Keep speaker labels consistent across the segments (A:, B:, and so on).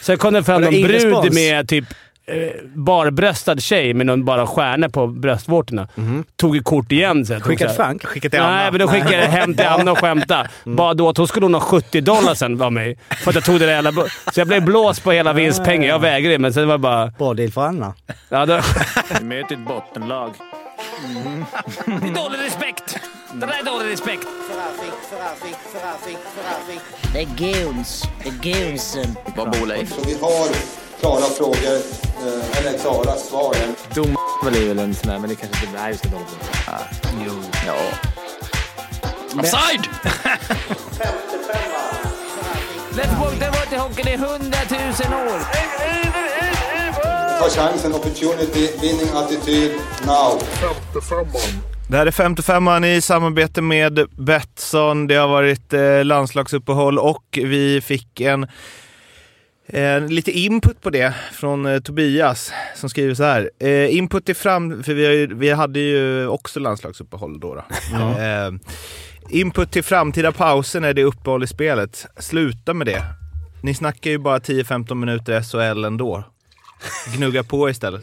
A: Sen kom det fram
B: Var det
A: någon
B: ingen
A: brud
B: respons?
A: med typ eh, barbröstad tjej med någon bara stjärna på bröstvårtorna. Tog ett kort igen sen.
B: Skickat
A: Så här-
B: Mhm. Frank?
C: Skicka till
A: Nej,
C: Anna. Mm.
A: men då skickade jag hem till Anna och skämtade. Bara då att hon skulle nog ha 70 dollar sen av mig. För att jag tog det där jävla... bu- Så jag blev blåst på hela vinstpengen. Jag vägrade det, men sen var det bara...
B: Bra deal för Anna.
A: Ja, då... Mm.
D: Vi möter ett bottenlag.
A: Det är dålig respekt! Det där är dålig respekt!
E: The goons. The goonsen.
F: Vad bor Leif?
G: Vi har klara frågor, eh, eller klara svar.
H: Dom väl är väl en sån där, men det kanske inte... Nej, vi ska inte hålla på.
A: Ah,
F: Ja. Offside!
A: Let's walk the road till hockeyn i hundratusen år!
G: Ta chansen, opportunity, winning attityd, now.
C: Det här är 55an i samarbete med Betsson. Det har varit eh, landslagsuppehåll och vi fick en, en lite input på det från eh, Tobias som skriver så här. Eh, input i fram... För vi, har ju, vi hade ju också landslagsuppehåll då. då. Eh, input till framtida pauser när det är uppehåll i spelet. Sluta med det. Ni snackar ju bara 10-15 minuter SHL ändå. Gnugga på istället.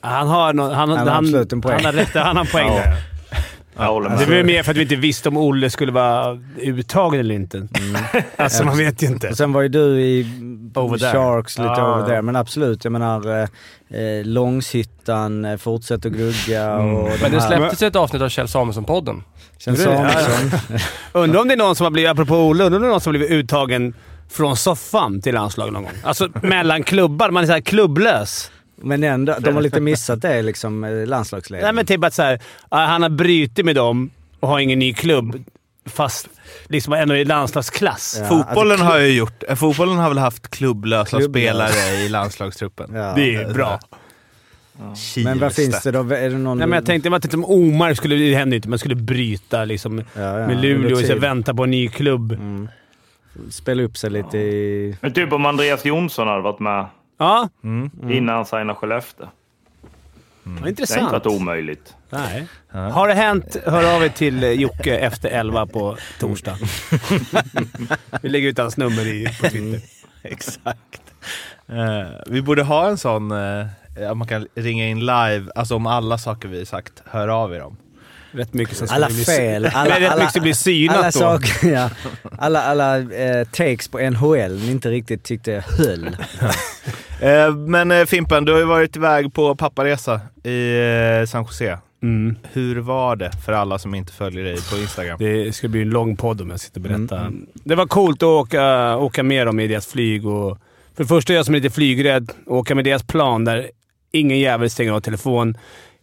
A: Han har, no, han,
B: har absolut en poäng.
A: Han har rätt. Han har en poäng där.
C: Jag håller
A: Det var ju mer för att vi inte visste om Olle skulle vara uttagen eller inte.
C: Mm.
A: alltså, man vet ju inte.
B: Och sen var ju du i
A: Over there.
B: Sharks lite
A: Ah.
B: over there, men absolut. Jag menar, eh, eh, Långshyttan, eh, fortsätt att grugga
A: Mm.
B: och de
I: Men det
B: här-
I: släpptes ju ett avsnitt av Kjell Samuelsson-podden.
B: Kjell Samuelsson.
A: Undrar om det är någon som har blivit, apropå Olle, undrar om det är någon som har blivit uttagen från soffan till landslaget någon gång. Alltså mellan klubbar. Man är såhär klubblös.
B: Men ändå, de har lite missat det liksom, eh,
A: Nej,
B: landslagsledningen.
A: men typ att så här, ah, han har brutit med dem och har ingen ny klubb, fast liksom ändå i landslagsklass.
B: Ja,
C: Fotbollen
B: alltså,
C: har ju gjort, eh, fotbollen har väl haft klubblösa
B: Klubblösa.
C: spelare i landslagstruppen.
B: Ja.
A: Det är bra.
C: Kilsta.
B: Men vad finns det då? Är det någon...
A: Nej, men jag tänkte att om Omar skulle... Det händer ju inte, men skulle bryta liksom,
B: Ja, ja,
A: med Luleå och
B: under
A: så
B: tid.
A: vänta på en ny klubb.
B: Mm. Spela upp sig lite i...
D: Men typ om Andreas Jonsson hade varit med
A: Ja, Mm.
D: innan han signade Skellefteå.
B: Mm.
D: Det har inte
A: intressant.
D: varit omöjligt.
A: Nej. Har det hänt, hör av er till eh, Jocke efter 11 på torsdag. Vi lägger ut hans nummer i, på Twitter.
C: Exakt. Eh, vi borde ha en sån, eh, att man kan ringa in live, alltså om alla saker vi sagt, hör av er om.
A: Rätt mycket som
B: Alla
A: bli-
B: fel. Alla,
A: Nej, rätt
B: alla,
A: mycket som blir synat
B: alla
A: då.
B: saker, ja. Alla, alla eh, takes på NHL ni inte riktigt tyckte höll.
C: Eh, men eh, Fimpen, du har ju varit iväg på papparesa i eh, San Jose.
A: Mm.
C: Hur var det för alla som inte följer dig på Instagram?
A: Det ska bli en lång podd om jag sitter och
D: Mm,
A: berättar. Det var coolt att åka, åka med dem i deras flyg. Och för det första, jag som är lite flygrädd, åka med deras plan där ingen jävel stänger av telefon.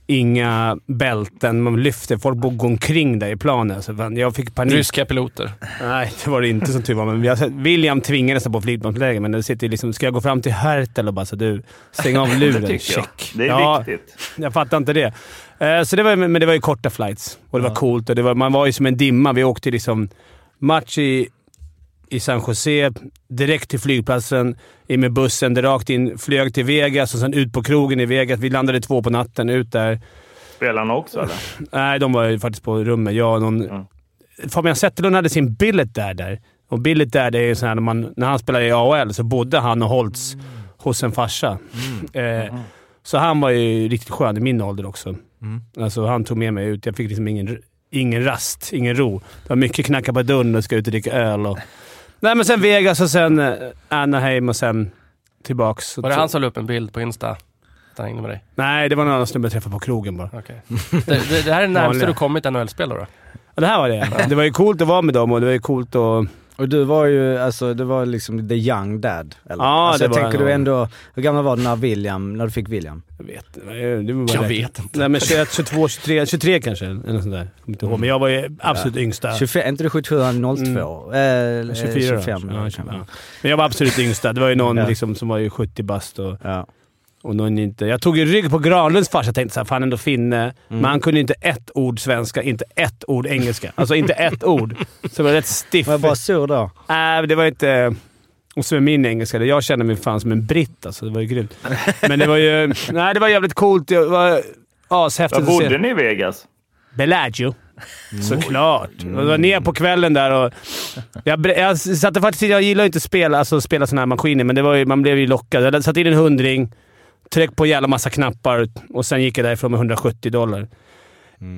A: Inga bälten man lyfter. Folk bara går omkring där i planen. Så fan, jag fick panik.
I: Ryska piloter.
A: Nej, det var det inte som tur var. Men vi har sett- William tvingades på flygplansläge, men det sitter ju liksom... Ska jag gå fram till Hertel och bara så du, stäng av luren.
D: Det tycker jag.
A: Check.
D: Det är
A: Ja,
D: viktigt.
A: Jag fattar inte det. Eh, Så det var, men det var ju korta flights och det var coolt. Och det var, man var ju som en dimma. Vi åkte liksom match i, i San Jose, direkt till flygplatsen, in med bussen, direkt in, flög till Vegas och sen ut på krogen i Vegas. Vi landade två på natten, ut där.
D: Spelarna också eller?
A: Nej, de var ju faktiskt på rummet. Jag och någon...
D: Mm.
A: Fabian Zetterlund hade sin billet där. där. Och billet där, det är ju sån här, när, man, när han spelade i AHL så bodde han och Holtz hos en farsa.
I: Mm.
A: Eh, så han var ju riktigt skön i min ålder också.
I: Mm.
A: Alltså, han tog med mig ut. Jag fick liksom ingen, ingen rast, ingen ro. Det var mycket knacka på dörren och ska ut och dricka öl. Och... Nej, men sen Vegas och sen eh, Anaheim och sen tillbaks.
I: Var det han som la upp en bild på Insta? Att han hängde med dig?
A: Nej, det var någon annan snubbe jag träffade på krogen bara.
I: Okej. Det, det, det här är det närmaste
A: Vanliga.
I: du kommit NHL-spel då? då?
A: Ja, det här var det. Det var ju coolt att vara med dem och det var ju coolt att...
B: Och du var ju, alltså det var liksom the young dad. Eller?
A: Ja,
B: alltså,
A: det
B: jag
A: var
B: tänker
A: jag
B: du
A: nog.
B: ändå, hur gammal var du när William, när du fick William?
A: Jag vet inte. Det var bara
I: Jag
A: det.
I: vet inte.
A: Nej, men 21, 22, 23, 23 kanske. Eller något sånt där. Jag kommer inte ihåg, Mm. men jag var ju absolut yngsta.
B: 25, är inte du 77, han är 02? Eh,
A: 24 Mm. då.
B: 25.
A: Ja, 25. Ja. Men jag var absolut yngsta. Det var ju någon
B: Ja.
A: liksom, som var ju 70 bast och,
B: Ja.
A: och någon inte... Jag tog ju rygg på Granlunds farsa och tänkte såhär, fan ändå finne. Men han kunde inte ett ord svenska, inte ett ord engelska. Alltså inte ett ord. Så jag var rätt stiff.
B: Var jag bara sur då?
A: Nej, men det var inte... Och så med min engelska. Jag kände mig fan som en britt alltså. Det var ju grymt. Men det var ju... Nej, det var jävligt coolt. Det var ashäftigt
D: Var
A: att se.
D: bodde ni i Vegas?
A: Bellagio. Såklart. Jag var ner på kvällen där och... Jag, bre- jag satte faktiskt Jag gillar ju inte att spela, alltså, spela såna här maskiner, men det var ju, man blev ju lockad. Jag satte in en hundring, tryckte på en jävla massa knappar och sen gick jag därifrån med 170 dollar.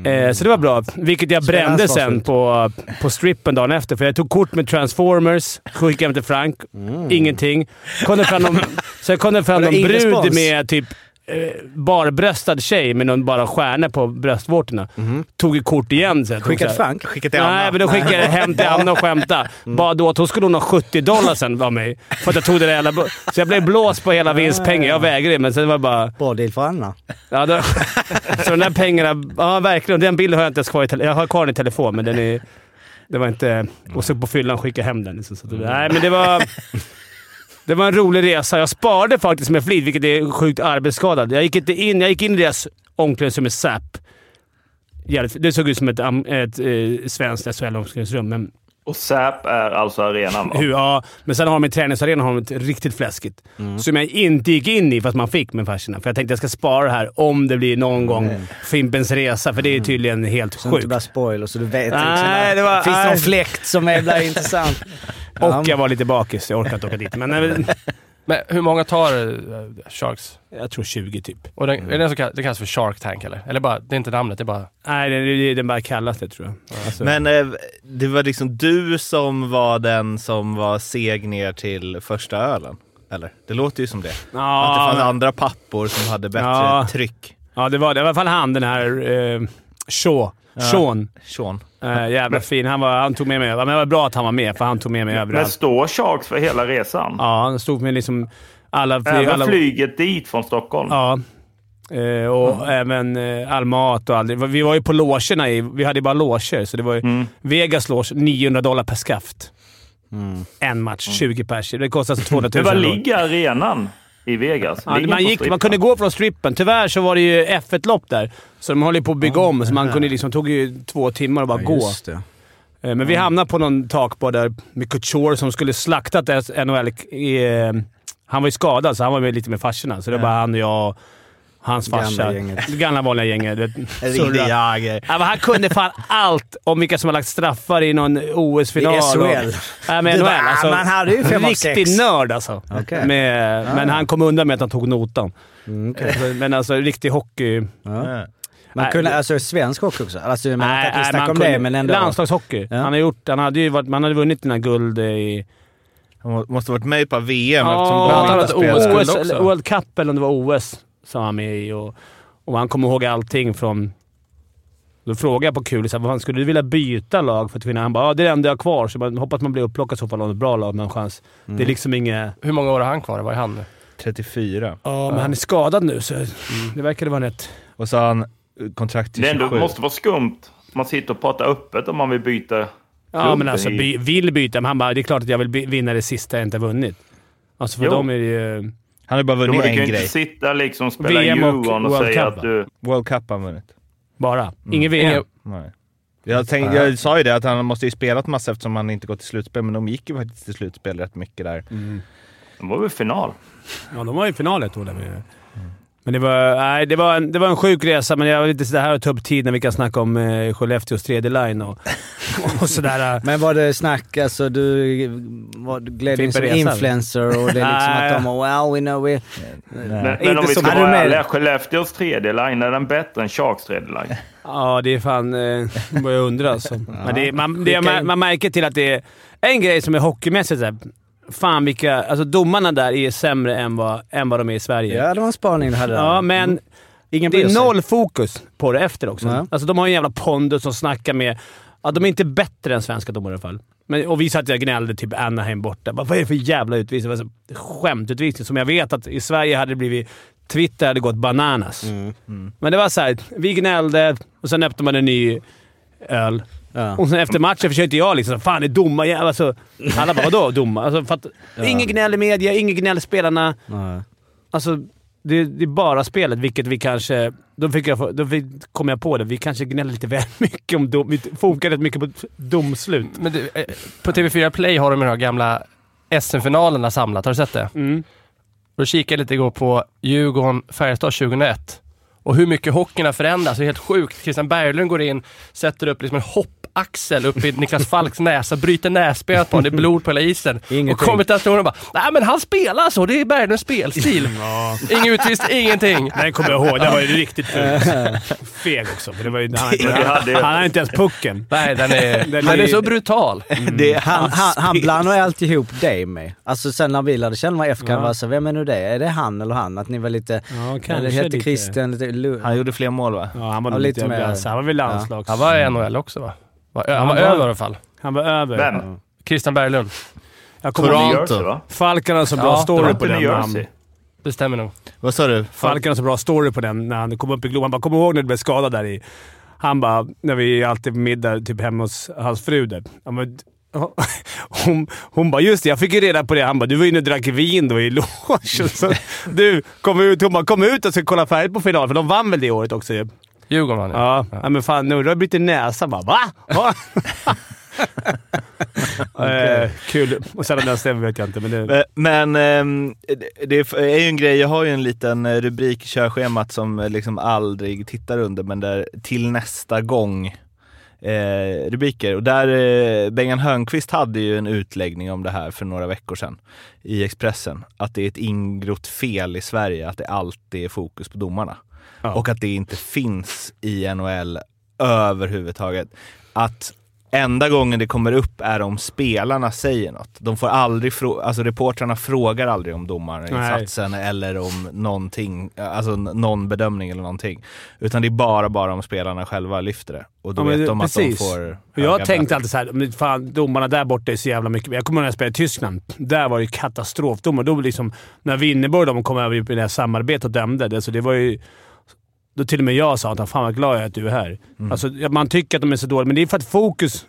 A: Eh, så det var bra, vilket jag
B: Spela
A: brände sen
B: ansvarsfullt.
A: på, på strippen dagen efter. För jag tog kort med Transformers, skickade hem till Frank. Ingenting. Kom det fram någon, så kom det fram
B: Var det
A: någon
B: ingen
A: brud
B: respons?
A: med typ eh, barbröstad tjej med någon bara stjärna på bröstvårtorna. Tog ett kort igen sen.
B: Skickat
A: Frank?
B: Frank?
C: Skicka till Anna. Mm.
A: Nej, men då skickade jag hem till Anna och skämtade. Bad åt. Hon skulle hon ha 70 dollar sen av mig. För att jag tog det där jävla... bu- Så jag blev blåst på hela vinstpengen. Jag vägrade, men sen var det bara...
B: Bra deal för Anna.
A: Ja, då, så de där pengarna... Ja, verkligen. Den bilden har jag inte ens kvar i tele- Jag har kvar den i telefon, men den är... Det var inte... Och så på fyllan skickade jag hem den. Liksom, så att det, nej, men det var... Det var en rolig resa. Jag sparade faktiskt med flit, vilket är sjukt arbetsskadad. Jag gick inte in, jag gick in i deras omklädningsrum med SAP. Jävligt- Det såg ut som ett, am- ett eh, svenskt SHL-omklädningsrum, men
D: Och SAP är alltså arenan va?
A: hur, ja. Men sen har de i träningsarenan har de ett riktigt fläskigt. Som jag inte gick in i, fast man fick med farsorna. För jag tänkte jag ska spara det här om det blir någon gång Fimpens Resa, för det är tydligen helt
B: Så det inte
A: sjukt.
B: blir spoiler så du vet liksom.
A: Nej, det var-
B: Finns det
A: nej.
B: någon fläkt som är blir intressant?
A: Och jag var lite bakis. Jag orkade inte åka dit. Men nej,
I: Men hur många tar eh, Sharks?
A: jag tror 20 typ.
I: Och den, Är det den som kallas, det kallas för Shark Tank eller? Eller bara, det är inte namnet, det är bara...
A: Nej, den, den bara kallas det tror jag. Alltså,
C: Men eh, det var liksom du som var den som var seg ner till första ölen? Eller? Det låter ju som det. Att det
A: ja,
C: fanns andra pappor som hade bättre
A: Ja.
C: tryck.
A: ja, det var det. I alla fall han, den här eh, Shaw. Sean.
C: Sean.
A: Eh, jävla fin. Han, var, han tog med mig. Men det var bra att han var med, för han tog med mig
D: Men
A: överallt.
D: står Sharks för hela resan?
A: Ja, han stod med liksom alla... fly-
D: Även
A: alla...
D: flyget dit från Stockholm?
A: Ja. Eh, och
D: Mm.
A: även eh, all mat och all, Vi var ju på logerna. I, vi hade ju bara loger, så det var ju
D: Mm.
A: Vegas loge. 900 dollar per skaft. En match, 20 pers. Det kostar alltså 200
D: Mm. Men
A: 000
D: var
A: dollar.
D: ligger arenan i Vegas?
A: Ja,
D: Ligger
A: man,
D: den på
A: gick,
D: strippen?
A: man kunde gå från strippen. Tyvärr så var det ju F1-lopp där, så de håller ju på att bygga om. Så man kunde liksom, tog ju två timmar att bara gå.
B: Just det.
A: Eh, Men vi hamnade på någon takbar där med Couture som skulle slaktat S- NHL. eh, Han var ju skadad, så han var med lite med farsorna. Så det var bara han och jag och hans
B: Gamla
A: farsa.
B: gänget.
A: Det gamla vanliga gänget. du vet.
C: Ringde
A: Surra.
C: Jagr.
A: Ja, men han kunde fan allt om vilka som har lagt straffar i någon OS-final.
B: I SHL.
A: och- Ja, men
B: Du
A: NHL.
B: bara,
A: alltså,
B: "Ah, man hade ju fem av sex."
A: Riktig nörd alltså.
B: Okej. Mm,
A: Med, men han kom undan med att han tog notan. Alltså, Men alltså, riktig hockey.
B: Ja.
C: Ja.
B: Man
A: Nej,
B: kunde,
A: det-
B: alltså svensk hockey också. Alltså, man
A: Nej,
B: har
A: nej,
B: faktiskt snackat
A: man
B: om
A: kunde-
B: det, men ändå.
A: Landslagshockey.
B: Ja.
A: Han, har gjort, han, hade ju varit, man hade vunnit dina guld i...
C: Han måste ha varit med på VM
A: Ja,
C: eftersom de inte
A: han hade
C: spelade.
A: OS,
C: Skulle
A: eller World Cup eller om det var OS som han var med i. Och, och han kommer ihåg allting från... Då frågade jag på kul så här, vad fan, skulle du vilja byta lag för att vinna? Han bara ja, det är det enda jag har kvar, så man hoppas man blir upplockad i så fall av ett bra lag med en chans. Det är liksom inget...
I: Hur många år har han kvar? Vad är han nu?
C: 34.
A: Ja, men han är skadad nu, så det verkade vara rätt...
C: Och så har han eh, kontrakt till
D: Det ändå
C: 27.
D: måste vara skumt. Man sitter och pratar öppet om man vill byta
A: Ja,
D: klubben
A: men alltså
D: i-
A: by, vill byta, men han bara det är klart att jag vill by- vinna det sista jag inte har vunnit. Alltså för
D: Jo.
A: dem är det ju...
C: Han har bara
D: De
C: vunnit
D: kan ju
C: en
D: inte
C: grej.
D: sitta liksom och spela
A: VM och
D: Djurgården och,
A: World
D: säga
A: Cup,
D: att du...
C: World Cup har han vunnit.
A: Bara. Ingen VM.
I: Ingen-
C: Nej. Jag, tänkte,
A: Äh.
C: jag sa ju det, att han måste ju spelat massa eftersom han inte gått till slutspel, men de gick ju faktiskt till slutspel rätt mycket där.
A: Mm.
D: Det var väl final?
A: Ja, de var ju i final ett år där. med- Men det var, nej, det, var en, det var en sjuk resa, men jag vill inte sitta här och ta upp tid när vi kan snacka om eh, Skellefteås tredje line och, och sådär. eh.
B: Men var det snack, alltså du var, du gled in
A: Fimpen
B: som
A: Resan.
B: influencer och det är liksom
A: Nej.
B: att de har “Well, we know we...”
D: Men, men om
A: inte
D: vi
A: som
D: ska
B: Hade du
D: vara
B: med-
D: ärliga, Skellefteås tredje line, är den bättre än Sharks tredje line?
A: Ja, det är fan... Eh, det börjar jag undra alltså. Men det, man, det,
B: Vilka-
A: man, man märker till att det är en grej som är hockeymässigt. Så här, fan vilka... Alltså domarna där är sämre än vad, än vad de är i Sverige.
B: Ja, det var en spaning du hade där.
A: Ja, men
B: Ingen
A: det
B: bryr
A: är
B: sig.
A: noll fokus på det efter också.
B: Nej.
A: Alltså, de har ju en jävla pondus som snackar med... Ja, de är inte bättre än svenska domare i alla fall. Men, och vi satt och gnällde typ Anaheim borta. Bara, Vad är det för jävla utvisning? Alltså, skämtutvisning som jag vet att i Sverige hade det blivit... Twitter hade gått bananas.
B: Mm.
A: Men det var så här, vi gnällde och sen öppnade man en ny öl.
B: Ja.
A: Och sen efter matchen försökte jag liksom “Fan, det är domarjävel”. Alltså, alla bara “Vadå domar?” alltså, för att, Ingen gnäll i media, ingen gnäll i spelarna.
B: Nej.
A: Alltså, det, det är bara spelet, vilket vi kanske... Då, fick jag, då fick, kom jag på det. Vi kanske gnäller lite väl mycket om dom... Vi fokar rätt mycket på domslut.
I: Men du, eh, på TV4 Play har de ju de här gamla SM-finalerna samlat. Har du sett det?
A: Mm.
I: Då kikade jag lite igår på Djurgården-Färjestad 2001. Och hur mycket hockeyn har förändrats. Det är helt sjukt. Christian Berglund går in, sätter upp liksom en hoppaxel upp i Niklas Falks näsa, bryter näsbenet på honom. Det är blod på hela isen.
B: Ingenting.
I: Och kommentatorerna bara “Nej men han spelar så, det är Berglunds spelstil”. Ingen utvist, ingenting.
A: Den kommer jag ihåg. Den var ju riktigt ful. feg också. För det var ju, han,
D: Men vi hade ju-
A: han hade inte ens pucken.
I: Nej, den är, den är så brutal.
C: Det är
B: Mm. Han,
C: hans
B: han, han
C: spel.
B: blandar ju alltid ihop dig med. Alltså sen när vi lärde känna varandra efter kan jag vara så vem är nu det? Är det han eller han? Att ni var lite...
A: Ja,
B: Eller
A: kanske
B: hette
A: lite.
B: Christian, lite... Lu-
C: Han gjorde fler mål va?
A: Ja, han var
B: Ja,
A: nog
B: lite
A: lite
B: mer.
A: över. Han var väl landslags...
I: Han var i NHL också va? Var, ö- han
A: Han
I: var
A: var-
I: över i alla fall.
A: Han var över.
D: Vem?
I: Christian Berglund.
A: Jag kommer
D: New
A: ihåg
D: Jersey, va?
A: Falkarna så bra
I: Ja, det
D: Det var
A: story på
D: inte New
A: den. när han-
D: Jersey.
I: Det stämmer nog.
C: Vad sa du?
A: Falken har så bra story på den när han kom upp i Globen. Han bara “Kommer du ihåg när du blev skadad där i?” Han bara, när vi är alltid på middag typ hemma hos hans fru där. Han bara, hon, hon bara “Just det, jag fick ju reda på det”. Han bara “Du var inne och drack vin då i logen. Så Du, kom ut.” Hon bara “Kom ut och ska kolla färdigt på finalen”, för de vann väl det året också ju.
I: Djurgården vann ju.
A: Ja, ja. men fan. Nu har jag brutit näsan bara. Va? Va? eh, kul. Och sen om den stämmer vet jag inte, men det...
C: Eh, Men ehm, det- det är ju en grej, jag har ju en liten eh, rubrik i körschemat som eh, liksom aldrig tittar under, men där till nästa gång eh, rubriker. Och där eh, Bengan Hörnqvist hade ju en utläggning om det här för några veckor sedan i Expressen. Att det är ett ingrott fel i Sverige att det alltid är fokus på domarna.
A: Ja.
C: Och att det inte finns i NHL överhuvudtaget. Att enda gången det kommer upp är om spelarna säger något. De får aldrig frå- alltså reportrarna frågar aldrig om domarinsatsen eller om någonting, alltså n- någon bedömning eller någonting. Utan det är bara, bara om spelarna själva lyfter det. Och då
A: Ja, men
C: vet
A: det-
C: de att
A: precis.
C: de får
A: Och jag
C: höga
A: tänkte
C: böter.
A: alltid såhär, men fan domarna där borta är så jävla mycket. Jag kommer ihåg när jag spelade i Tyskland. Där var det ju katastrofdomar. Då var det liksom, när Winneborg och de kom över i det här samarbetet och dömde, det, så det var ju... Då till och med jag sa att fan vad glad jag är att du är här.
C: Mm.
A: Alltså, ja, man tycker att de är så dåliga, men det är för att fokus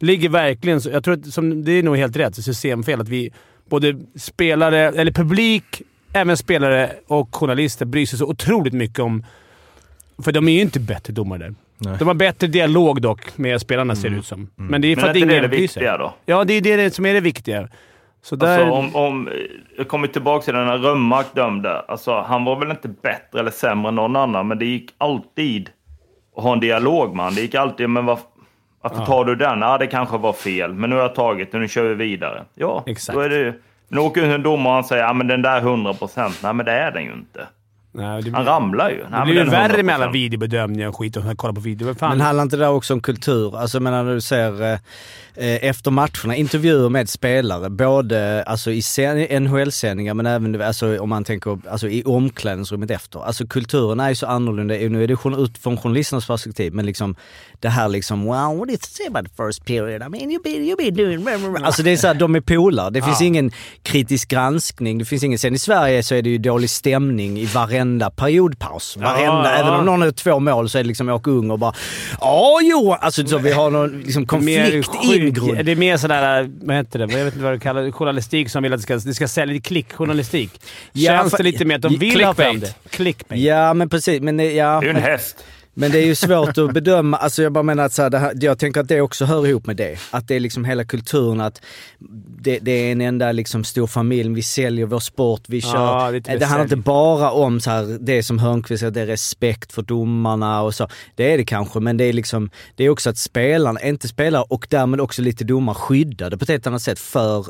A: ligger verkligen... så- Jag tror att som, det är nog helt rätt, systemfel. Att vi både spelare, eller publik, även spelare och journalister bryr sig så otroligt mycket om... För de är ju inte bättre domare där.
C: Nej.
A: De har bättre dialog dock med spelarna ser det ut som. Men det är för
D: Men är
A: att
D: inte
A: ingen
D: det det
A: bryr sig.
D: viktiga då?
A: Ja, det är det som är det viktiga. Så där...
D: Alltså, om, om, jag kommer tillbaka till den här Rönnmark dömde. Alltså, han var väl inte bättre eller sämre än någon annan, men det gick alltid att ha en dialog med han. Det gick alltid, men varför, varför tar du den? Ja, det kanske var fel, men nu har jag tagit det. Nu kör vi vidare. Ja,
A: Exakt.
D: då är det Nu åker en domare och han säger ja, men den där är 100 procent. Nej, men det är den ju inte.
A: Nej, det
D: Han
A: blir,
D: ramlar ju. Nej,
A: Mm. det
D: men
A: blir ju
D: den är
A: värre med alla
D: 100%.
A: videobedömningar och skit och sen kolla på video. Men fan,
B: Men handlar inte det också om kultur? Alltså jag menar när du ser eh, eh, efter matcherna, intervjuer med spelare, både alltså, i sen- NHL-sändningar men även alltså, om man tänker alltså, i omklädningsrummet efter. Alltså kulturen är ju så annorlunda, nu är det journa- utifrån journalisternas perspektiv, men liksom det här liksom “Wow, what did you say about the first period? I mean you been, you been doing...” blah, blah, blah." Alltså det är såhär, de är polare. Det finns ingen kritisk granskning, det finns ingen... Sen i Sverige så är det ju dålig stämning i varenda periodpaus. Varenda,
A: Ja, ja.
B: även om någon någon har två mål så är det liksom åka ung och bara “Ja, jo!” Alltså så vi har någon liksom konflikt
A: sjuk-
B: ingrodd.
A: Det är mer sådär, vad heter det? Jag vet inte vad det kallar Journalistik som vill att det ska, det ska sälja. Klickjournalistik.
B: Ja,
A: Känns
B: för-
A: det lite mer att de
B: Ja,
A: vill ha fram
B: clickbait.
A: det? Clickbait.
B: Ja, men precis. Men, det- ja,
D: Det är ju en
B: men,
D: häst.
B: men det är ju svårt att bedöma. Alltså jag bara menar att så här, det här, jag tänker att det också hör ihop med det. Att det är liksom hela kulturen att det, det är en enda liksom stor familj. Vi säljer vår sport, vi kör.
A: lite
B: det typ
A: mer
B: handlar
A: sälj.
B: inte bara om så här, det som Hörnqvist säger, det är respekt för domarna och så. Det är det kanske, men det är liksom, det är också att spelarna, inte spelare och därmed också lite domare skyddade på ett helt annat sätt för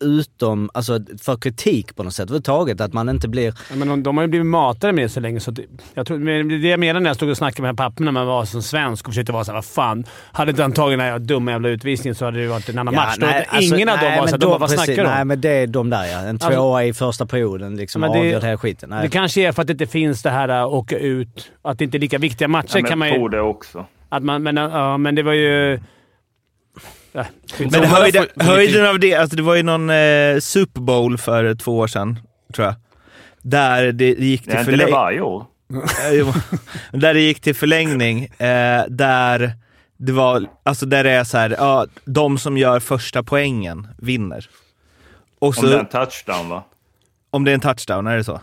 B: utom, alltså för kritik på något sätt överhuvudtaget. Att man inte blir...
A: Ja, Men de, de har ju blivit matade med det så länge, så det, jag tror, men det är det jag menade när jag stod och snackade med de här papporna när man var som svensk och försökte vara såhär, vad fan. Hade inte han tagit den här dumma jävla utvisningen så hade det varit en annan match. Då hade
B: alltså,
A: ingen av dem
B: nej,
A: var såhär,
B: men
A: de bara,
B: de-
A: vad
B: precis,
A: snackar
B: Nej
A: de?
B: men det är de där ja. En tvåa
A: Alltså-
B: i första perioden liksom
A: Men det-
B: avgör hela skiten.
A: Det
B: Nej.
A: kanske är för att det inte finns det här att åka ut, att det inte är lika viktiga matcher.
D: Ja, men
A: kan man
D: jag tror
A: ju,
D: det också.
A: att man, men, ja, men det var ju... Äh,
C: Men
A: men
C: höjden, höjden av det, alltså det var ju någon eh, Super Bowl för två år sedan, tror jag. Där det gick
D: Det är
C: till
D: inte det
C: förlängning.
D: varje år.
C: Ja, jo. där det gick till förlängning, eh, där det var, alltså där det är så här, ja, de som gör första poängen vinner. Och så,
D: Om det är en touchdown, va?
C: är en touchdown, är det så?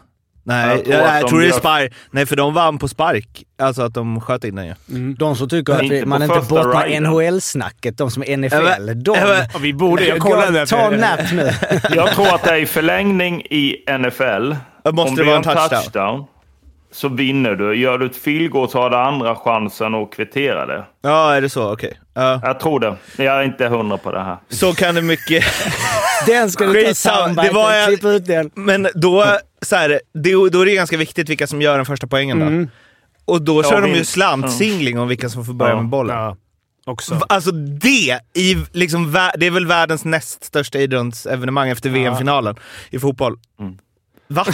C: Nej, jag
D: Jag tror
C: tror,
D: att
C: jag,
D: de
C: tror det är
D: gör-
C: spark. Nej, för de vann på spark. Alltså att de sköt in den ju.
B: De som tycker
D: Men
B: att
D: inte
B: man
D: på
B: inte är
D: första
B: borta med
D: riden.
B: NHL-snacket, de som är NFL,
C: Ja, men-
B: de...
C: ja, men-
A: Ja, vi borde... Jag kollade.
B: Ta en natt nu.
D: Jag tror att det är i förlängning i NFL.
C: Då måste
D: om
C: det
D: vi
C: vara
D: har
C: en touchdown.
D: så vinner du. Gör du ett filgård så har du andra chansen att kvittera det.
C: Ja, är det så? Okej. Ja.
D: Jag tror det. Jag är inte hundra på det här.
C: Så kan det mycket...
B: Den ska du ta
C: Skitsamma,
B: soundbiten,
C: det var en-
B: klipp ut den.
C: Men då, så här, det, då är det ganska viktigt vilka som gör den första poängen då.
A: Mm.
C: Och då kör de ju
D: minst.
C: slantsingling om vilka som får börja
D: Ja.
C: med bollen.
A: Ja, också.
C: Va- Alltså det, i liksom, vä- det är väl världens näst största idrottsevenemang efter VM-finalen i fotboll. Va?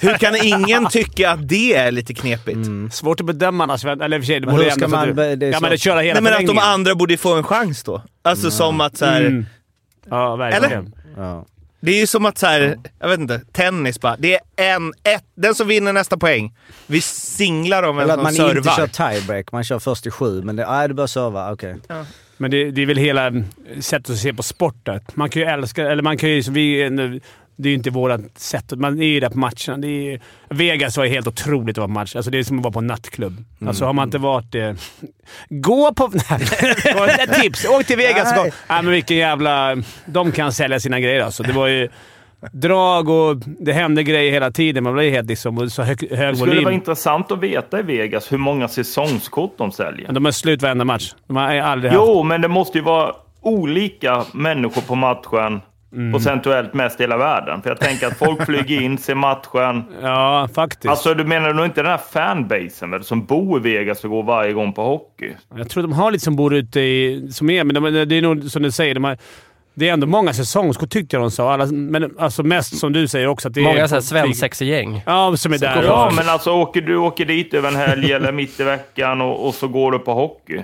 C: Hur kan ingen tycka att det är lite knepigt?
A: Svårt att bedöma annars. Eller i och för sig, det
B: Men
A: borde
B: hur ska
A: ändå...
B: man be- det är
A: ja,
B: så-
A: men att köra hela
C: Nej men att de
A: förlängningen.
C: andra borde få en chans då. Alltså som att så här,
A: Mm. Ja, verkligen.
C: Eller?
B: Ja.
C: Det är ju som att så här, jag vet inte, tennis bara. Det är en, ett, den som vinner nästa poäng. Vi singlar om vem
B: Eller att
C: som
B: man inte
C: servar.
B: kör tiebreak, man kör först i sju, men det, nej, du bör serva. Okej.
A: Men det, det är väl hela mm, sättet att se på sporten. Man kan ju älska... Eller man kan ju... Vi, nu- det är ju inte vårt sätt. Man är ju där på matcherna. Det är, ju- Vegas var ju helt otroligt att vara på match. Alltså, det är som att vara på en nattklubb.
D: Mm.
A: Alltså har man inte varit det... Gå på... Nej, ett tips! Åk till Vegas och
B: Nej.
A: gå. Nej, men vilken jävla... De kan sälja sina grejer alltså. Det var ju drag och det hände grejer hela tiden. Man blev helt liksom... och Så hög, hög
D: Det skulle
A: volym.
D: vara intressant att veta i Vegas hur många säsongskort de säljer.
A: Men De har slut varenda match. De har aldrig haft...
D: Jo, men det måste ju vara olika människor på matchen
C: Mm.
D: procentuellt mest i hela världen. För jag tänker att folk flyger in, ser matchen.
A: Ja, faktiskt.
D: Alltså, du menar nog inte den här fanbasen väl, som bor i Vegas och går varje gång på hockey?
A: Jag tror de har lite som bor ute i... Som är, men de, det är nog som du säger. De har, det är ändå många säsongskort tyckte jag de sa. Alla, men alltså mest som du säger också. Att det är,
I: Många så här svensexegäng.
A: Ja, som är där.
D: Ja,
A: och-
D: men alltså åker du åker dit över en helg eller mitt i veckan och, och så går du på hockey.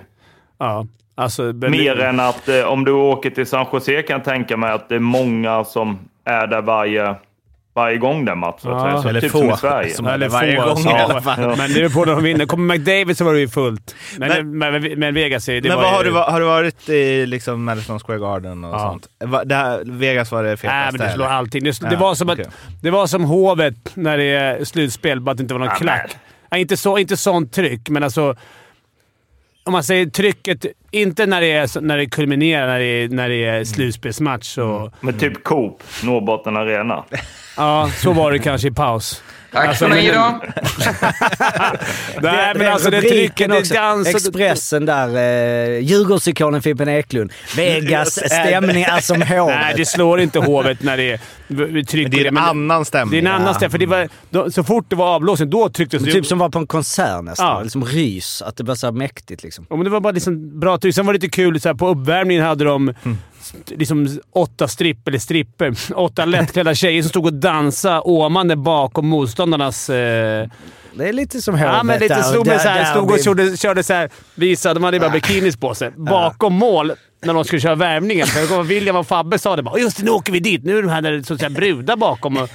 A: ja, alltså, men-
D: Mer än att eh, om du åker till San Jose kan jag tänka mig att det är många som är där varje, varje gång den matchen.
A: Ja.
D: så,
C: Eller
D: typ
C: få,
D: som i Sverige.
C: som-
A: Ja, eller
C: Varje
A: få,
C: gång
A: alltså.
C: i alla
A: Ja,
C: fall.
A: Men det är på när de vinner. Kommer McDavid så var det ju fullt. Men, men, men, Vegas är... Det
C: Men
A: var
C: vad
A: ju,
C: har, du, va- har du varit i liksom Madison Square Garden och
A: Ja.
C: sånt? Va, det här, Vegas var det
A: Nej,
C: fetaste?
A: men det slår
C: eller?
A: allting. Det, det,
C: Ja,
A: var som att,
C: okej.
A: det var som Hovet när det är slutspel, bara att det inte var någon
D: Ja,
A: klack.
D: men.
A: Ja, inte, så, inte sånt tryck, men alltså... Om man säger trycket, inte när det, är, så- när det kulminerar, när det är, när det är slutspelsmatch. Och,
D: Men typ Coop, Norrbotten Arena.
A: Ja, så var det kanske i paus.
F: Tack
A: Alltså,
F: för mig
A: men-
F: då.
A: Nej, men alltså det
B: Rubriken
A: trycket, det
B: också.
A: dans...
B: Expressen där. Eh, Djurgårdsikonen Fimpen Eklund. Vegas stämning är som
A: Nej, det
B: hovet.
A: slår inte Hovet när det är v- tryck.
C: Men det är
A: och
C: en
A: men-
C: annan
A: Det är
C: stämning.
A: en annan stämning, för det var, då, så fort det var avblåsning, då trycktes det.
B: Typ som var på en konsert nästan.
A: Ja.
B: Liksom rys. Att det blir så här mäktigt liksom.
A: Ja, men det var bara liksom bra tryck. Sen var det lite kul. Så här, på uppvärmningen hade de
B: Mm.
A: st- liksom åtta stripp, eller stripper, åtta lättklädda tjejer som stod och dansade åmande bakom motståndarnas... Eh,
B: Det är lite som hovet
A: ja, men lite
B: där,
A: stod med
B: där-
A: så här,
B: där
A: stod och
B: vi- Ah.
A: körde, körde så här, visade. De hade ju bara bikinis på sig. Bakom mål, när de skulle köra värmningen. För jag kommer ihåg William och Fabbe sa det bara “Just det, nu åker vi dit. Nu är de här, där, så att säga, brudar bakom.” och,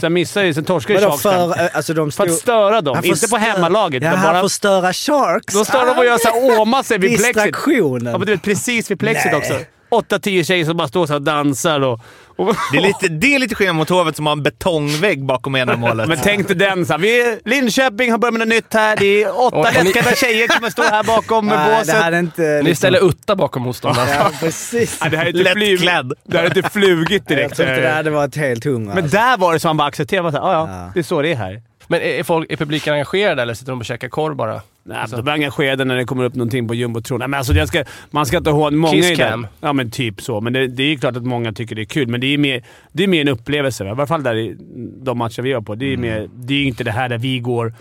A: Sen missade ju, sen torskade ju
B: Vadå
A: Sharks kamp.
B: för... eh, Alltså de
A: För
B: stod...
A: att störa dem.
B: Han får
A: Inte på
B: stö-
A: hemmalaget.
B: Ja,
A: utan
B: han
A: bara,
B: får störa Sharks.
A: då står de och gör såhär åma sig vid plexit.
B: Distraktionen.
A: Ja, men du vet, precis vid plexit
B: Nej.
A: också. Åtta, tio tjejer som bara står så här och dansar och... och
C: Det är lite, det är lite skillnad mot Hovet som har en betongvägg bakom ena målet.
A: men tänk dig den såhär. Vi, Linköping har börjat med något nytt här. Det är åtta
I: Och- och ni-
A: lättklädda tjejer som kommer stå här bakom
B: Nej, det
A: båset.
B: hade inte...
I: Ni ställer utta bakom motståndaren.
B: Ja, precis.
A: Nej, det här är inte flyg...
C: Lättklädd.
A: Det här är inte flugit
B: Jag
A: direkt.
B: tror inte det hade varit helt hundra.
A: Men där var det som man bara accepterade. Bara så här, ja, ja,
B: Ja.
A: det är så det är här.
I: Men är, är, folk, är publiken engagerade eller sitter de och käkar korv bara?
A: Nej,
B: Alltså-
A: men de är engagerade när det kommer upp någonting på jumbotron. Nej, men alltså, jag ska, man ska inte ha en många
I: Kiss
A: i
I: cam.
A: det. Ja, men typ så. Men det, det är ju klart att många tycker det är kul, men det är mer, det är mer en upplevelse. va? I varje fall där i de matcher vi var på. Det är,
B: Mm.
A: mer, det är ju inte det här där vi går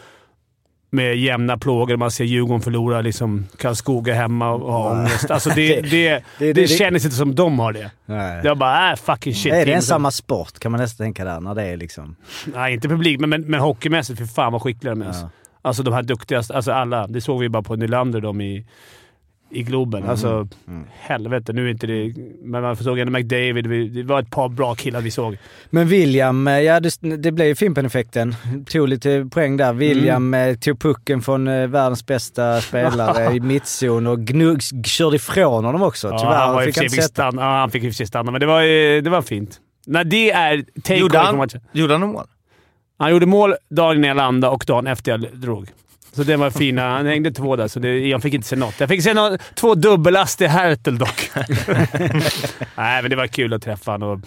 A: med jämna plågor. Man ser Djurgården förlora liksom Karlskoga hemma och har ångest. Alltså det, det, det,
B: det- det-
A: känns inte som de har det.
B: Nej.
A: Det var bara äh, fucking shit.
B: Är det en
A: inte-
B: samma sport kan man nästan tänka där när det är liksom...
A: Nej, inte publik, men, men, men hockeymässigt. Fy fan vad skickliga de är.
B: Ja.
A: Alltså de här duktigaste. Alltså alla. Det såg vi bara på Nylander de i, i Globen.
B: Mm,
A: Alltså helvete. Nu är inte det... Men man såg ändå McDavid. Vi, det var ett par bra killar vi såg.
B: Men William, eh, ja det, det blev ju Fimpen-effekten. Tog lite poäng där. William
A: Mm.
B: eh, tog pucken från eh, världens bästa spelare i mittzon och gnugg, körde ifrån honom också.
A: Ja,
B: Tyvärr
A: han, var i och
B: fick
A: för
B: han
A: sig
B: inte
A: fick
B: sätta.
A: stanna. Ja, han fick i och för sig stanna, men det var, eh, det var fint. När det är take
C: Gjorde
A: away på
C: han,
A: matchen.
C: gjorde han mål?
A: Han gjorde mål dagen innan jag landade och dagen efter jag drog. Så det var fina. Han hängde två där, så det, jag fick inte se något. Jag fick se nå- två dubbellast i Hertel dock. Nej, men det var kul att träffa honom.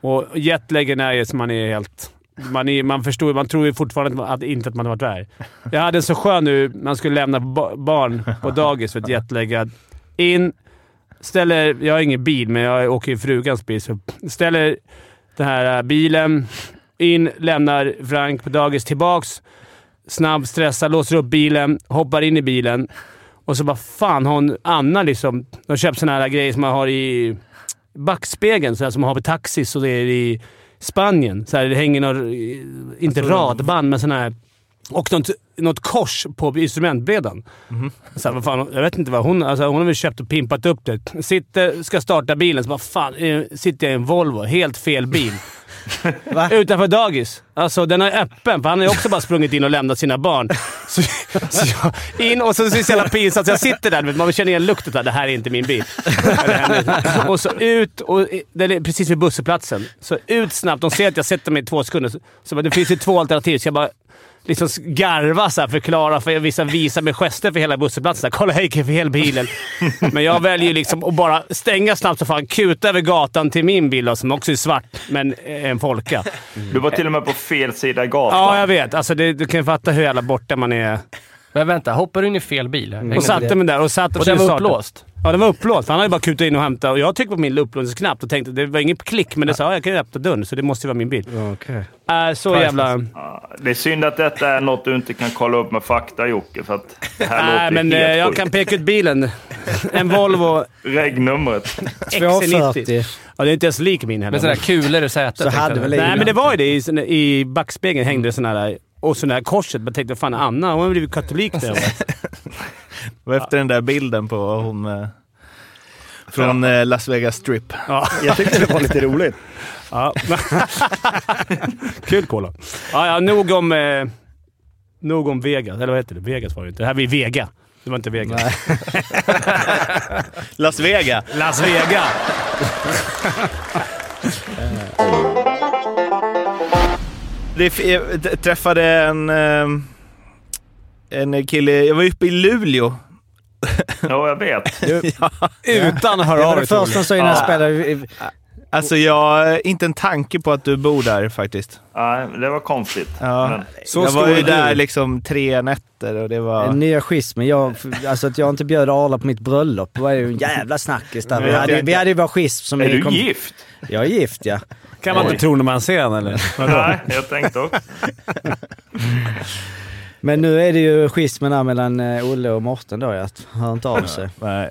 A: Och, och jetlaggen är ju som man är helt... Man, är, man, förstår, ju- man tror ju fortfarande att, man- att, inte att man har varit där. Jag hade en så skön nu. Man skulle lämna ba- barn på dagis för ett jetlaggad. In, ställer... Jag har ingen bil, men jag åker i frugans bil. Så ställer den här äh, bilen. In, lämnar Frank på dagis. Tillbaks. Snabb, stressad, låser upp bilen, hoppar in i bilen. Och så bara fan har hon Anna liksom... De har köpt såna här grejer som man har i backspegeln, så här, som man har på taxis och det är i Spanien. Så här, det hänger några, inte radband, men såna här... Och något, något kors på instrumentbrädan. Så här, vad fan, jag vet inte vad hon... Alltså, hon har väl köpt och pimpat upp det. Sitter, ska starta bilen, så bara fan, eh, sitter jag i en Volvo. Helt fel bil.
B: Va?
A: Utanför dagis. Alltså den är öppen, för han har ju också bara sprungit in och lämnat sina barn. Så, så jag, in och så så är det så jävla pinsamt, så jag sitter där. du vet, Man känner igen lukten. där. Det här är inte min bil. Eller hennes. Och så ut, och den är precis vid busshållplatsen. Så ut snabbt. De ser att jag sätter mig i två sekunder. Så, så bara, det finns ju två alternativ, så jag bara liksom garva så här, förklara för vissa visar med gester för hela busshållplatsen. Så här, Kolla hej för hela bilen. Men jag väljer ju liksom att bara stänga snabbt så fan kuta över gatan till min bil då, som också är svart, men eh, en folka.
D: Du var till och med på fel sida gatan.
A: Ja, jag vet. Alltså, det, du kan ju fatta hur jävla borta man är.
I: Men vänta, hoppar du in i fel bil? Jag
A: Och
I: hänger inte
A: Mm. satte
I: med.
A: mig där och satt och
I: Och den
A: försökte
I: var
A: starta.
I: upplåst?
A: Ja, den var upplåst. Han hade bara kutat in och hämtat och jag tryckte på min upplåsningsknapp och tänkte det var inget klick, men det sa ja, jag kan ju öppna dörren, så det måste ju vara min bil.
B: Okej.
A: Äh, så jävla...
D: Det är synd att detta är något du inte kan kolla upp med fakta, Jocke, för att det här
A: Nej,
D: låter
A: men eh,
D: helt
A: jag
D: sjukt.
A: kan peka ut bilen. En Volvo
D: Regnumret.
A: XC90.
B: 240.
A: Ja, det är inte ens lik min heller.
I: Med sådana här kulor i sätet.
B: Så hade väl
A: Nej,
B: Leila.
A: men det var ju det. I, sån- i backspegeln hängde det sådana här... Och så det här korset. Jag tänkte, fan Anna, hon har blivit katolik där. va?
C: Och efter den där bilden på hon eh, från eh, Las Vegas Strip.
A: Ja.
F: Jag tyckte det var lite roligt.
A: Ja. Kul kolla. Ja, ja, nog om... Eh, nog om Vegas. Eller vad heter det? Vegas var det inte. Det här var ju Vega. Det var inte Vegas.
C: Las Vegas!
A: Las Vegas!
C: Det, f- jag t- träffade en, eh, en kille, jag var uppe i Luleå.
D: Ja, jag vet.
A: Utan att höra
B: Det
A: av
B: var det
A: dig, Tore.
B: första som sa innan jag spelade. eh,
C: Alltså jag, inte en tanke på att du bor där faktiskt.
D: Nej, det var konstigt.
C: Ja.
D: Men,
A: Så
C: jag var
A: stor
C: ju
A: är du.
C: där liksom tre nätter och det var...
B: eh, Nya schismen. Jag, alltså att jag inte bjöd Arla på mitt bröllop var ju en jävla snackis där. Vi
D: jag
B: hade,
D: tänkte-
B: vi hade ju vår schism som...
D: är
B: vi
D: du gift?
B: Jag är gift ja.
A: Kan man inte tro när man ser den, eller?
D: Nej, jag tänkte också.
B: Men nu är det ju schismen där mellan eh, Olle och Morten då ja. Att Hör inte av sig.
C: Nej.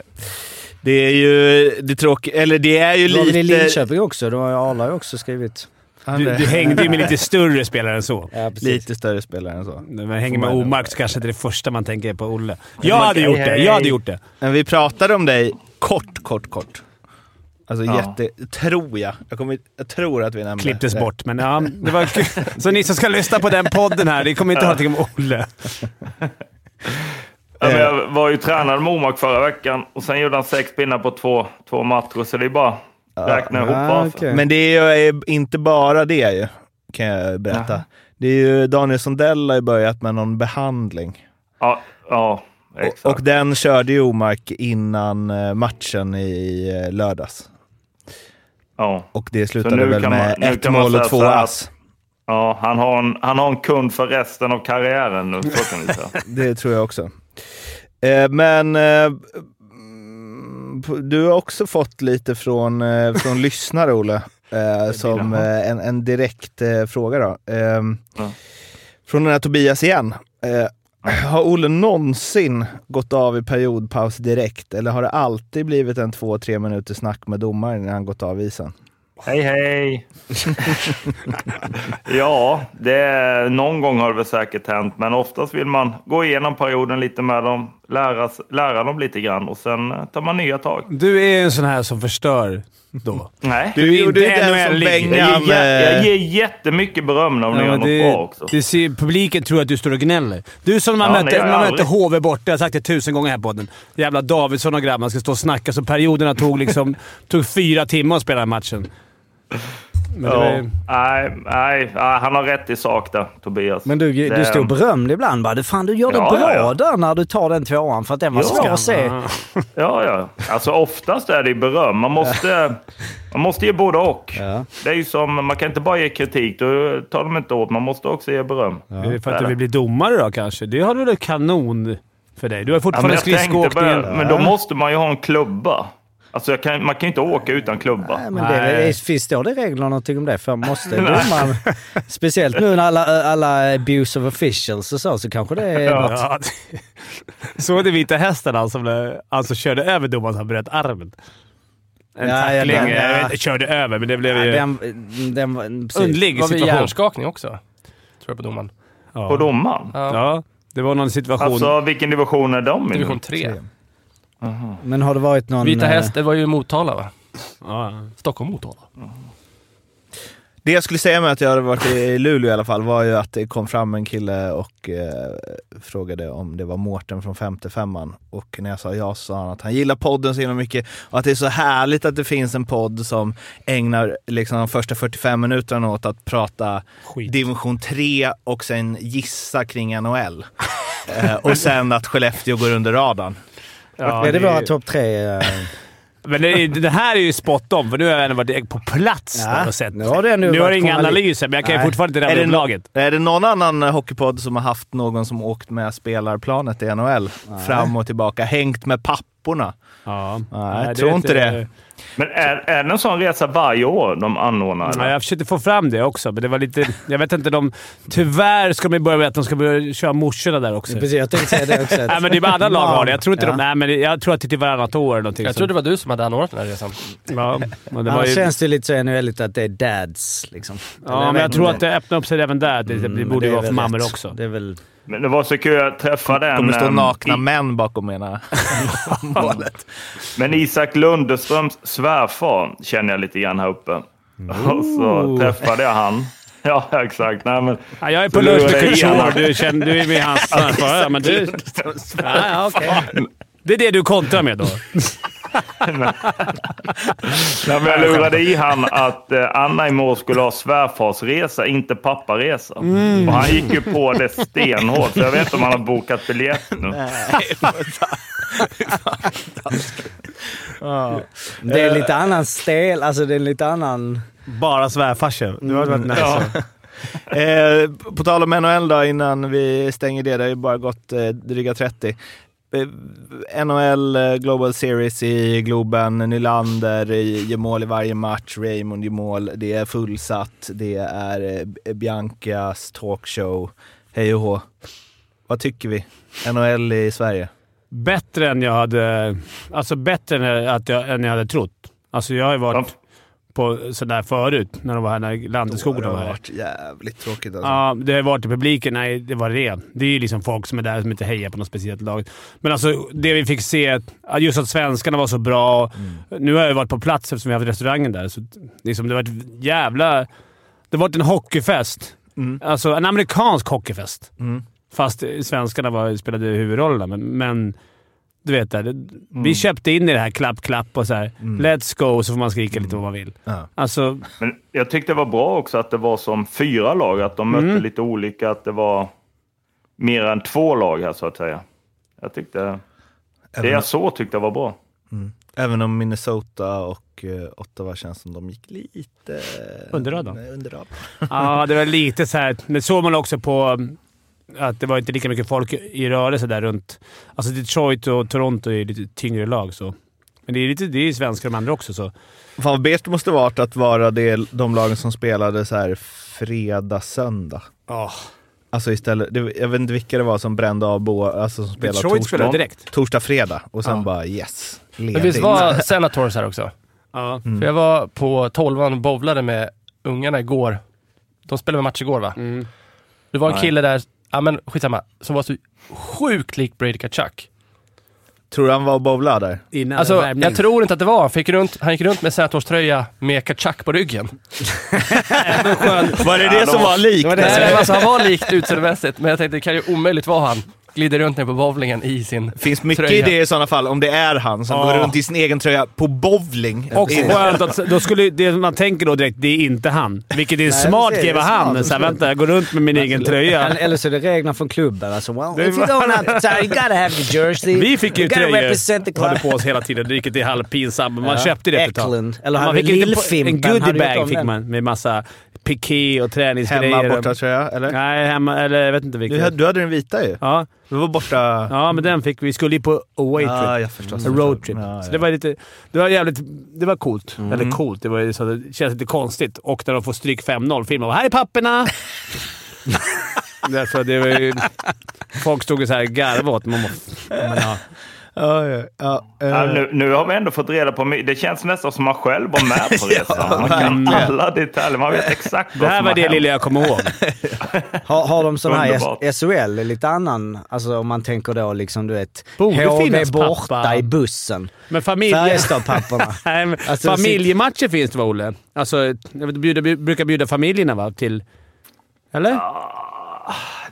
C: Det är ju det tråkiga, eller det är ju
B: Det var väl i
C: lite...
B: Linköping också. Då har ju Arla ju också skrivit.
C: Han
A: Du,
C: är
A: du hängde ju med lite större spelare än så.
B: Ja, precis.
C: lite större spelare än så.
A: När man hänger med Omark så kanske inte det första man tänker är på Olle. Jag hade gjort det. Jag hade gjort det.
C: Men vi pratade om dig kort, kort, kort. Alltså
D: Ja.
C: jätte... Tror jag. Jag, kommer, jag tror att vi nämnde
A: Klipptes bort, men ja, det var kul. Så ni som ska lyssna på den podden här, ni kommer inte höra någonting om Olle.
D: Ja, men jag var ju tränad med Omak förra veckan och sen gjorde han sex pinnar på två, två matcher, så det är bara att räkna ihop
B: Ah,
D: varför.
B: okej.
C: Men det är ju eh, inte bara det ju, kan jag berätta. Det är ju Daniel Sundell har ju börjat med någon behandling.
D: Ja, ja exakt.
C: Och, och den körde ju Omark innan eh, matchen i eh, lördags.
D: ja.
C: Och det slutade
D: nu
C: väl
D: kan man-
C: med
D: nu
C: ett
D: kan man
C: mål och
D: säga
C: två
D: så här
C: ass.
D: Ja, han, har en, han har en kund för resten av karriären nu, så kan vi säga.
C: Det tror jag också. Eh, men eh, mm, p- du har också fått lite från, eh, från lyssnare, Olle, eh, som eh, en, en direkt eh, fråga. Då. Eh,
D: Ja.
C: Från den här Tobias igen. Eh, har Olle någonsin gått av i periodpaus direkt eller har det alltid blivit en två, tre minuter snack med domaren när han gått av isen?
D: Hej, hej! ja, det, någon gång har det väl säkert hänt, men oftast vill man gå igenom perioden lite med dem, lära, lära dem lite grann och sen eh, tar man nya tag.
A: Du är en sån här som förstör då.
D: Nej,
A: Du är
C: gjorde ju
A: inte
C: den som
A: NHL-lig.
C: Bengan,
D: jag, ger, jä-
C: eh,
D: jag ger jättemycket beröm när de
A: Ja,
D: gör
A: men
D: något
A: det,
D: bra också.
A: det ser, publiken tror att du står och gnäller. Du som när man
D: Ja, det
A: mötte,
D: gör jag
A: när man mötte
D: aldrig.
A: HV borta, jag har sagt det tusen gånger här på podden. Jävla Davidsson och grabbarna ska stå och snacka, så perioderna tog liksom tog fyra timmar att spela den matchen. Men det var
D: Ja.
A: ju,
D: Nej, nej, nej, han har rätt i sak där, Tobias.
B: Men du, du
D: Det-
B: stod berömd ibland bara. Du, fan, du gör det
D: Ja,
B: bra
D: ja, ja.
B: där när du tar den tvåan för att den var svår att se.
D: Ja, ja. Alltså oftast är det ju beröm. Man måste, man måste ge både och.
B: Ja.
D: Det är ju som, man kan inte bara ge kritik, då tar de inte åt. Man måste också ge beröm.
A: det är för att du vill bli domare då kanske. Det har du väl kanon för dig? Du har
D: Ja, men,
A: fortfarande
D: jag tänkte
A: skridskoåkningen.
D: bara, men då måste man ju ha en klubba. Alltså jag kan, man kan ju inte åka utan klubba.
B: Nej, men det, det, det, finns då det regler någonting om det? För måste domaren... Speciellt nu när alla, alla abuse of officials och så, så kanske det är något.
A: Ja. Såg du Vita Hästen han som blev- han som körde över domaren så han bröt armen? En
B: Ja, ja,
A: tackling.
B: den-
A: jag
B: ja.
A: vet inte, körde över, men det blev ju...
B: Den, den var... precis.
A: Underlig
I: Var vi i
A: situation.
I: hjärnskakning också? Tror jag på domaren.
D: På domaren.
A: Ja, det var någon situation.
D: Alltså vilken division är de i? nu?
I: Division 3.
B: Men har det varit någon...
I: Vita
B: eh,
I: Häst, det var ju Motala va?
A: ja.
I: Stockholm Motala.
C: Det jag skulle säga med att jag hade varit i Luleå i alla fall var ju att det kom fram en kille och eh, frågade om det var Mårten från femte femman. Och när jag sa ja så sa han att han gillar podden så himla mycket och att det är så härligt att det finns en podd som ägnar liksom de första 45 minuterna åt att prata
A: Skit.
C: division 3 och sen gissa kring NHL. eh, och sen att Skellefteå går under radarn.
A: Ja,
B: är det
A: det är-
B: våra topp tre? eh,
A: Men det, är- det här är ju spot on, för nu har jag ändå varit på plats där
B: Ja.
A: och sett.
B: Nu har du ändå
A: nu har
B: varit
A: jag inga
B: journalist.
A: analyser, men jag kan ju
B: Nej.
A: fortfarande inte
C: Är
A: rädda
C: det
A: upp
C: nå-
A: laget.
C: Är det någon annan hockeypodd som har haft någon som åkt med spelarplanet i NHL fram och tillbaka, hängt med papporna?
A: Ja.
C: Nej, jag tror inte det.
D: Men är, är det en sån resa varje år de anordnar? eller?
A: Ja, jag försökte få fram det också, men det var lite... Jag vet inte. De, tyvärr ska man ju börja med att de ska börja köra morsorna där också.
B: Precis, jag tänkte säga det också.
A: Nej, men det är bara andra lag har det. Jag tror inte
B: Ja.
A: de... Nej, men jag tror att det är typ varannat år eller någonting.
I: Jag
A: som-
I: tror det var du som hade anordnat den här resan.
A: Ja, men det var
B: Annars
A: ju,
B: känns det lite så nhl att det är dads liksom. Eller
A: ja, men
B: vet
A: jag tror
B: inte.
A: att det öppnar upp sig även där. Det, det
B: Mm,
A: borde
B: det
A: ju
B: är
A: vara för
B: väl
A: mammor
B: rätt.
A: också.
B: Det är väl...
D: Men det var så kul. Jag träffade en... ehm,
C: kommer stå
D: em,
C: nakna
D: i-
C: män bakom ena målet.
D: Men Isak Lundeströms svärfar känner jag lite grann här uppe. Och så träffade jag han. Ja, exakt. Nej, men,
A: Ja, jag är
D: Så
A: på lunch
D: lurar
A: med
D: jag i alla.
A: Couture. Du, känner, du är med i hans snarförare, men du... Ja, ja, okej. Det är det du kontrar med då?
D: nej, men jag lurade i han att eh, Anna i mål skulle ha svärfarsresa, inte papparesa. Och han gick ju på det stenhårt, så jag vet inte om han har bokat biljett nu.
B: Det
A: Eh.
B: är lite annan stel, alltså det är lite annan...
A: Bara svärfarsen. Du hade varit nice.
D: alltså.
C: Eh, på tal om NHL då, innan vi stänger det. Det har ju bara gått eh, dryga 30. Eh, NHL eh, Global Series i Globen. Nylander eh, gör mål i varje match. Raymond gör mål. Det är fullsatt. Det är eh, Biancas talkshow. Hej och hå. Vad tycker vi? NHL i Sverige?
A: Bättre än jag hade... Alltså bättre än, att jag, än jag hade trott. Alltså jag har ju
D: De,
A: varit på sådär förut, när de var här, när Landeskog
C: det
A: var
C: har
A: här.
C: varit jävligt tråkigt alltså.
A: Ja, det har varit i publiken. Nej, det var det. Det är ju liksom folk som är där som inte hejar på något speciellt lag. Men alltså, det vi fick se, att- just att svenskarna var så bra.
C: Mm.
A: Nu har jag ju varit på plats eftersom vi har haft restaurangen där, så att, liksom, det har varit jävla... Det har varit en hockeyfest.
C: Mm.
A: Alltså en amerikansk hockeyfest. Fast eh, svenskarna var, spelade huvudrollerna, men... men du vet, det,
C: Mm.
A: vi köpte in i det här klapp, klapp och så här. Let's go, så får man skrika lite vad man vill.
C: Mm. Ja.
A: Alltså,
D: men jag tyckte det var bra också att det var som fyra lag, att de mötte
A: Mm.
D: lite olika, att det var mer än två lag här så att säga. Jag tyckte... Det jag såg tyckte jag var bra.
C: Även om Minnesota och eh, Ottawa känns som de gick lite...
A: Under radarn.
C: Nej, Under radarn.
A: Ja, det var lite så här. Men såg man också på um, att det var inte lika mycket folk i rörelse där runt. Alltså Detroit och Toronto är lite tyngre lag så. Men det är, lite, det är ju svenskar de andra också så.
C: Fan vad bäst det måste varit att vara det, de lagen som spelade så här fredag, söndag. Alltså istället, det, jag vet inte vilka det var som brände av bo, alltså som spelade
A: Detroit
C: torsdag,
A: spelade direkt.
C: torsdag, fredag och sen bara yes.
I: Men
C: Ledigt.
I: visst var Senators här också?
A: Ja.
I: För jag var på tolvan och bowlade med ungarna igår. De spelade match igår va? Det var en kille där, ja men skitsamma, som var så sjukt lik Brady Kachuk.
C: Tror du han var och bowlade där?
A: Innan
I: Alltså,
A: värmning.
I: jag tror inte att det var han. Fick runt, han gick runt med Senators-tröja med Kachuk på ryggen.
C: Var det det
D: som var
C: likt?
I: Nej, men alltså, han var likt utseendemässigt, men jag tänkte det kan ju omöjligt vara han. glider runt ner på bowlingen i sin
C: finns mycket
I: tröja.
C: i det i sådana fall, om det är han som
A: Ja.
C: går runt i sin egen tröja på bowling.
A: Och
C: Det är-
A: skönt att då skulle, det man tänker då direkt, det är inte han. Vilket är en smart
B: det är
A: grej av
B: smart.
A: han. Så här, vänta, jag går runt med min egen tröja.
B: Eller- Eller så är det reglerna från klubben. Alltså,
A: Det
B: well, if you don't have time, you gotta have the jersey.
A: Vi fick ju
B: you gotta represent the
A: tröjor
B: club.
A: hade på oss hela tiden, vilket är halvpinsamt. Men man köpte det ett tag.
B: Eklund. Eller
A: man
B: hade
A: en liten-
B: Lillfimpen.
A: En
B: Hade du gjort om
A: goodiebag fick
B: den?
A: man med massa piké och träningsgrejer.
C: Hemma, borta tröja, eller?
A: Nej, hemma, eller jag vet inte
C: Du, hade-
A: vilket.
C: du hade den vita ju.
A: Ja,
C: Du var borta...
A: ja, men den fick vi. Vi skulle ju på away trip.
C: Ja, jag förstår.
A: En roadtrip.
C: Ja,
A: Så
C: ja. Mm.
A: det var lite... Det var jävligt... Det var coolt. Eller coolt. Det, var ju så, det känns lite konstigt. Och när de får stryk 5-0, filmen bara “Här är papperna!” Det, alltså, det var ju, Folk stod och så här garvade åt mig. Men, ja.
C: Ja, ja, ja. Eh,
D: Ja, nu, nu har vi ändå fått reda på mycket. Det känns nästan som man själv var med på resan. Man kan alla detaljer. Man vet exakt
A: Det
D: vad
A: här
D: som
A: var
D: har
A: det
D: hänt.
A: lilla jag kommer ihåg.
B: Har, har de sån här
D: Underbart.
B: S- SHL, lite annan, alltså om man tänker då liksom du vet,
A: Borde
B: HV
A: finnas
B: borta
A: pappa.
B: i bussen.
A: Men familje...
B: Färjestad-papporna.
A: Nej, men
B: Alltså,
A: familjematcher finns det va, Olle? Alltså, jag vet, bjuda, brukar bjuda familjerna va? Till... Eller?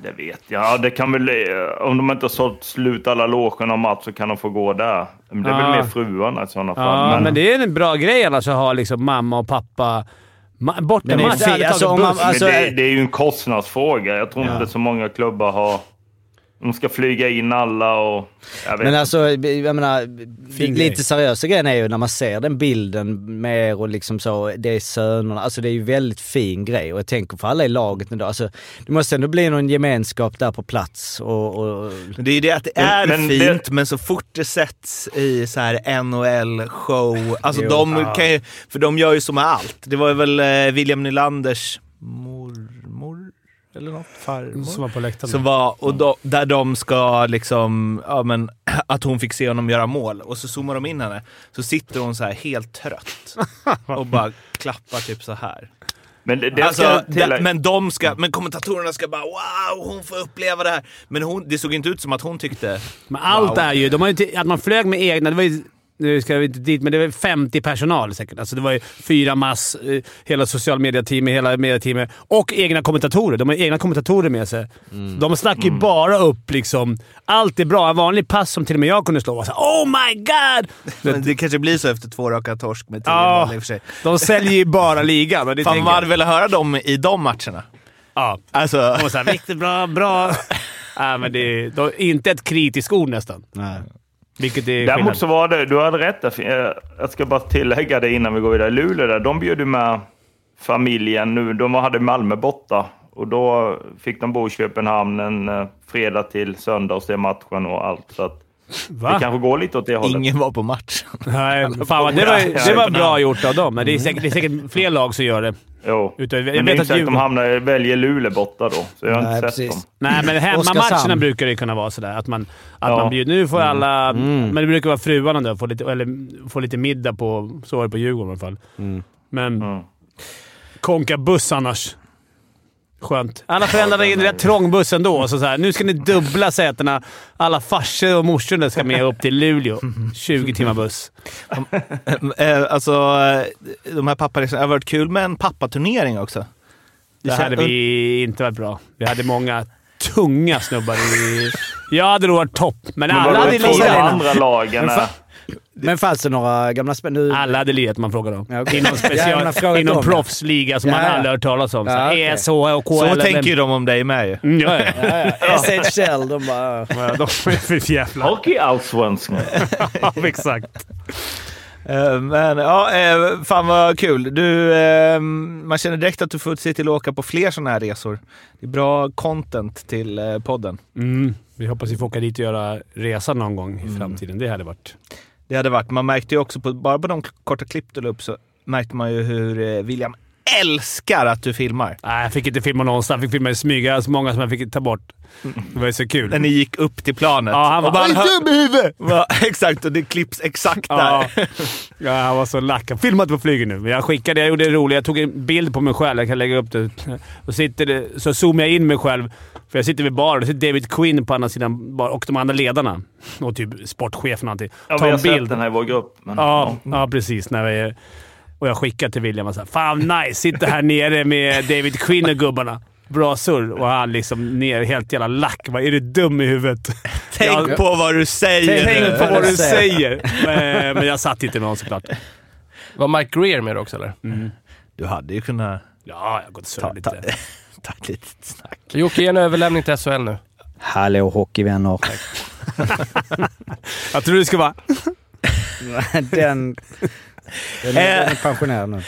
D: Det vet jag. Ja, det kan väl, eh, om de inte har sålt slut alla logerna och match så kan de få gå där. Men det är
A: Ja.
D: väl mer fruarna i sådana fall.
A: Ja, Ah. men,
D: men
A: det är en bra grej annars att ha liksom mamma och pappa... Ma-
B: Men
A: Bortamatch.
B: det är-
A: ärligt
B: alltså,
A: talat,
B: om man-
A: buss.
B: alltså-
D: det, det är ju en kostnadsfråga. Jag tror inte så många klubbar har... De ska flyga in alla och... Jag vet.
B: Men
A: äh,
B: alltså, jag menar,
A: Fin grej.
B: lite seriösa grejen är ju när man ser den bilden mer och liksom så, det är sönerna, alltså det är ju väldigt fin grej och jag tänker för alla i laget ändå, alltså det måste ändå bli någon gemenskap där på plats och... och
C: Men det är ju det att det
D: Men-
C: är
D: men det-
C: fint, men så fort det sätts i så här NHL-show, alltså
B: Jo.
C: de kan ju, för de gör ju som med allt. Det var ju väl eh, William Nylanders mormor eller något, farmor,
A: Som
C: som
A: var på
C: var,
A: läktaren.
C: och då, där de ska liksom, ja men att hon fick se honom göra mål och så zoomar de in henne. Så sitter hon så här helt trött och bara klappar typ så här.
D: Men det, det ska
C: Alltså,
D: jag
C: det,
D: tillägga.
C: men, de ska, men kommentatorerna ska bara “Wow, hon får uppleva det här”. Men hon, det såg inte ut som att hon tyckte...
A: Men allt
C: Wow.
A: är ju... De har ju inte, att man flög med egna... Det var ju, nu ska vi inte dit, men det var ju 50 personal säkert. Alltså det var ju fyra mass, eh, hela social media-teamet, hela media-teamet och egna kommentatorer. De har ju egna kommentatorer med sig.
C: Mm.
A: De snackar ju bara upp liksom... Allt är bra. En vanlig pass som till och med jag kunde slå var såhär “Oh my god!”
C: Men det kanske blir så efter två raka torsk med 10
A: Ja.
C: mål i och för sig.
A: De säljer ju bara ligan. och det
C: Fan
A: tänker
C: vad
A: jag.
C: hade velat höra dem i de matcherna.
A: Ja.
C: Alltså,
A: De var såhär “Viktigt, bra, bra”. Nej, men det är, de, inte ett kritiskt ord nästan.
B: Nej.
A: Vilket är skillnad.
D: Däremot så var det... Du hade rätt där. Eh, Jag ska bara tillägga det innan vi går vidare. Luleå där, de bjöd ju med familjen nu. De hade Malmö borta. Och då fick de bo i Köpenhamn en eh, fredag till söndag och se matchen och allt. Så att
A: Va?
D: det kanske går lite åt det hållet.
C: ingen var på matchen.
A: Nej, fan vad, det, var,
D: Ja,
A: det
D: ja,
A: var
D: ja.
A: bra gjort av dem, men det är säkert, det är säkert fler lag som gör det.
D: Jo.
A: Utav- jag vet
D: men
A: att
D: det är inte säkert
A: Djurgården-
D: de hamnar, väljer Luleå borta då, så jag har
B: Nej,
D: inte sett
B: precis.
D: dem.
A: Nej, men hemmamatcherna
B: Oskarshamn.
A: brukar det kunna vara sådär. Att man, att
D: Ja.
A: man bjuder, nu får alla... Men det brukar vara fruarna då, får lite, eller får lite middag på... Så var det på Djurgården i alla fall. Men
D: Mm.
A: konka buss annars. Skönt. Alla föräldrar är i en rätt trång buss ändå. Så så här, nu ska ni dubbla sätena. Alla farsor och morsorna ska med upp till Luleå. 20 timmar buss.
C: Eh, alltså, eh, de här papparesorna. Det har varit kul med en pappaturnering också.
A: Det hade vi inte varit bra. Vi hade många tunga snubbar i... Jag hade då varit topp, men,
D: Men
A: alla,
D: alla
A: hade
D: de två
A: lirat.
D: andra lagen är...
B: Men fanns det några gamla spel? Nu,
A: alla hade lirat man frågar om.
B: Ja, okej.
A: Inom,
B: Ja, man har
A: special,
B: frågat
A: inom
B: dem.
A: proffsliga som
B: Ja,
A: man
B: ja.
A: aldrig hört talas om. Så
B: Ja,
A: här,
B: okej.
A: ESH och KHL.
C: Så
A: eller-
C: tänker ju de om dig med ju.
A: Mm, ja, ja.
B: SHL, de bara...
A: Ja, De är för jävla...
D: Hockeyallsvenskan.
A: Ja, exakt.
C: Eh, Men ja, eh, fan vad kul. Du, eh, man känner direkt att du får se till att åka på fler sådana här resor. Det är bra content till eh, podden.
A: Mm. Vi hoppas vi får åka dit och göra resan någon gång i framtiden. Det hade varit...
C: Det hade varit. Man märkte ju också, på, bara på de korta klipp du la upp så märkte man ju hur eh, William älskar att du filmar.
A: Nej, jag fick inte filma någonstans. Jag fick filma i smyga. Så många som jag fick ta bort. Det var ju så kul.
C: När ni gick upp till planet.
A: Ja, han
C: och
A: bara,
C: bara,
A: "Oj,
C: Ja, Exakt, och det klipps exakt
A: Ja.
C: där.
A: ja, han var så lack. Filma inte på flyget nu. Men Jag skickade, jag gjorde det roligt. Jag tog en bild på mig själv. Jag kan lägga upp det. Och sitter, det- så zoomar jag in mig själv. För jag sitter vid baren. Då sitter David Quinn på andra sidan bar och de andra ledarna. Och typ sportchef och någonting.
D: Ja, vi
A: Ta
D: har
A: en
D: sett
A: bild.
D: den här i vår grupp. Men,
A: Ja, ja, precis. När vi, och jag skickade till William och sa “Fan nice! Sitter här nere med David Quinn och gubbarna. bra surr och han liksom ner helt jävla lack. Vad är du dum i huvudet?
C: Tänk
A: Ja.
C: på vad du säger
A: Tänk
C: nu.
A: på vad du säger! Men, men jag satt inte med honom såklart.
I: Var Mike Greer med också eller?
C: Du hade ju kunnat
A: Ja, jag har gått och surrat
C: ta,
A: lite.
C: ta ett litet snack.
I: Jocke, ge en överlämning till SHL nu.
B: Hallå hockeyvänner.
A: Jag tror du ska vara...
B: den, den, den är pensionär nu.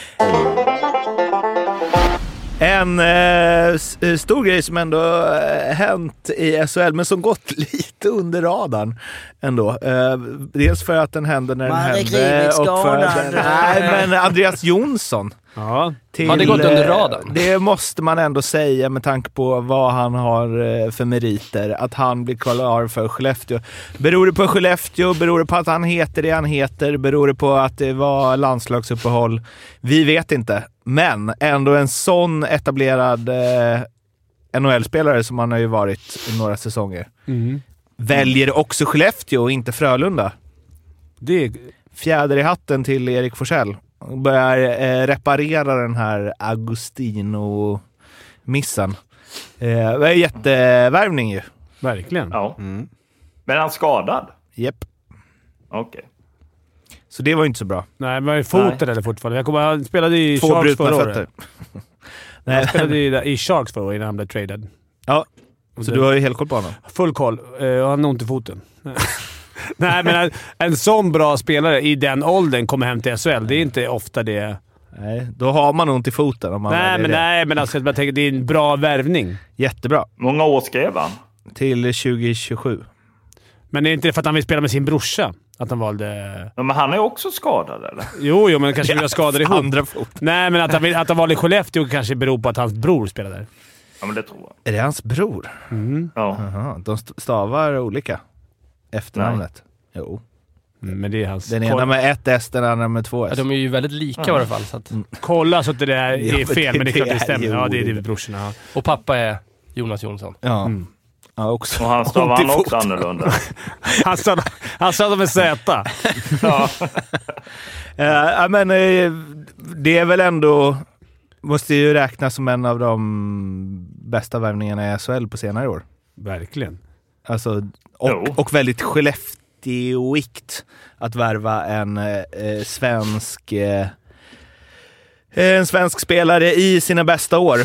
C: En eh, s- eh, stor grej som ändå eh, hänt i SHL, men som gått lite under radarn ändå. Eh, dels för att den hände när den
E: Man hade
C: hände.
E: klivit
C: för att
E: skadad.
C: den, nej, men Andreas Jonsson.
A: Ja.
C: Till,
I: Har det gått
C: eh,
I: under radarn?
C: Det måste man ändå säga med tanke på vad han har eh, för meriter. Att han blir kvar för Skellefteå. Beror det på Skellefteå? Beror det på att han heter det han heter? Beror det på att det var landslagsuppehåll? Vi vet inte. Men ändå en sån etablerad eh, NHL-spelare som han har ju varit i några säsonger.
I: Mm.
C: Väljer också Skellefteå och inte Frölunda
A: Det är
C: fjäder i hatten till Erik Forsell. Börjar eh, reparera den här Agostino-missen. Eh, det är jättevärvning ju.
A: verkligen.
D: Ja. Men är han skadad?
C: Japp.
D: Okej.
C: Så det var ju inte så bra.
A: Nej, men i foten
D: Nej.
A: eller fortfarande. Jag kommer, han spelade i
C: Två
A: Sharks
C: brutna
A: förra året.
C: fötter.
A: Han
C: Nej,
A: spelade i, i Sharks förra året innan han blev traded.
C: ja. Så du har ju helt koll på honom.
A: Full koll. Eh, och han har ont i foten. Nej, men en, en sån bra spelare i den åldern kommer hem till SHL. Det är inte ofta det...
C: Nej, då har man ont i foten om man
A: Nej,
C: väljer
A: men,
C: det.
A: nej, men alltså, jag bara tänker, det är en bra värvning.
C: Jättebra.
D: Många år skrev han.
C: Till 2027.
A: Men det är inte för att han vill spela med sin brorsa att han valde...
D: Ja, Men han är också skadad eller?
A: Jo, jo, men kanske vi har skador ihop.
C: Andra foten.
A: Nej, men att han, vill, att han valde Skellefteå kanske beror på att hans bror spelar där.
D: Ja, men det tror jag.
C: Är det hans bror?
D: Ja.
C: Jaha, de st- stavar olika. Efternamnet. Jo.
A: Mm, men det är hans...
C: Den
A: Kolla-
C: ena med ett S, den andra med två S.
I: Ja, de är ju väldigt lika i alla fall. Så att,
A: Kolla så att det där
C: Jo,
A: är fel,
C: det-
A: men det är klart
C: det
A: det
C: är
A: stämmer.
C: ju
A: Ja, det är det
C: olika.
A: brorsorna. ja.
I: och pappa är Jonas Jonsson.
C: Ja.
A: Mm.
C: ja också.
D: Och han stavar
C: Ont i
D: han också
C: foten.
D: annorlunda.
A: Han sa, han sa dem med Z.
D: Ja.
C: Eh, ja, men eh, det är väl ändå... Måste ju räknas som en av de bästa värvningarna i SHL på senare år.
A: Verkligen.
C: Alltså,
D: Jo.
C: och, och väldigt Skellefteåikt att värva en eh, eh, svensk... Eh, en svensk spelare i sina bästa år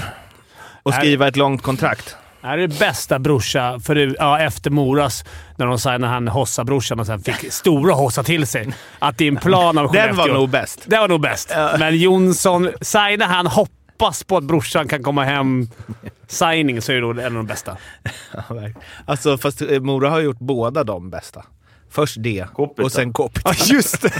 C: och
A: Nej.
C: skriva ett långt kontrakt.
A: Det här är det bästa brorsa för, ja, efter Moras, när de signade han Hossa-brorsan och sen fick stora Hossa till sig. Att det är en plan av
C: Den
A: Skellefteå.
C: var nog bäst.
A: Den var nog bäst. Men Jonsson, signar han hoppas på att brorsan kan komma hem signing så är det då en av de bästa.
C: Ja, verkligen. Alltså, fast eh, Mora har gjort båda de bästa. Först det
D: Kopita.
C: och sen Kopita.
A: Ja, just det!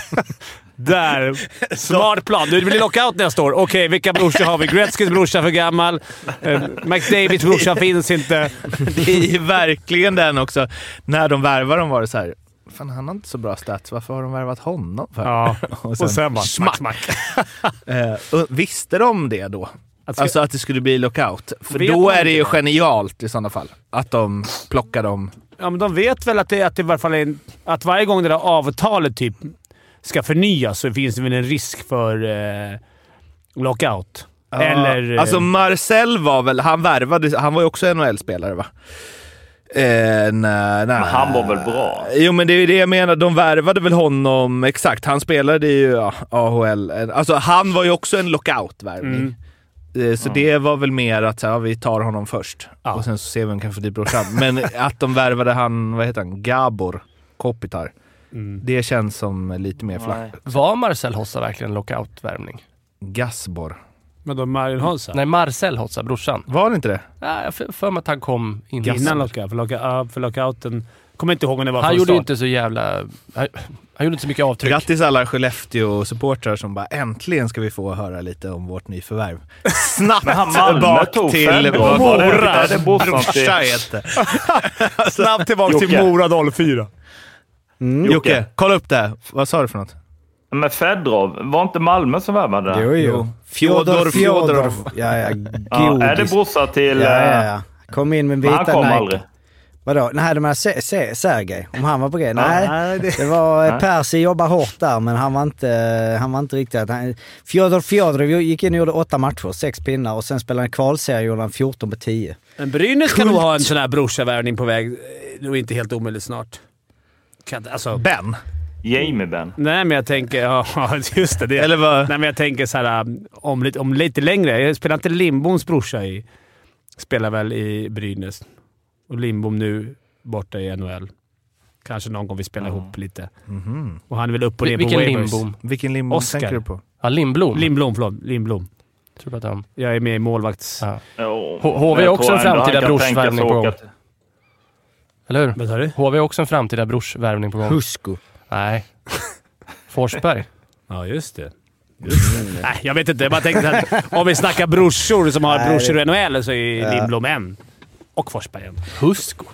A: Där. Smart plan. Du, det blir lockout nästa år. Okej, vilka brorsor har vi? Gretzkys brorsa för gammal. Eh, McDavids brorsa finns inte.
C: Det är ju verkligen den också. När de värvar dem var det så här. Fan, han har inte så bra stats. Varför har de värvat honom? För?
A: Ja.
C: Och sen,
A: Och sen bara smack, smack.
C: eh, och visste de det då?
A: Att-
C: Alltså att det skulle bli lockout. För
A: Vet
C: då
A: man
C: är det ju
A: inte det?
C: genialt i sådana fall. Att de plockar dem.
A: Ja, men de vet väl att det, att det i varje fall är en, Att varje gång det där avtalet typ ska förnyas så finns det väl en risk för eh, lockout. Eller... eh,
C: Alltså Marcel var väl... Han värvade... Han var ju också NHL-spelare va? Eh, nej, nej.
D: Men han var väl bra?
C: Jo, men det är ju det jag menar. De värvade väl honom... Exakt. Han spelade ju ja, AHL. Alltså, han var ju också en lockout-värvning. Eh, Så det var väl mer att så här, ja, vi tar honom först
A: Ja.
C: och sen så ser vi om vi kan få dit brorsan. Men att de värvade han, vad heter han, Gabor Kopitar. Det känns som lite mer flack.
I: Var Marcel Hossa verkligen lockout-värvning?
C: Gasbor.
A: Men då Marion Hansa?
I: Nej, Marcel Hossa, brorsan.
C: Var det inte det?
I: Ja, jag har för- för mig att han kom innan.
A: Innan lockout. För, lockout, ja, för lockouten... Kommer inte ihåg om det var
I: Han
A: från
I: gjorde ju
A: start.
I: inte så jävla... Han, han gjorde inte så mycket avtryck.
C: Grattis alla Skellefteå-supportrar som bara äntligen ska vi få höra lite om vårt nyförvärv. Snabbt
D: han Malmö
C: bak
D: tog
C: till
D: fem gånger.
C: vad
D: Var det-
C: Mora
D: det är Bosman
C: brorsa
D: till-
C: heter. Snabbt tillbaka
D: till Jocke.
C: Mora 04. Jocke. Jocke, kolla upp det. här. Vad sa du för något?
D: Men Fedorov, var inte Malmö som värvade?
B: Jo, jo.
C: Jo. Fjodor Fjodorov.
B: Ja, ja.
D: Ja, är det
B: Godis.
D: brorsa till...
B: Ja, ja,
D: eh,
B: ja. Kom in med
D: men han
B: vita
D: kom
B: Nike.
D: aldrig.
B: Vadå? Nej, de här Se- Se- Sergej, om han var på G. Nej,
C: nej, det-
B: det var
D: Nej.
B: eh, Percy jobbar hårt där, men han var inte, han var inte riktigt... att Han, Fjodor Fjodorov gick in och gjorde åtta matcher, sex pinnar och sen spelade han kvalserie och gjorde han 14 på 10.
A: Men Brynäs kan nog ha en sån här brorsavärvning på väg. Det är inte helt omöjligt snart. Kan, inte- alltså,
C: Ben?
D: Jamie Ben.
A: nej, men jag tänker... Ja, just det. det.
C: Eller vad?
A: Nej, men jag tänker så här, um, om, lite- om lite längre. Jag spelar inte Lindboms brorsa i... Spelar väl i Brynäs. Och Lindbom nu borta i NHL. Kanske någon gång vi spelar ihop lite.
C: Mhm.
A: Och han är väl upp och ner på
I: Vilken
A: waivers.
I: Lindbom?
C: Vilken limbo
A: Oscar.
C: tänker du på?
I: Ja, Lindblom.
A: Lindblom, förlåt. Lindblom.
I: tror jag att han...
A: Jag är med i målvakts...
I: Ja.
D: Oh.
I: H- HV är också en framtida brorsvärvning på gång. Eller hur?
A: Vad sa du?
I: HV är också en framtida brorsvärvning på gång.
B: Husko.
I: Nej. Forsberg.
A: Ja, just det. Nej, jag vet inte. Jag bara tänkte att om vi snackar brorsor som har
B: Nej,
A: brorsor i NHL så är Lindblom en. Och Forsberg en.
I: Husko.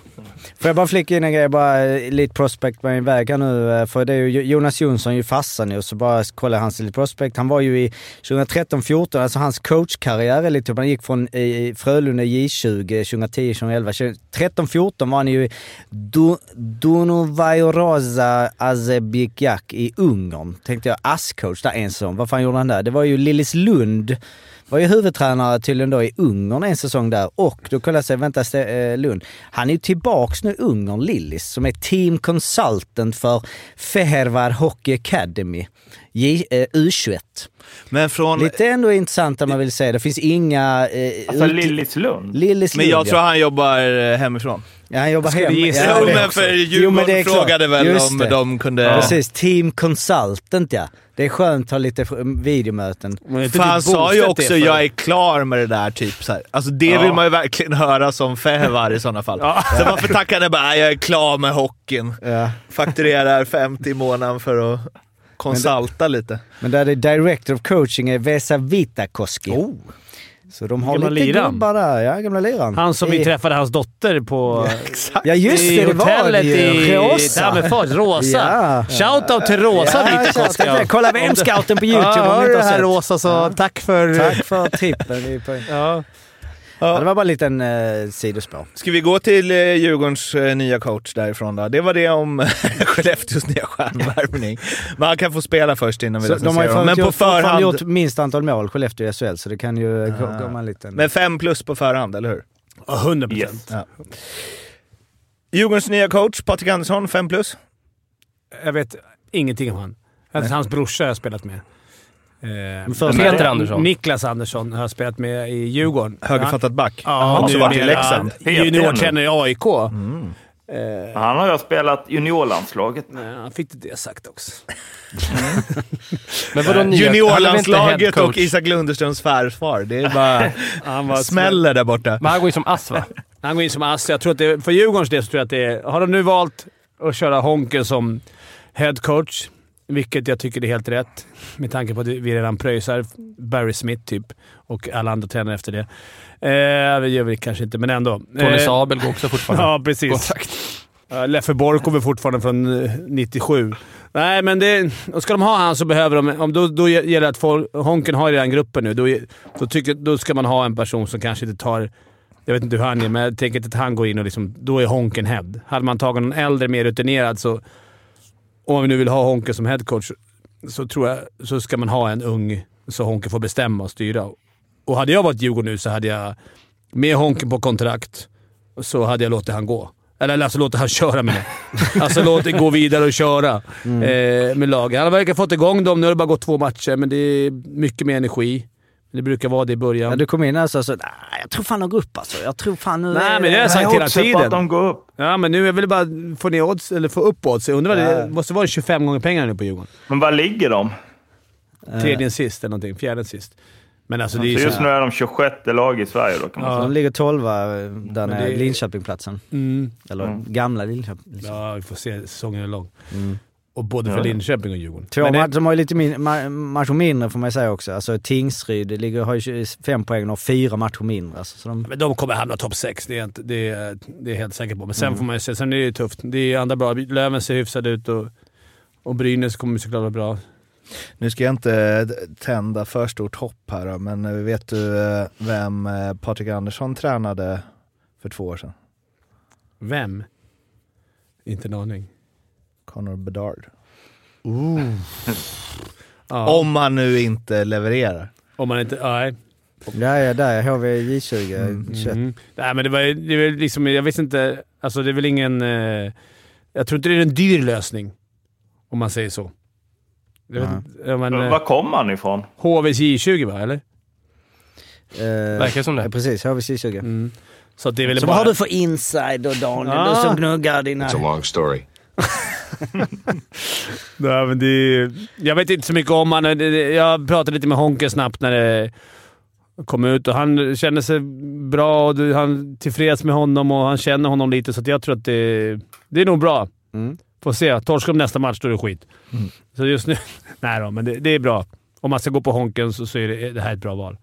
B: Får jag bara flicka in en grej, bara eh, Elite Prospect på min väg här nu. eh, För det är ju Jonas Jonsson är ju farsa nu, så bara kolla hans Elite Prospect. Han var ju i 2013-14, alltså hans coachkarriär är lite upp. Han gick från eh, i Frölunda eh, J20 2010-2011. 13-14 var han ju i Du- Dunovajorosa Azebikjak i Ungern. Tänkte jag, ASS-coach där en säsong. Vad fan gjorde han där? Det var ju Lillis Lund var ju huvudtränare tydligen då i Ungern en säsong där och då kollade jag sig, vänta Ste- eh, Lund, han är ju tillbaks nu Ungern Lillis som är team consultant för Fehervar Hockey Academy, J, eh, U21.
C: Men från...
B: Lite ändå intressant om man vill säga, det finns inga... Eh,
D: Alltså
B: ut-
D: Lillislund.
B: Lillis
C: Men jag
B: Lund,
C: tror han jobbar eh, hemifrån.
B: ja. han jobbar
A: Skulle
B: hem.
A: gissa. Ja,
C: jo,
A: det
C: men
A: också.
C: för
B: Jo, men det är
C: Djurgården
B: klart.
C: frågade väl
B: Just
C: om
B: det.
C: de kunde...
B: Precis, team consultant ja. Det är skönt att ha lite f- videomöten.
C: För han sa ju också jag är klar med det där, typ så här. Alltså det
D: Ja.
C: vill man ju verkligen höra som Fevar i sådana fall. Så varför tackar han bara jag är klar med hockeyn?
B: Ja.
C: Fakturerar 50 i månaden för att konsulta lite.
B: Men där det är director of coaching är Vesa Vitakoski. Så de har
A: Gamla
B: lite
A: liran.
B: gubbar där. Ja, gamla liran.
A: Han som vi
B: I-
A: träffade hans dotter på...
B: Ja just
A: i
B: det, det var det
A: hotellet
B: ju.
A: i
B: Rosa.
A: Tammerfors. Rosa.
B: Ja.
A: Shoutout till Rosa
B: Ja,
A: Vitakoski.
B: shoutout till- kolla VM-scouten på YouTube om ni
A: hör
B: inte
A: du
B: har
A: det här
B: sett.
A: Rosa så
B: Ja.
A: tack för...
B: Tack för trippen. Det är poäng.
A: Ja.
B: Ja, det var bara en liten eh, sidospår.
C: Ska vi gå till eh, Djurgårdens eh, nya coach därifrån då? Det var det om Skellefteås nya stjärnvärvning. Men han kan få spela först innan vi
B: Så de har ju
C: recenserar
B: fan
C: honom. Men på
B: gjort, fortfarande
C: förhand.
B: gjort minst antal mål, Skellefteå i SHL, så det kan ju ah. komma en liten...
C: Men fem plus på förhand, eller hur?
A: 100%.
D: Yes.
C: Djurgårdens nya coach Patrik Andersson, fem plus.
A: Jag vet ingenting om han. Jag vet att hans brorsa har jag spelat med. Eh,
B: först-
A: men-
I: Peter Andersson.
A: Niklas Andersson har jag spelat med i Djurgården.
C: Högerfattad back.
A: Ja,
C: också varit i
A: numera
C: Leksand. Mm.
A: Juniortränare i AIK.
D: Han har jag spelat juniorlandslaget.
A: Nej, Han fick inte det sagt också.
I: Men vadå nya- han är väl
C: Juniorlandslaget
I: inte head
C: och
I: coach?
C: Isak Lunderströms farfar. Det är bara...
A: Han var
C: smäller där borta.
I: Men han går ju som ass va?
A: Han går in som ass. Jag tror att det, för Djurgårdens del så tror jag att det är... Har de nu valt att köra Honken som head coach, vilket jag tycker är helt rätt med tanke på att vi redan pröjsar Barry Smith typ och alla andra tränare efter det. Eh, det gör vi kanske inte, men ändå.
I: Tony
A: Eh,
I: Sabel går också fortfarande.
A: Ja, precis. Ja, Leffe Borg kommer fortfarande från eh, 97. Nej, men det, och ska de ha han så behöver de... Om då, då gäller det att folk, Honken har ju den gruppen nu. Då, då, tycker, då ska man ha en person som kanske inte tar... Jag vet inte hur han är, men jag tänker inte att han går in och liksom... Då är Honken head. Hade man tagit någon äldre, mer rutinerad, så... Om vi nu vill ha Honken som headcoach så tror jag så ska man ha en ung så Honken får bestämma och styra. Och hade jag varit Djurgården nu så hade jag med Honken på kontrakt så hade jag låtit han gå. Eller eller alltså låtit han köra med det. Alltså låt det gå vidare och köra eh, med laget. Han verkar ha fått igång dem. Nu har det bara gått två matcher, men det är mycket mer energi. Det brukar vara det i början.
B: Ja, du kom in här och sa så, "Nej, jag tror fan de går upp alltså. Jag tror fan nu...
A: Nej,
B: är-
A: men det har jag sagt hela
D: Oddset på att
A: tiden.
D: de går upp.
A: Ja, men nu jag vill bara få ner odds, eller få upp odds. Jag undrar, det
B: Ja.
A: måste vara 25 gånger pengarna nu på Djurgården.
D: Men var ligger de?
A: Tredje sist eller någonting. Fjärde sist. Men alltså det är
D: Så
A: ju
D: just
A: så
D: nu är de 26 lag i Sverige då kan man
A: Ja.
D: säga.
B: De ligger tolva eh, där nere,
A: det-
B: Linköpingplatsen.
A: Mm.
B: Eller gamla Linköping. Liksom. Mm.
A: Ja, vi får se. Säsongen är lång. Och både för Linköping och Djurgården.
B: Två
A: Men det-
B: matcher, de har ju lite min, ma- matcher mindre får man ju säga också. Alltså Tingsryd ligger, har ju fem poäng och har fyra matcher mindre. Alltså, så de,
A: Men de kommer hamna topp 6, det är, jag inte, det, är, det är jag helt säker på. Men sen får man ju se. Sen är det ju tufft. Det är ju andra bra. Löven ser hyfsad ut och, och Brynäs kommer såklart vara bra.
C: Nu ska jag inte eh, tända för stort hopp här då, men eh, vet du eh, vem eh, Patrik Andersson tränade för två år sedan?
A: Vem? Inte en aning.
C: Connor Bedard.
A: Ja,
C: Om man nu inte levererar.
A: om man inte... Nej.
B: Ja, ja, där. HVJ20.
A: Mm. Nej, men det var, ju- det var ju liksom, jag visste inte... Alltså det är väl ingen... Eh, jag tror inte det är en dyr lösning, om man säger så. Jag vet
B: Nej.
A: inte, ja, men,
D: Var
A: eh,
D: kom han ifrån?
A: HVJ20 va, eller?
I: Verkar som det.
B: eh, precis, HVJ20.
A: Så att det är väl
B: Mm. Så
A: bara...
B: vad har du för insider Daniel? Du som gnuggar dina...
A: Nej, men det är, jag vet inte så mycket om han. Det- det- Jag pratade lite med Honke snabbt när det kom ut och han kände sig bra och du- han är tillfreds med honom och han känner honom lite, så att jag tror att det, det är nog bra.
B: Mm.
A: Får se. Torskar de nästa match, då är det skit. Så just nu... Nej då, men det, det är bra. Om man ska gå på Honken så, så är det, det här ett bra val.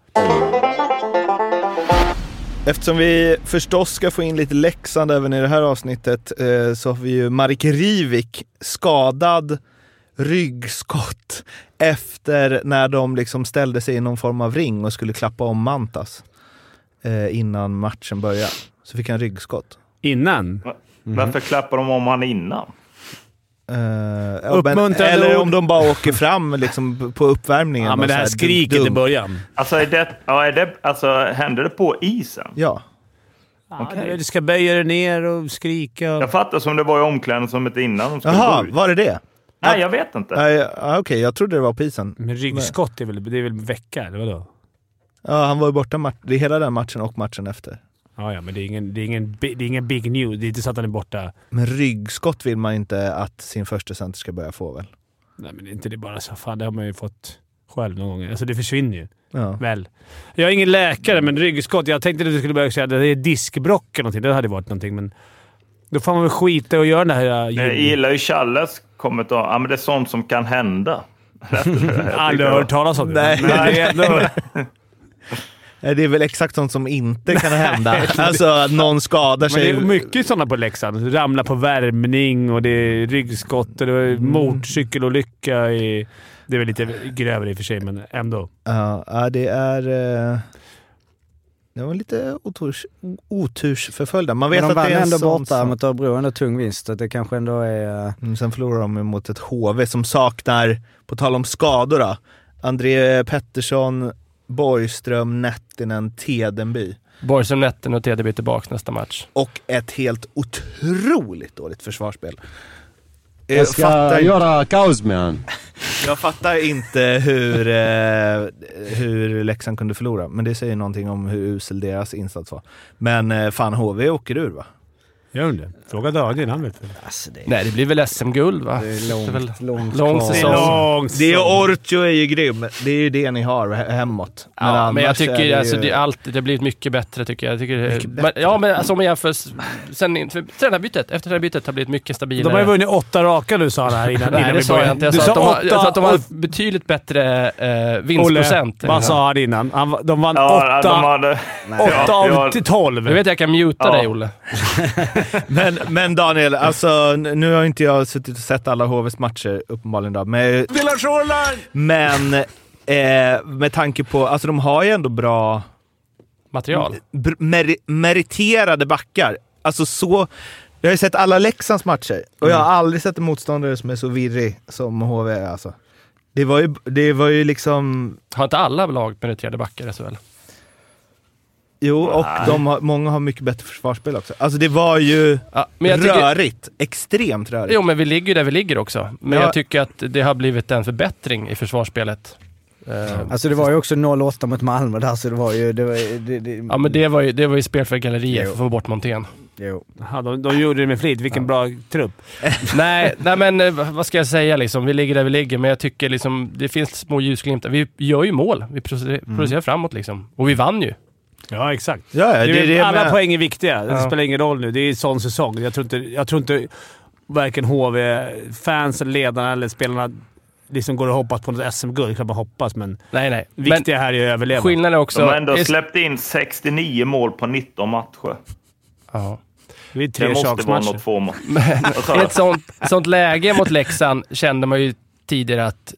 C: Eftersom vi förstås ska få in lite Leksand även i det här avsnittet eh, så har vi ju Marek Rivik skadad ryggskott efter när de liksom ställde sig i någon form av ring och skulle klappa om Mantas eh, innan matchen började. Så fick han ryggskott.
A: Innan?
D: Varför klappar de om han innan?
C: Eh, ja, men-
A: Uppmuntrande
C: eller
A: ord.
C: om de bara åker fram liksom, på uppvärmningen.
A: Ja,
C: och
A: men det här
C: så dunk,
A: skriket i
C: dunk.
A: början.
D: Alltså, är det, ja, är det, alltså hände det på isen?
C: Ja.
A: Ja, du ska böja dig ner och skrika.
D: Jag fattar som det var i omklädningsrummet innan de skulle
C: Jaha,
D: gå ut.
C: var det det?
D: Nej, jag vet inte.
C: Ja, ja, Okej, jag trodde det var på isen.
A: Men ryggskott är väl, det är väl vecka, eller vadå?
C: Ja, han var ju borta mat- det är hela den matchen och matchen efter.
A: Ja, ja, men det är, ingen, det, är ingen, bi- det är ingen big news. Det är inte så att han är borta.
C: Men ryggskott vill man inte att sin första center ska börja få väl?
A: Nej, men det är inte det bara så. Fan, det har man ju fått själv någon gång. Alltså det försvinner ju.
C: Ja.
A: Väl. Jag är ingen läkare, men ryggskott. Jag tänkte att du skulle börja säga att det är diskbrock eller någonting. Det hade varit någonting, men... Då får man väl skita och göra den här... äh,
D: Men Eh, Jag gillar ju Challes kommentar. Ja, men det är sånt som kan hända.
A: Aldrig hört talas om det.
C: Nej.
A: Men det är ändå...
C: Nej, Det är väl exakt sånt som inte kan hända. alltså att någon skadar
A: Men det
C: sig.
A: är mycket sådana på Leksand. Ramla på värmning och det är ryggskott och det är motorcykelolycka. I, det är väl lite grövre i och för sig, men ändå.
C: Ja, ja, det är... eh, Det var lite oturs, o- otursförföljda. Man
B: Men
C: vet
B: de
C: att det
B: vann
C: är en
B: ändå
C: sån
B: borta
C: sak.
B: mot Örebro. Ändå tung vinst. Så att det kanske ändå är... eh,
C: Mm, Sen förlorar de ju mot ett HV som saknar, på tal om skador då, André Pettersson, Borgström, Nättinen, Tedenby.
I: Borgs om nätten och TDB tillbaka nästa match.
C: Och ett helt otroligt dåligt försvarsspel. Eh,
F: Jag ska
C: fattar-
F: göra kaos med han.
C: Jag fattar inte hur, eh, hur Leksand kunde förlora, men det säger någonting om hur usel deras insats var. Men eh, fan, HV åker ur va?
A: Gör de det? Fråga Daniel, han vet väl.
B: Alltså det
I: Nej, det blir väl SM-guld va?
B: det
I: Det
B: är
I: är väl
B: långt, långt
I: lång
B: kvar.
I: säsong.
A: Långt.
C: Det är Ortio är ju grym. Det är ju det ni har he- hemåt.
I: Ja, men jag
C: annars
I: tycker
C: är
I: det,
C: ju-
I: alltså, det, är allt, det har blivit mycket bättre tycker jag. jag tycker,
C: Mycket
I: men, Ja, men alltså om jag jämför... s- Sen, för tränarbytet, efter tränarbytet har blivit mycket
A: De
I: stabilare.
A: har ju vunnit åtta raka nu, sa han här innan,
I: Nej,
A: innan
I: det
A: vi
I: sa jag
A: började.
I: inte. Jag
A: Du
I: sa att de har,
A: åtta
I: jag sa att de har
A: och-
I: betydligt bättre eh,
A: Olle,
I: vinstprocent.
A: vad sa han innan? Han, de vann
D: Ja,
A: åtta,
D: de hade...
A: åtta
D: Ja,
A: av
D: jag-
A: till tolv.
I: Nu vet jag jag kan muta
D: Ja.
I: dig, Olle.
C: Men, men Daniel, alltså, n- nu har inte jag suttit och sett alla HVs matcher uppenbarligen. Då, men men eh, med tanke på, alltså de har ju ändå bra
I: Material.
C: br- mer- meriterade backar. Alltså så... Jag har ju sett alla Leksands matcher och jag har
I: Mm.
C: aldrig sett en motståndare som är så virrig som HV är alltså. Det var ju, det var ju liksom...
I: Har inte alla lag meriterade backar i SHL?
C: Jo, och de har, många har mycket bättre försvarsspel också. Alltså det var ju
I: Ja, men jag tycker,
C: rörigt. Extremt rörigt.
I: jo, men vi ligger ju där vi ligger också. Men
C: Ja.
I: jag tycker att det har blivit en förbättring i försvarsspelet. Eh,
B: Alltså det var ju också 0-8 mot Malmö där, så det var ju... Det var, ju- det, det,
I: Ja, men det var ju, det var ju spel för gallerier
B: Jo.
I: för att få bort Montén.
B: Jo.
A: Ja, de, de gjorde det med flit. Vilken bra trupp.
I: nej, nej, men eh, vad vad ska jag säga liksom? Vi ligger där vi ligger, men jag tycker liksom det finns små ljusglimtar. Vi gör ju mål. Vi producerar,
D: Mm.
I: producerar framåt liksom. Och vi vann ju.
A: Ja, exakt.
C: Ja, det,
A: Det
C: är det
A: alla
C: med-
A: poäng är viktiga. Det
I: Ja.
A: spelar ingen roll nu. Det är en sån säsong. Jag tror inte, jag tror inte varken HV-fans, ledarna eller spelarna liksom går och hoppas på något SM-guld. Det kan man hoppas, men
I: Nej, nej. Men
A: viktiga här är att överleva.
I: skillnaden är också...
D: De har ändå
I: är-
D: släppt in 69 mål på 19 matcher.
I: Ja.
A: Det är
D: Det
A: tre
D: måste vara något
A: tjacksmatcher.
D: form av... Vad sa
I: I
D: jag?
I: ett sånt, sånt läge mot Leksand kände man ju tidigare att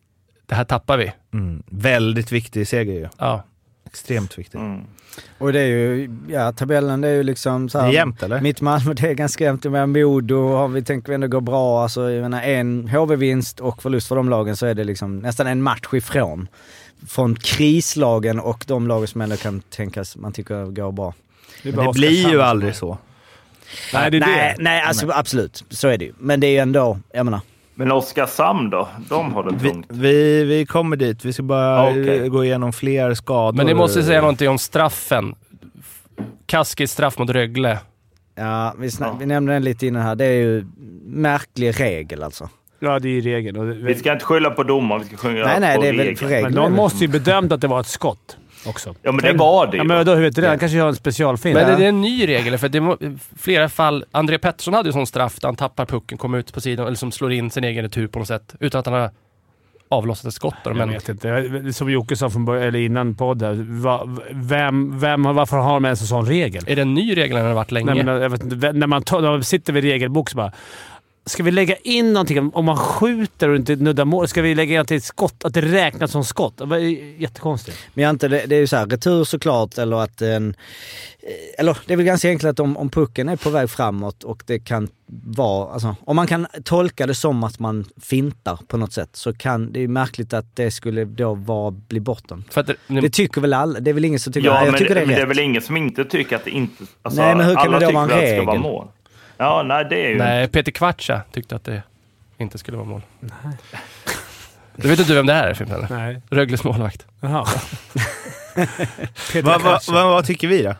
I: det här tappar vi.
C: Mm, väldigt viktig seger ju.
I: Ja.
C: Extremt viktigt.
D: Mm.
B: Och det är ju, ja tabellen det är ju liksom så
C: Det är
B: här,
C: jämnt eller?
B: Mitt Malmö det är ganska jämnt med Modo, har vi tänker vi ändå går bra. Alltså, jag menar, en HV-vinst och förlust för de lagen så är det liksom nästan en match ifrån. Från krislagen och de lagen som ändå kan tänkas, man tycker går bra.
A: Det, är
C: Men
A: bara
C: det blir ju
A: Oskarshamn.
C: aldrig så.
A: Nej, det är
B: nej,
A: det.
B: nej alltså, absolut. Så är det ju. Men det är ju ändå, jag menar.
D: Men Oskarshamn då? De har det
C: Vi,
D: tungt.
C: vi, vi kommer dit. Vi ska bara
D: Ah, okej.
C: eh, gå igenom fler skador.
I: Men ni måste säga någonting om straffen. Kaskis straff mot Rögle.
B: Ja, vi, sna-
D: Ja.
B: vi nämnde den lite innan här. Det är ju märklig regel alltså.
A: Ja, det är ju regeln. Och det-
D: Vi ska inte skylla på domaren, vi ska skylla
B: nej, nej,
D: på
B: det är väl
D: regeln.
B: för
A: Men
B: regeln.
A: någon måste ju bedömt att det var ett skott också.
D: Ja, men det var det
A: Ja,
D: ju.
A: men då vet du det? Han kanske har en specialfint.
I: Men är det en ny regel? För det är flera fall. André Pettersson hade ju sån straff där han tappar pucken, kommer ut på sidan, eller som slår in sin egen retur på något sätt. Utan att han har avlossat ett skott. då,
A: Jag
I: Men
A: vet inte. Jag- Som Jocke sa från början, eller innan podden. Va, vem, vem, varför har de ens en sån regel?
I: är det en ny regel eller har det varit länge?
A: Nej, men, jag vet inte, Vem- när, man tar, när man sitter vid regelbok så bara... Ska vi lägga in någonting om- om man skjuter och inte nuddar mål? Ska vi lägga in att det, är ett skott, att det räknas som skott? Det var ju jättekonstigt.
B: Men jag inte, det, det är ju så här, retur såklart eller att en... eh, Eller det är väl ganska enkelt att om, om pucken är på väg framåt och det kan vara... Alltså, om man kan tolka det som att man fintar på något sätt så kan... Det är ju märkligt att det skulle då vara, bli bortom.
A: Mm.
I: För att, nej,
B: Det tycker väl alla? Det är väl ingen som tycker...
D: ja,
B: nej, jag
D: men,
B: tycker det är
D: men det är
B: rätt.
D: väl ingen som inte tycker att det inte... Alltså,
B: Nej, men hur kan
D: alla
B: det då
D: tycker
B: vara en
D: väl att det ska vara
B: regel?
D: mål. Ja, nej, det är ju...
I: nej, Peter Kvartsa tyckte att det inte skulle vara mål. Du vet inte vem det är Fimpen? eller?
A: Nej.
I: Rögles målvakt.
A: Jaha. Peter
C: Vad va,
A: Kassel.
C: va, vad tycker vi då?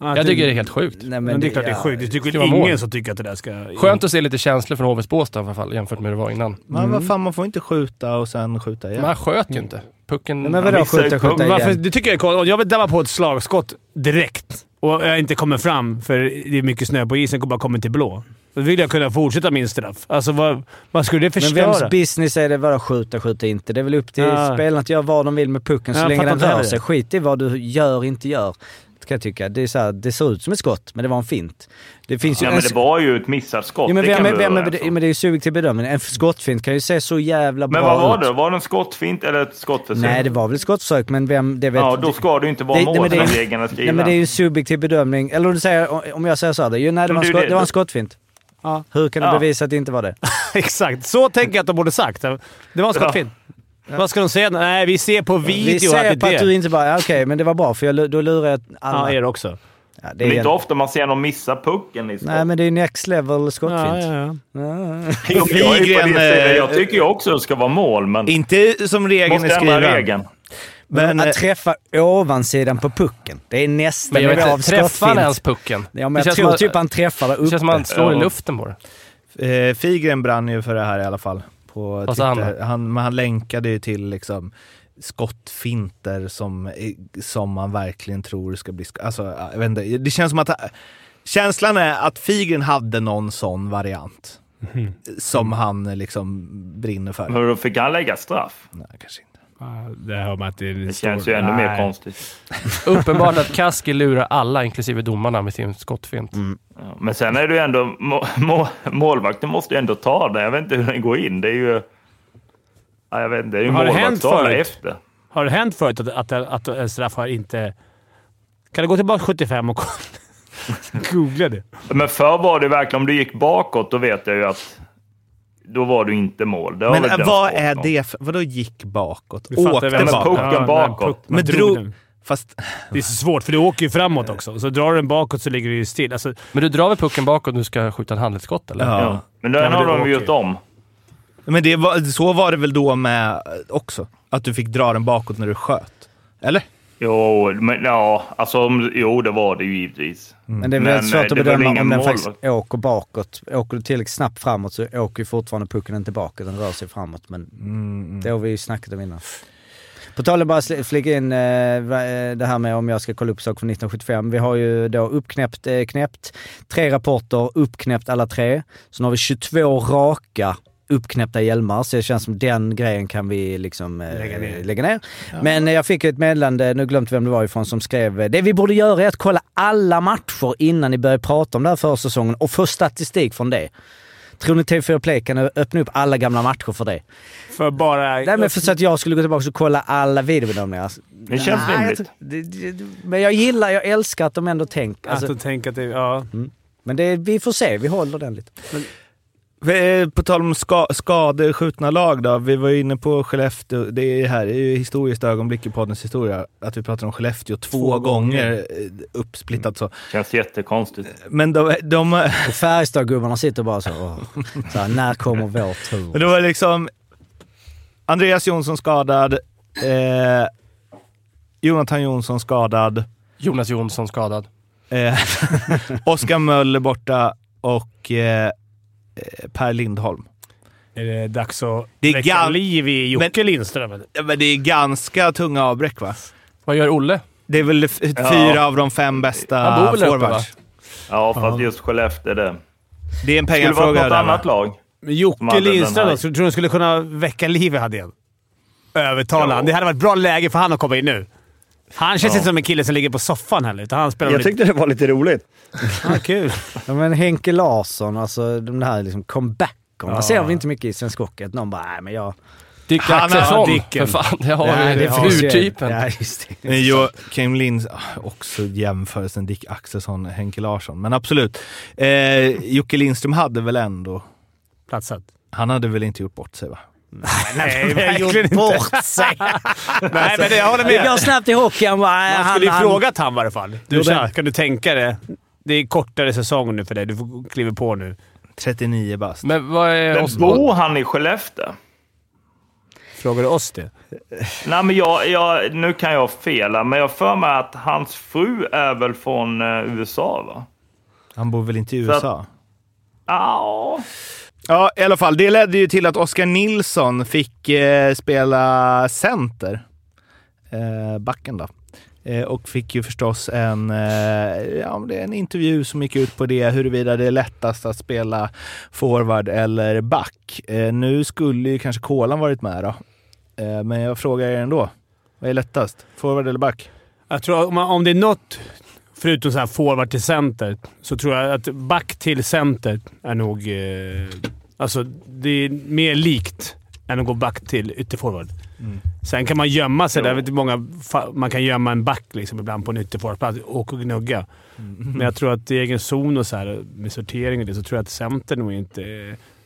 A: Ja,
I: Jag tycker det är helt sjukt.
B: Nej, men
A: Men det är klart det är
B: ja.
A: sjukt. Det tycker
I: Ska vara
A: väl ingen
I: mål.
A: som tycker att det där ska...
I: Skönt att se lite känslor från HVs bås då, i alla fall jämfört med hur det var innan.
C: Man, vad
A: Mm.
C: fan, man får inte skjuta och sen skjuta igen.
I: Men han sköt ju inte. Pucken...
B: Mm. Men vadå
D: Han missar ju
B: skjuta, skjuta
D: pucken.
B: igen?
A: Varför, det tycker jag är konstigt. Om jag vill dabba på ett slagskott direkt och jag inte kommer fram för det är mycket snö på isen och bara kommer till blå. Då vill jag kunna fortsätta min straff. Alltså vad, vad skulle det
B: Men
A: förstöra?
B: vems business är det vadå skjuta, skjuta inte? Det är väl upp till
A: Ja.
B: spelarna att göra vad de vill med pucken så
A: Ja, jag
B: länge
A: fattar
B: den
A: inte
B: rör
A: heller.
B: sig. Skit i vad du gör, inte gör. Kan jag tycka. Det, är så här, det ser ut som ett skott, men det var en fint. Det finns
D: Ja,
B: ju
D: men
B: en...
D: det var ju ett missat skott.
B: Jo, Alltså- men
D: det
B: vem,
D: kan
B: är-
D: vi
B: vem,
D: vara
B: är-
D: överens
B: jo,
D: om.
B: men det är ju subjektiv bedömning. En skottfint kan ju se så jävla bra
D: Men vad var
B: ut.
D: det? Var det en skottfint eller ett skottförsök?
B: Nej, det var väl ett skottförsök, men vem... Det vet
D: Ja, då ska det ju inte vara
B: Det-
D: mål
B: nej, men det är-
D: enligt reglerna
B: Nej,
D: skrivna.
B: men det är ju en subjektiv bedömning. Eller om du säger, om jag säger så här, det, ju, nej, det
D: Men
B: var, en
D: det är
B: skott,
D: det-
B: det var en skottfint.
A: Ja.
B: Hur kan du
D: Ja.
B: bevisa att det inte var det?
A: Exakt. Så tänker jag att de borde sagt. Det var skottfint. Vad ska de säga? Nej, vi ser på video
B: Vi säger
A: att
B: på
A: det
B: att
A: är
B: du
A: det.
B: inte bara, ja, okej, men det var bra för jag, lu- då lurar jag
A: Ja,
B: alla.
A: er också.
B: Ja,
D: Det
B: det
D: är
B: är
D: inte
B: en,
D: ofta man ser någon missa pucken i skott.
B: nej, men det är next level
A: Ja,
B: skottfint.
A: ja, ja.
D: jag, är ju på det
C: Flygren,
D: sättet.
C: eh,
D: jag tycker ju också att det ska vara mål, men
C: Inte som regeln är
D: måste ändra
C: skriven.
D: regeln.
C: Men, eh,
B: Att träffa ovansidan på pucken, det är nästan
I: Men jag vet
B: nivå
I: inte, träffar han ens pucken?
B: Ja,
I: Det
B: men jag
I: känns
B: tror
I: som att-
B: typ han träffar där
I: Det
B: uppe.
I: känns som att han slår i luften på det.
C: eh, Figren brann ju för det här i alla fall. På
I: Vad sa han
C: Twitter. Han, men han länkade ju till liksom skottfinter som, som man verkligen tror ska bli... sk- Alltså, jag vet inte. Det känns som att... Känslan är att Figren hade någon sån variant.
A: Mhm.
C: Som han liksom brinner för.
D: Men då fick han lägga straff.
C: Nej, kanske inte.
A: Ja, Det hör man att det är en
D: Det
A: stor-
D: känns ju ännu mer
A: Nej.
D: konstigt.
I: Uppenbart att Kaski lurar alla, inklusive domarna, med sin skottfint.
A: Mm.
D: Ja, Men sen är det ju ändå... Må, må, målvakten måste ju ändå ta den. Jag vet inte hur den går in. Det är ju... Ja, jag vet inte. Det är ju
A: Har det hänt
D: målvakt som håller
A: förut?
D: efter.
A: Har det hänt förut att, att, att en straff har inte... Kan du gå tillbaka 75 och kolla? Googla det.
D: Men förr var det verkligen... Om du gick bakåt, då vet jag ju att... Då var du inte mål. Det har
C: Men
D: väl
C: eh,
D: dömts
C: vad
D: bort
C: är
D: någon.
C: det för... Vadå gick bakåt?
A: Du fattar
C: Åkte
A: vem som-
D: pucken
C: bakåt?
A: Ja, när
D: bakåt.
A: puck-
C: Men
A: man
C: drog...
A: den.
C: Fast...
A: Det är så svårt, för du åker ju framåt också. Så drar du den bakåt så ligger du ju still. Alltså,
I: Men du drar väl pucken bakåt och du ska skjuta ett handledsskott, eller?
C: Ja.
D: Ja. Men den
A: Ja, men
D: har
A: det
D: de
A: åker
D: ju gjort
A: ju.
D: om.
C: Men det var, så var det väl då med eh, också? Att du fick dra den bakåt när du sköt? Eller?
D: Jo, men ja, alltså, om- jo, det var det ju givetvis.
B: Men det är
D: Men,
B: väldigt svårt
D: eh,
B: att
D: det var väl
B: bedöma om
D: ingen
B: den
D: målvakt.
B: faktiskt åker bakåt. Åker du tillräckligt snabbt framåt så åker ju fortfarande pucken inte bakåt, den rör sig framåt. Men
I: Mm,
B: det har vi ju snackat om innan. På tal om bara sl- flika in eh, va- eh, det här med om jag ska kolla upp saker från 1975. Vi har ju då uppknäppt, eh, knäppt, tre rapporter, uppknäppt alla tre. Sen har vi 22 raka uppknäppta hjälmar, så det känns som den grejen kan vi liksom eh, lägga ner. Men eh, jag fick ju ett meddelande, nu glömt vem det var ifrån, som skrev eh, “Det vi borde göra är att kolla alla matcher innan ni börjar prata om det här försäsongen och få statistik från det”. Tror ni TV4 Play kan öppna upp alla gamla matcher för det?
A: För bara...
B: Nej men för så att jag skulle gå tillbaka och kolla alla videobedömningar.
D: Det känns
B: Nej, jag
D: rimligt.
B: tror- det- det- Men jag gillar, jag älskar att de ändå tänker.
A: Alltså,
B: Alltså,
A: att tänka att det, ja.
B: men det, vi får se, vi håller den lite.
C: Eh, På tal om ska, skador, skjutna lag då. Vi var ju inne på Skellefteå. Det är här det är ju historiskt ögonblick i poddens historia. Att vi pratar om Skellefteå två, gånger eh, uppsplittat så.
D: Känns jättekonstigt.
C: Men de, de,
B: Och Färjestadgubbarna sitter bara så, åh, så här, när kommer vår
C: men
B: tur?
C: det var liksom Andreas Jonsson skadad. Eh, Jonathan Jonsson skadad.
I: Jonas Jonsson skadad.
C: Eh, Oskar Möller borta och eh, eh, Per Lindholm.
A: Är det dags att
C: Det är
A: väcka
C: gal-
A: liv i Jocke
C: Men-
A: Lindström?
C: Ja, Men det är ganska tunga avbräck va?
I: Vad gör Olle?
C: Det är väl f-
D: Ja.
C: fyra av de fem
I: Han
C: bästa
I: bor väl där uppe,
C: forwards.
D: Ja, fast just Skellefteå det.
C: Det är en
D: Skulle det varit
C: pengafråga. där,
D: något
C: va?
D: annat lag?
A: Men Jocke
D: hade den
A: Lindström
D: här-
A: då? Tror du de skulle kunna väcka liv i han igen? Övertala
D: Ja.
A: han. Det hade varit ett bra läge för han att komma in nu. Han känns inte som en kille som ligger på soffan heller, utan han spelar
F: Jag tyckte det var lite roligt.
A: lite... Ah, kul.
B: Ja, men Henke Larsson, alltså de här liksom comebackerna
A: Ja.
B: ser vi inte mycket i svensk hockey. Att någon bara, nej men jag...
I: Dick
C: Han har
I: Axelsson, för
A: Dicken.
I: fan. Det har
A: Nej,
I: vi.
A: det
I: Det
A: har
I: är
A: vi.
I: urtypen.
B: Ja, just det.
C: Men Joakim Lind, ah, också jämförelsen Dick Axelsson, Henke Larsson. Men absolut. Eh, Jocke Lindström hade väl ändå...
A: Platsat.
C: Han hade väl inte gjort bort sig va?
A: Nej, verkligen
B: Gjort
A: inte.
B: bort sig.
A: Nej, men det, jag håller
B: Det
A: med.
B: går snabbt i hockey. Han bara, nej,
A: Man
B: han,
A: skulle ju
B: Äh, han,
A: frågat han i alla fall. Du,
B: Jo, det-
A: tja, kan du tänka det? Det är kortare säsong nu för dig. Du får kliva på nu.
C: 39 bast.
I: Men vad är...
D: Men
I: Os-
D: bor han i Skellefteå?
A: Frågar du oss det?
D: Nej, men jag, jag, nu kan jag ha fel, här, men jag har för mig att hans fru är väl från eh, USA, va?
C: Han bor väl inte i
D: Så att-
C: USA?
D: Ja,
C: Ja, i alla fall. Det ledde ju till att Oskar Nilsson fick eh, spela center. Eh, backen då. Eh, och fick ju förstås en, eh, ja, men det är en intervju som gick ut på det, huruvida det är lättast att spela forward eller back. Eh, nu skulle ju kanske Kolan varit med då. Eh, men jag frågar er ändå. Vad är lättast? Forward eller back?
A: Jag tror om, man, om det är något, förutom så här forward till center, så tror jag att back till center är nog... Eh, alltså, det är mer likt än att gå back till ytterforward.
D: Mm.
A: Sen kan man gömma sig där. Jag vet inte hur många, fa- man kan gömma en back liksom ibland på en ytterforwardplats och gnugga.
D: Mm.
A: Men jag tror att i egen zon och så här, med sortering och det, så tror jag att center nog inte...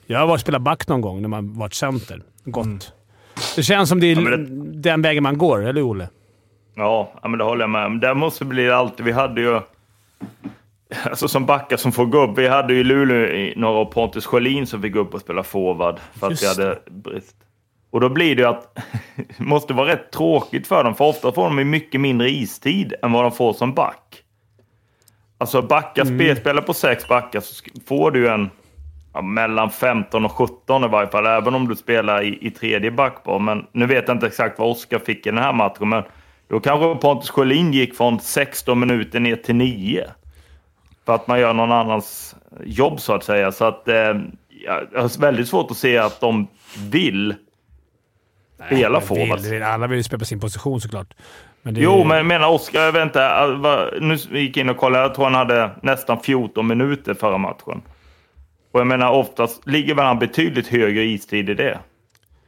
A: Jag har varit spelat back någon gång när man varit center. Gott. Det känns som det är
D: Mm. Ja, men
A: den vägen man går, eller Olle?
D: ja ja, men det håller jag med om. Där måste det bli alltid. Vi hade ju... Alltså som backar som får gå upp. Vi hade ju i Luleå i några år Pontus Sjölin som fick gå upp och spela forward för att
A: Just
D: vi hade brist. Och då blir det ju att det måste vara rätt tråkigt för dem, för ofta får de ju mycket mindre istid än vad de får som back. Alltså backar, mm. spelar på sex backar så sk- får du en ja, mellan 15 och 17 i varje fall, även om du spelar i, i tredje backpar. Men nu vet jag inte exakt vad Oskar fick i den här matchen, men då kanske Pontus Sjölin gick från 16 minuter ner till 9. För att man gör någon annans jobb så att säga. Så att eh, ja, jag har väldigt svårt att se att de vill spela forward.
A: vill, vill, alla vill ju spela på sin position såklart. Men det är-
D: alltså. Jo, men jag menar Oskar, jag vet inte. äh, vad- Nu gick jag in och kollade. Jag tror han hade nästan 14 minuter förra matchen. Och jag menar, oftast ligger väl han betydligt högre istid i det. Det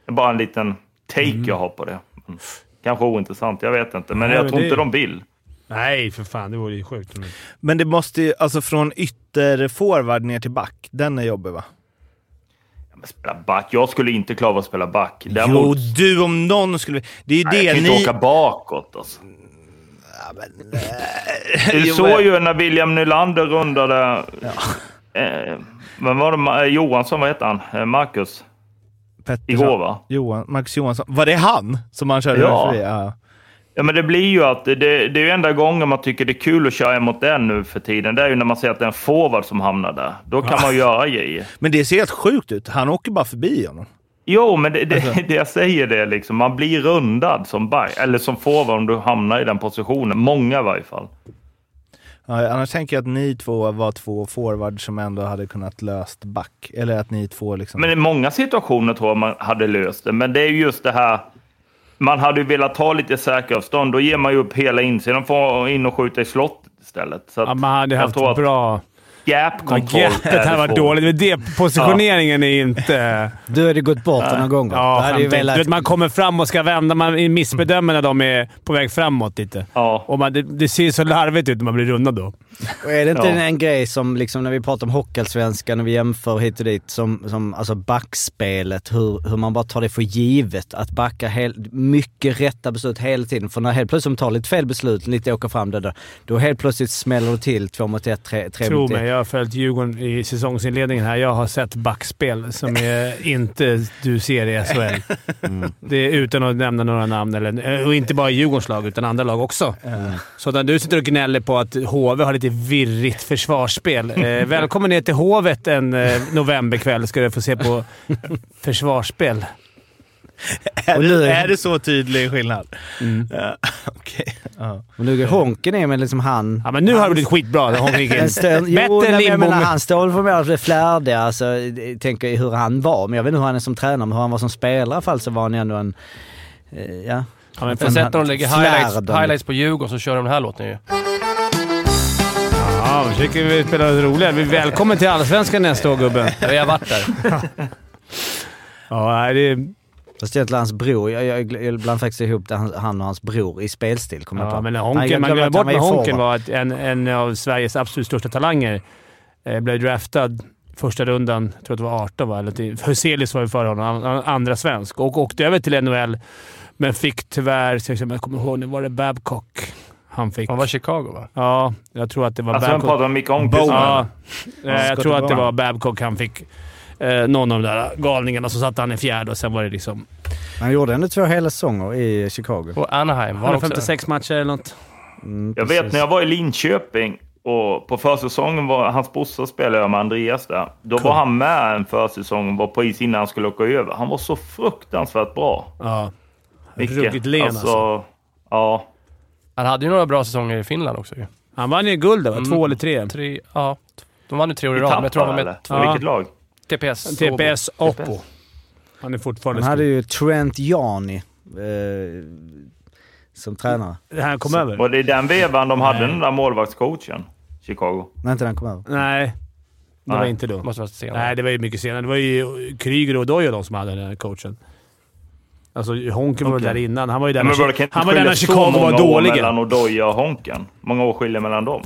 D: är bara en liten take jag har på det. Mm. Kanske ointressant, jag vet inte. Men
A: Nej,
D: jag
A: men
D: tror
A: det-
D: inte de vill.
A: Nej, för fan. Det vore ju sjukt. Men...
C: Men det måste ju, alltså från ytterforward ner till back, den är jobbig va?
D: Ja, men Spela back. Jag skulle inte klara av att spela back.
C: Jo,
D: Däremot,
C: du om någon skulle... Det är ju
D: nej, jag
C: det
D: kan ju
C: ni...
D: inte åka bakåt. Alltså. Du
C: eh, Jo,
D: såg
C: men-
D: ju när William Nylander rundade... Eh, men var det Ma- eh, Johansson? Vad heter han? Eh, Marcus?
C: Pettersson.
D: Igår, va?
C: Johan, Max Johansson. Var det han som han körde
D: Ja.
C: ja. förbi? Ja.
D: Ja, men det blir ju att det, det är ju enda gången man tycker det är kul att köra emot den nu för tiden. Det är ju när man ser att det är en forward som hamnar där. Då kan man göra grejer.
C: Men det ser helt sjukt ut. Han åker bara förbi honom.
D: Jo, men det, det,
C: Alltså.
D: det jag säger det är liksom. Man blir rundad som back, eller som forward om du hamnar i den positionen. Många i varje fall.
C: Ja, annars tänker jag att ni två var två forwards som ändå hade kunnat löst back. Eller att ni två liksom...
D: Men i många situationer tror jag man hade löst det. Men det är ju just det här. Man hade ju velat ta lite säkeravstånd. Då ger man ju upp hela insidan för att in och skjuta i slottet istället. Så att
A: Ja, man hade
D: jag
A: haft
D: tror att-
A: bra...
D: gap control.
A: Gapet här
D: är
A: var
D: det få.
A: dåligt. men Det, positioneringen är inte...
B: Du hade gått bort några gånger.
A: Ja,
B: Du hade ju
A: skämt.
B: velat-
A: du vet, man kommer fram och ska vända. Man missbedömer när de är på väg framåt lite.
D: Ja.
A: Och man, det, det ser så larvigt ut när man blir rundad då.
B: Och är det inte
D: Ja.
B: en grej som, liksom, när vi pratar om Hockeyallsvenskan och vi jämför hit och dit, som, som alltså backspelet, hur, hur man bara tar det för givet att backa hel, mycket rätta beslut hela tiden. För när helt plötsligt de tar lite fel beslut, lite åker fram där, där, då helt plötsligt smäller det till två mot ett, tre, tre
A: Tro
B: mot ett.
A: mig, jag har följt Djurgården i säsongsinledningen här. Jag har sett backspel som är inte du ser i SHL.
B: Mm.
A: Det är utan att nämna några namn, eller, och inte bara Djurgårdens lag, utan andra lag också. Så när du sitter och gnäller på att HV har lite virrigt försvarsspel. Eh, välkommen ner till Hovet en eh, novemberkväll ska du få se på försvarsspel.
C: Är,
B: Och nu-
C: det, är det så tydlig skillnad? Ja, Okej. Ja.
B: Och nu går Honken är men liksom han...
A: Ja, men nu har det blivit skitbra. Det har vi
B: En
A: ingen-
B: stön, jo,
A: Bättre
B: nej,
A: än
B: men jag
A: Lindbom.
B: menar han står för mer för det flärdiga, alltså, jag tänker hur han var. Men jag vet inte hur han är som tränare, men hur han var som spelare i alla fall så var han ju ändå en... eh, Ja.
A: Ja, men
I: Jag har sett när de lägger highlights,
B: Flärdande.
I: highlights på Djurgården så kör de den här låten ju.
A: Ja, vi tycker vi spelar roligare. Vi- Välkommen till Allsvenskan nästa år, gubben.
I: Vi har varit där.
A: Ja, nej, det är...
B: Fast egentligen hans bror, jag, jag, jag blandar faktiskt ihop det, han, han och hans bror i spelstil. Kommer jag
A: Ja,
B: på.
A: men
B: Nej,
A: honken,
B: jag
A: man glömmer
B: att han
A: bort med
B: var i
A: Honken
B: form.
A: var att en, en av Sveriges absolut största talanger eh, blev draftad första rundan, jag tror att det var 18 va? Eller till- Hyselius var ju före honom, an- an- andra svensk, och åkte över till NHL. Men fick tyvärr, så jag kommer ihåg nu, var det Babcock han fick?
I: Man var i Chicago va?
A: Ja, jag tror att det var
D: Alltså, vem
A: Babcock.
D: pratar om Micke Holmqvist?
A: Ja, eh, jag
C: Scotty
A: tror att det
C: Barnes.
A: var Babcock han fick. Eh, någon av de där galningarna, så satte han i fjärde och sen var det liksom...
B: Han gjorde ändå två hela säsonger i Chicago.
I: Och Anaheim var också.
A: 156 matcher eller något.
B: Mm,
D: Jag
B: precis.
D: vet när jag var i Linköping och på försäsongen var hans brorsa spelade jag med Andreas där. Då var han med en försäsong och var på is innan han skulle åka över. Han var så fruktansvärt bra.
A: Ja.
D: Micke.
A: Ruggigt len alltså.
D: Ja.
I: Han hade ju några bra säsonger i Finland också ju.
A: Han vann ju guld där,
D: Mm.
A: va? Två eller tre.
I: Tre, ja. De vann ju tre år i
D: I
I: rad, men jag tror
D: Tappara
I: han var med
D: eller?
I: två.
A: Ja.
D: Vilket lag?
I: TPS.
A: TPS Oppo. Han är fortfarande
B: Han hade
A: stor.
B: ju Trent Jani eh, som tränare.
A: Han kom över?
D: Var det i den vevan de hade den där målvaktscoachen? Chicago.
B: När inte han kom över. Eh,
A: Nej, det var
D: Nej.
A: inte då.
I: Måste vara senare.
A: Nej, det var ju mycket senare. Det var ju Kryger och Dojo de som hade den här coachen. Alltså, Honken var
D: Okej.
A: där innan. Han var ju där
D: Men vadå,
A: när,
D: kan inte
A: han var där
D: skilja
A: när
D: så
A: Chicago
D: många
A: var
D: år
A: dåliga.
D: mellan Odoja och Honken. många år skiljer mellan dem?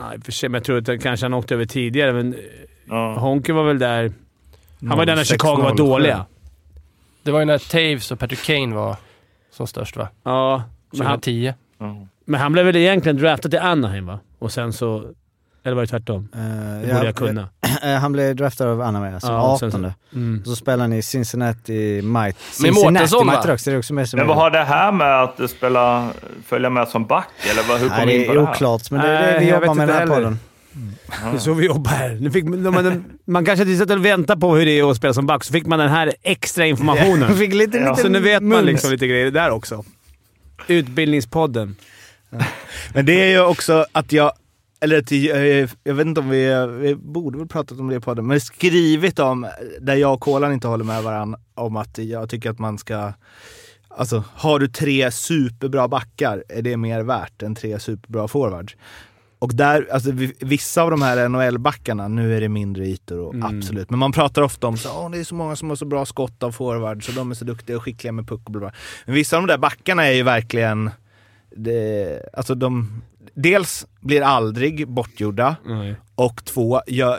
A: Nej, för sig, men jag tror att han- kanske han åkte över tidigare, men
D: Ja.
A: Honken var väl där... Han var där när
B: 06,
A: Chicago var
B: 07.
A: dåliga.
I: Det var ju när Taves och Patrick Kane var som störst va?
A: Ja, men han,
I: 2010.
A: men han blev väl egentligen draftad till Anaheim, va? Och sen så... Eller var det tvärtom?
B: Eh,
A: Det
B: ja,
A: borde jag kunna.
B: eh, han blev draftad av Anna som
A: Ja, och sen så-
B: 18
A: Mm.
B: Så spelade han i Cincinnati Might. Cincinnati
I: Mårtensson, va?
B: Mighty Ducks, det är också med som
D: Men vad har det här med att spela, följa med som back? Eller vad- hur kom
B: Nej,
D: vi in
B: det
D: på det
B: är
D: här?
B: oklart, men det är det
A: Nej,
B: vi
A: jag
B: jobbar
A: vet
B: med den
A: inte heller.
B: här podden.
A: Det är så vi jobbar här. Nu fick, man, man kanske inte satt och väntade på hur det är att spela som back, så fick man den här extra informationen.
B: Fick lite,
D: Ja.
B: lite
A: Så nu vet man
B: mums.
A: liksom lite grejer där också. Utbildningspodden.
C: Men det är ju också att jag... Eller att jag, eh, jag vet inte om vi, vi borde väl pratat om det i podden, men skrivit om, där jag och Kolan inte håller med varandra, om att jag tycker att man ska... Alltså, har du tre superbra backar är det mer värt än tre superbra forwards. Och där, alltså vi- vissa av de här NHL-backarna, nu är det mindre ytor och absolut, men man pratar ofta om så "Åh, det är så många som har så bra skott av forwards och de är så duktiga och skickliga med puck och bla bla. Men vissa av de där backarna är ju verkligen, det, alltså de, dels blir aldrig bortgjorda och två, jag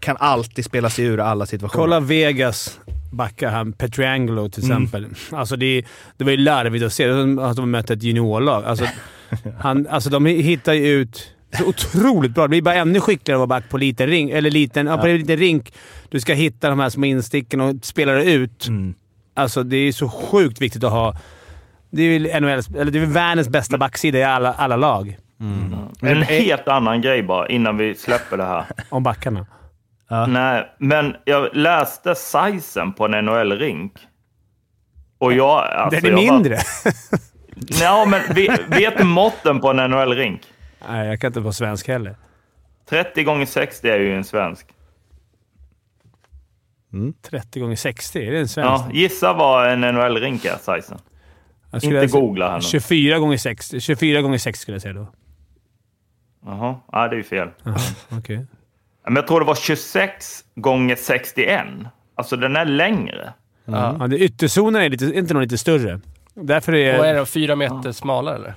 C: kan alltid spela sig ur alla situationer.
A: Kolla Vegas backar han Petriangelo till exempel. Alltså det, är- det var ju larvigt att se. Det var som Att de mötte ett juniorlag. Alltså, han, alltså de hittar ju ut så otroligt bra. Det blir bara ännu skickligare att vara back på liten ring, eller liten, ja. på en liten rink. Du ska hitta de här små insticken och spela det ut.
C: Mm.
A: Alltså det är ju så sjukt viktigt att ha... Det är ju NHLs, eller det är väl världens bästa backsida i alla, alla lag.
D: En helt annan grej bara innan vi släpper det här.
A: Om backarna.
D: Nej, men jag läste sizen på en NHL-rink. Och jag... Alltså,
A: Den är
D: jag var-
A: mindre.
D: Ja, men ve- vet du måtten på en NHL-rink?
A: Nej, jag kan inte vara svensk heller.
D: 30 gånger 60 är ju en svensk.
A: 30 gånger 60 är det en svensk?
D: Ja, gissa vad en NHL-rink är, sizen.
A: Jag skulle
D: Inte
A: säga-
D: googla här nu.
A: 24 gånger 60 24 gånger 6 skulle jag säga då.
D: Jaha, nej det är ju fel.
A: Okej.
D: Men jag tror det var 26 gånger 61. Alltså den är längre.
A: Ja, det- ytterzonen är lite, inte någon lite större. Därför
I: Och är
A: är
I: den fyra meter smalare eller?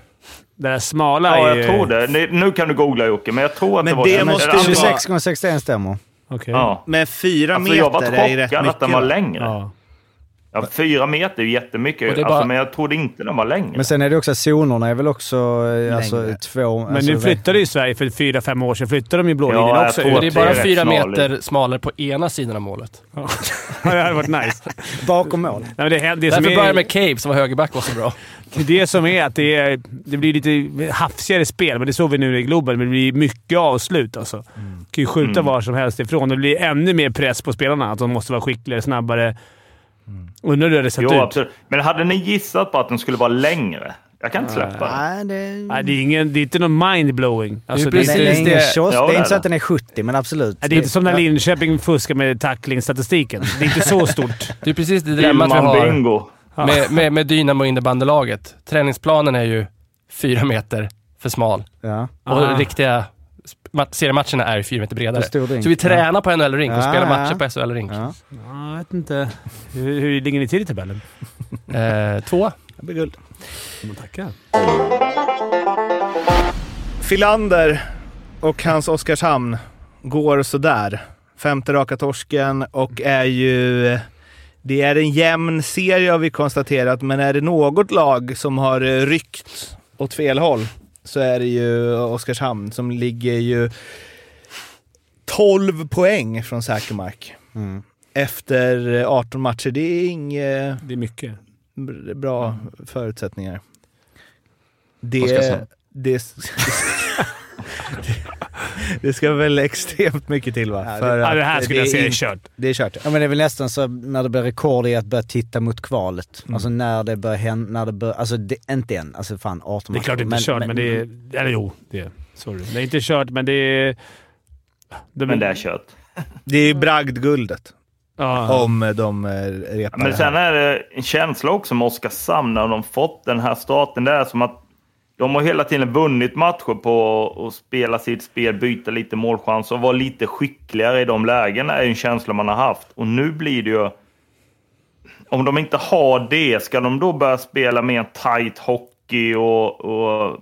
A: det där smala...
D: Ja,
A: är
D: jag
A: ju-
D: tror det. Nu- Nu kan du googla Jocke, men jag tror att
C: Men
D: det var
C: det
D: den.
C: måste
D: Eller,
C: ju-
D: alltså,
B: 26 gånger 61 stämmer.
A: Okej.
D: Ja.
C: Men fyra
D: Alltså,
C: meter
D: jag var
C: är rätt
D: chockad
C: mycket.
D: att den var längre.
A: Ja.
D: Ja, fyra meter är ju
I: Och
D: jättemycket,
I: det är bara-
D: alltså, men jag trodde inte den var längre.
B: Men sen är det också att zonerna är väl också eh, alltså,
C: Längre.
B: två...
A: Men
B: alltså,
A: nu flyttade ju Sverige för fyra, fem år sedan. Flyttade de ju blå
D: Ja,
A: linjen
D: jag
A: också. ut.
D: tror
I: Det är
D: Det är
I: bara
D: rätt
I: fyra
D: snarligt.
I: meter smalare på ena sidan av målet.
A: Ja, det hade varit nice.
B: Bakom mål.
A: Nej, men det, är- det, som
I: Därför börjar
A: är,
I: jag med Cave som var högerback var så bra.
A: det är det som är att det, är, det blir lite hafsigare spel, men det såg vi nu i Globen. Men det blir mycket avslut alltså. kan ju skjuta var som helst ifrån. Det blir ännu mer press på spelarna. Att de måste vara skickligare, snabbare. Undrar hur det hade sett
D: Jo,
C: typ.
A: ut.
D: absolut. Men hade ni gissat på att den skulle vara längre? Jag kan inte släppa det.
B: Nej, det...
A: Nej, det, är ingen, det är inte någon mindblowing. Alltså,
I: Det är
A: det,
B: Det
A: är,
I: precis-
B: är, ingen
I: det-
B: kiosk.
D: Ja,
B: det är
D: det är
B: inte så
D: det.
B: att den är 70, men absolut.
A: det är inte som när Linköping fuskar med tacklingsstatistiken. Det är inte så stort.
I: Det är precis det dilemmat vi
D: Gillman
I: har
D: Bingo.
I: med, med, med Dynamo och innebandelaget. Träningsplanen är ju fyra meter för smal
B: Ja.
I: och
A: Ah.
I: riktiga sp- ma- seriematcherna är ju fyra meter bredare.
B: På stor rink.
I: Så vi tränar på NHL-rink och
B: Ja,
I: spelar matcher
B: ja.
I: på SHL-rink.
B: Ja.
A: Ja, jag vet inte. Hur, hur ligger ni till i tabellen?
I: Eh, två.
C: Det blir guld.
A: Tackar.
C: Filander och hans Oskarshamn går sådär. Femte raka torsken och är ju... Det är en jämn serie har vi konstaterat, men är det något lag som har eh, ryckt åt fel håll så är det ju Oskarshamn som ligger ju 12 poäng från säker mark.
B: Mm.
C: Efter eh, 18 matcher. Det är inget
A: Det är mycket.
C: br- bra
A: Mm.
C: förutsättningar. Det,
H: Oskarshamn.
C: det, det ska väl extremt mycket till va? För
A: Ja, det
C: att,
A: här
C: eh,
A: skulle jag
C: är
A: säga är
C: in-
A: kört.
C: Det är kört.
B: Ja, men det är väl nästan så när det blir rekord i att börja titta mot kvalet.
C: Mm.
B: Alltså när det börjar hända, när det börjar, alltså det, inte än, alltså fan 18
A: Det är klart det
B: matcher.
A: inte är kört, men, det är... Eller jo, det är... Sorry. Det är inte kört, men det är... De,
D: Men det är kört.
C: Det är bragdguldet
A: Ja.
D: Oh.
C: om eh, de eh,
D: Ja,
C: repar
D: Men
C: det
D: sen
C: här.
D: är det en känsla också med Oskarshamn när de fått den här starten. Det är som att de har hela tiden vunnit matcher på att spela sitt spel, byta lite målchans och vara lite skickligare i de lägena är ju en känsla man har haft. Och nu blir det ju... Om de inte har det, ska de då börja spela mer tight hockey och, och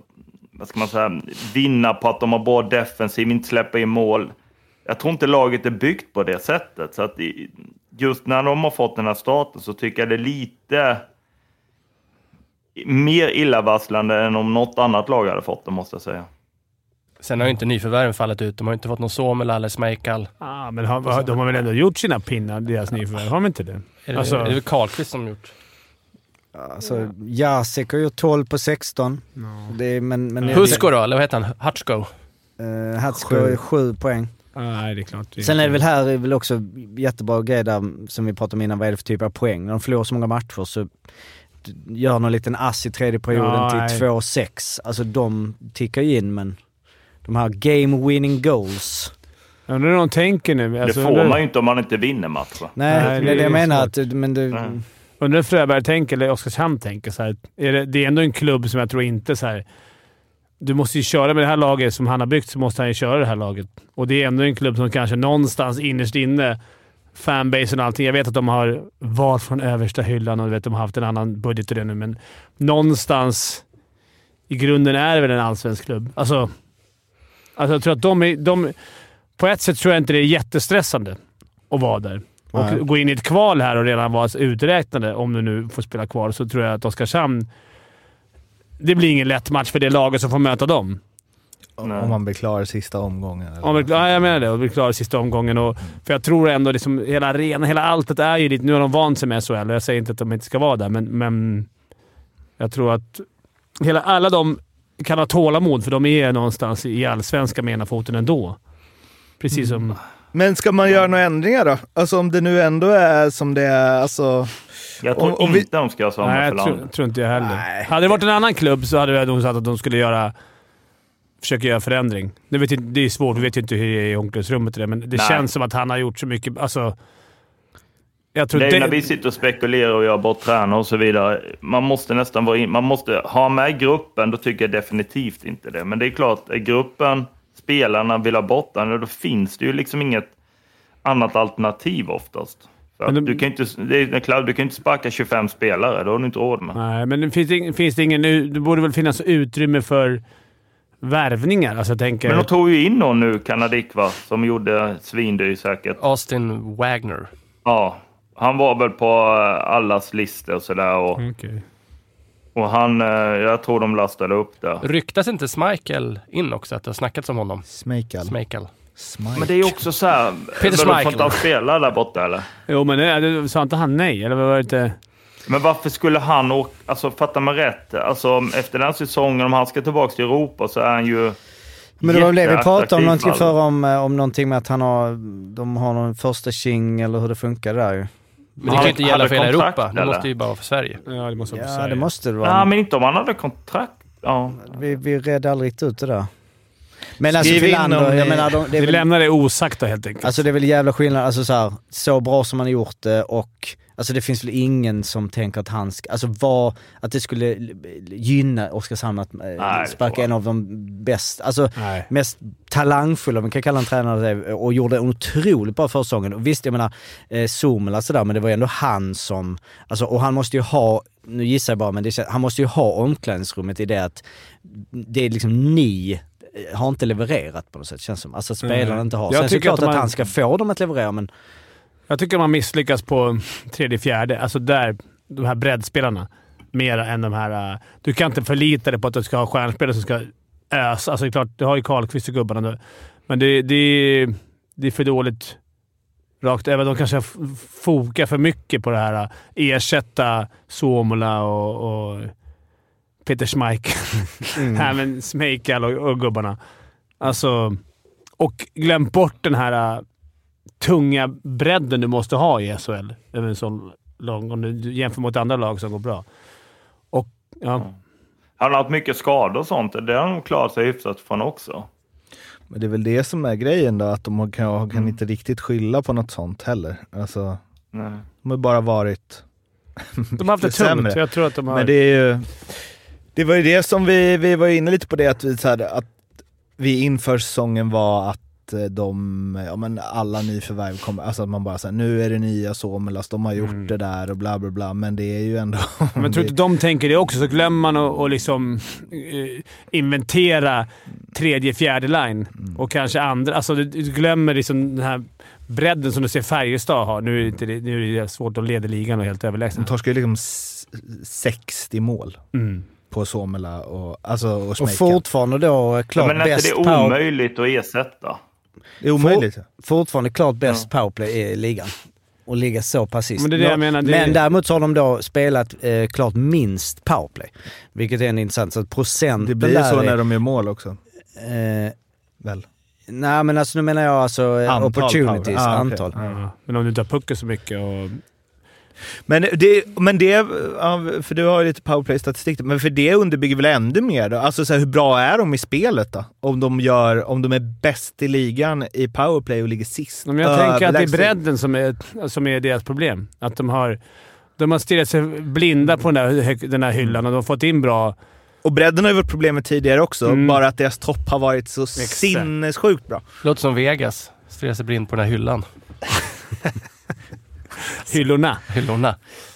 D: vad ska man säga, vinna på att de har bra defensiv, inte släppa in mål? jag tror inte laget är byggt på det sättet. Så att i- just när de har fått den här starten så tycker jag det är lite mer illavarslande än om något annat lag hade fått det, måste jag säga.
I: Sen har ju inte nyförvärven fallit ut. De har ju inte fått någon Suomela eller Smejkal.
A: Ah, men har, de har väl ändå gjort sina pinnar, deras nyförvärv? Har de inte det?
I: Är det,
A: Alltså-
I: är det väl Karlqvist som gjort?
B: Alltså, Jacek har gjort 12 på 16. Det är, men, men
I: Husko då, eller vad heter han? Hutchko?
B: Uh, Hatsko är 7 poäng.
A: Ah, nej, det är klart. Det
B: Sen är det väl här är väl också jättebra grej där, som vi pratade om innan, vad är det för typ av poäng? När de förlorar så många matcher så gör någon liten ass i tredje perioden
A: Ja, nej.
B: till 2-6. Alltså de tickar ju in men de här game winning goals.
A: Jag undrar hur de tänker nu. Alltså,
D: det får
A: undrar,
D: man ju inte om man inte vinner matcher.
A: Nej,
B: Nej, det är det jag
A: det är
B: menar. Att, men det,
D: Nej.
A: undrar hur Fröberg tänker, eller Oskarshamn tänker. Så här, är det, det är ändå en klubb som jag tror inte så här. Du måste ju köra med det här laget som han har byggt, så måste han ju köra det här laget. Och det är ändå en klubb som kanske någonstans innerst inne, fanbasen och allting. Jag vet att de har varit från översta hyllan och du vet, de har haft en annan budget och det nu, men någonstans i grunden är det väl en allsvensk klubb. Alltså, alltså jag tror att de är... De, på ett sätt tror jag inte det är jättestressande att vara där. Och
B: Nej.
A: gå in i ett kval här och redan vara uträknade, om du nu får spela kvar, så tror jag att Oskarshamn... Det blir ingen lätt match för det laget som får möta dem.
C: Om man blir klar i sista omgången. eller?
A: Om vi, ja, jag menar det. Och vi klarar sista omgången. Och, för jag tror ändå liksom hela arenan, hela alltet är ju dit. Nu har de vant sig med SHL och jag säger inte att de inte ska vara där, men, men jag tror att hela, alla de kan ha tålamod, för de är någonstans i allsvenskan med ena foten ändå. Precis som...
D: Mm.
C: Men ska man göra några ändringar då? Alltså om det nu ändå är som det är. Alltså,
D: Jag tror
C: Om- om vi-
D: inte de ska göra samma
A: Nej,
D: för
A: jag tror,
D: landet.
A: tror inte jag heller. Hade det varit en annan klubb så hade jag nog sagt att de skulle göra... Försöka göra förändring. Nu vet jag, det är svårt, vi vet ju inte hur det är i omklädningsrummet och det, men det
D: Nej.
A: känns som att han har gjort så mycket... Alltså, jag tror
D: Det är ju när
A: det-
D: vi sitter och spekulerar och gör bort tränare och så vidare. Man måste nästan vara in, man måste ha med gruppen, då tycker jag definitivt inte det. Men det är klart, är gruppen spelarna vill ha bort den, då finns det ju liksom inget annat alternativ oftast. För att
A: Men de-
D: du, kan ju inte, det är, Claudio, du kan ju inte sparka 25 spelare, det har du inte råd med.
A: Nej, men det finns, det ing- finns det ingen... u- Det borde väl finnas utrymme för värvningar? Alltså, jag tänker...
D: Men de tog ju in någon nu, Kanadikva, som gjorde svindyr säkert.
I: Austin Wagner.
D: Ja, han var väl på eh, allas listor och sådär. Och,
A: Okej.
D: och han, eh, jag tror de lastade upp det.
I: Ryktas inte Smichael in också? Att det har snackats om honom?
C: Smejkal.
I: Smichael.
D: Men det är ju också så här...
I: Peter
D: vadå, Får
I: Schmeichel.
D: inte han spela där borta eller?
A: Jo, men det, det, sa inte han nej? Eller var det inte...
D: Men varför skulle han åka... Alltså fattar man rätt? Alltså efter den här säsongen, om han ska tillbaka till Europa så är han ju...
B: Men det var väl det vi pratade om
D: jätteattraktiv
B: någonting
D: fall.
B: förra om, eh, om någonting med att han har, de har någon första tjing eller hur det funkar där ju.
I: Men det kan ju inte gälla
D: Hade
I: för hela
D: kontrakt,
I: Europa. Det
D: eller?
I: måste ju bara vara för Sverige.
A: Ja, det måste
B: Ja, det måste det vara.
D: Nej, men inte om han hade kontrakt. Ja.
B: Vi, vi redde aldrig riktigt ut det där. Men alltså
J: Skriv in om
B: Filander,
J: ni-
B: jag menar, de, det, är
A: Vi
B: väl,
A: lämnar det osagt då, helt enkelt.
B: alltså, det är väl jävla skillnad. Alltså så, här, så bra som han har gjort det och alltså, det finns väl ingen som tänker att han ska, alltså vad, att det skulle gynna Oskarshamn att eh,
D: det tror
B: sparka
D: jag.
B: en av de bästa, alltså
A: Nej.
B: mest talangfulla, man kan kalla en tränare det, och gjorde en otroligt bra försäsongen. Och visst, jag menar, eh, Somela sådär, men det var ju ändå han som, alltså, och han måste ju ha, nu gissar jag bara, men det, kän- han måste ju ha omklädningsrummet i det att det är liksom ni eh, har inte levererat på något sätt känns som. Alltså att spelarna
A: Mm.
B: inte har.
A: Jag
B: Sen så är det
A: tycker
B: klart
A: att
B: att,
A: man-
B: han ska få dem att leverera men...
A: Jag tycker man misslyckas på tredje, fjärde. Alltså där, de här breddspelarna. Mer än de här... eh, Du kan inte förlita dig på att du ska ha stjärnspelare som ska ösa. Alltså det är klart, du har ju Karlqvist och gubbarna nu. Men det, det, det är för dåligt rakt över. De kanske f- fokar för mycket på det här. eh, Ersätta Suomola och, och Peter Schmeichel. Nej, men Schmeichel och, och gubbarna. Alltså... Och glöm bort den här eh, tunga bredden du måste ha i SHL över en sån lång, om du jämför mot andra lag som går bra. Och, ja.
D: Han har haft mycket skador och sånt. Det har han nog klarat sig hyfsat från också.
C: Men det är väl det som är grejen då, att de kan,
A: Mm.
C: kan inte riktigt skylla på något sånt heller. Alltså,
D: Nej.
C: de har bara varit...
A: De har haft det
C: Lite sämre.
A: tungt. Jag tror att de har...
C: Men det är ju... Det var ju det som vi, vi var inne lite på det, att vi, så här, att vi inför säsongen var att eh, de, ja men alla nyförvärv kommer, alltså att man bara säger nu är det nya Somelas, de har gjort det där och bla bla bla, men det är ju ändå...
A: Mm. Men tror inte de tänker det också, så glömmer man att att liksom, eh, inventera tredje, fjärde line
C: Mm.
A: och kanske andra. Alltså, du, du glömmer liksom den här bredden som du ser Färjestad har. Nu är det, inte det- nu är det svårt. De leder ligan och är helt
C: De
A: överlägsna.
C: torskar ju liksom s- 60 mål
A: Mm.
C: på Somela och, alltså, och
B: Och
C: Schmeichel.
B: fortfarande då eh, klart
D: Men är inte det
B: bäst
D: är
B: power,
D: omöjligt att ersätta?
C: Det är omöjligt.
B: fortfarande klart bäst powerplay i ligan. Och ligga så pass sist.
A: Men det är det jag menar, det-
B: Men däremot så har de då spelat eh, klart minst powerplay. Vilket är en intressant. Så att procenten
C: Det blir ju
B: där
C: så
B: är,
C: när de gör mål också.
B: Eh,
C: Väl?
B: nej men alltså nu menar jag alltså eh,
C: Antal
B: opportunities,
C: power. Ah, okej.
B: antal.
A: Ja. Men om du inte har pucken så mycket och...
C: Men det, men det ja, för du har ju lite powerplay-statistik, men för det underbygger väl ännu mer då? Alltså så här, hur bra är de i spelet då? Om de, gör, om de är bäst i ligan i powerplay och ligger sist.
A: Men jag
B: Eh,
A: tänker att det är
C: Överlägset.
A: bredden som är, som är deras problem. Att de har, de har stirrat sig blinda på den där, den där
B: Mm.
A: hyllan och de har fått in bra...
C: Och bredden har ju varit problemet tidigare också,
A: Mm.
C: bara att deras topp har varit så
A: Exakt.
C: sinnessjukt bra.
I: Låter som Vegas. Stirrar sig blind på den här hyllan.
A: Hyllorna.
I: Hyllorna.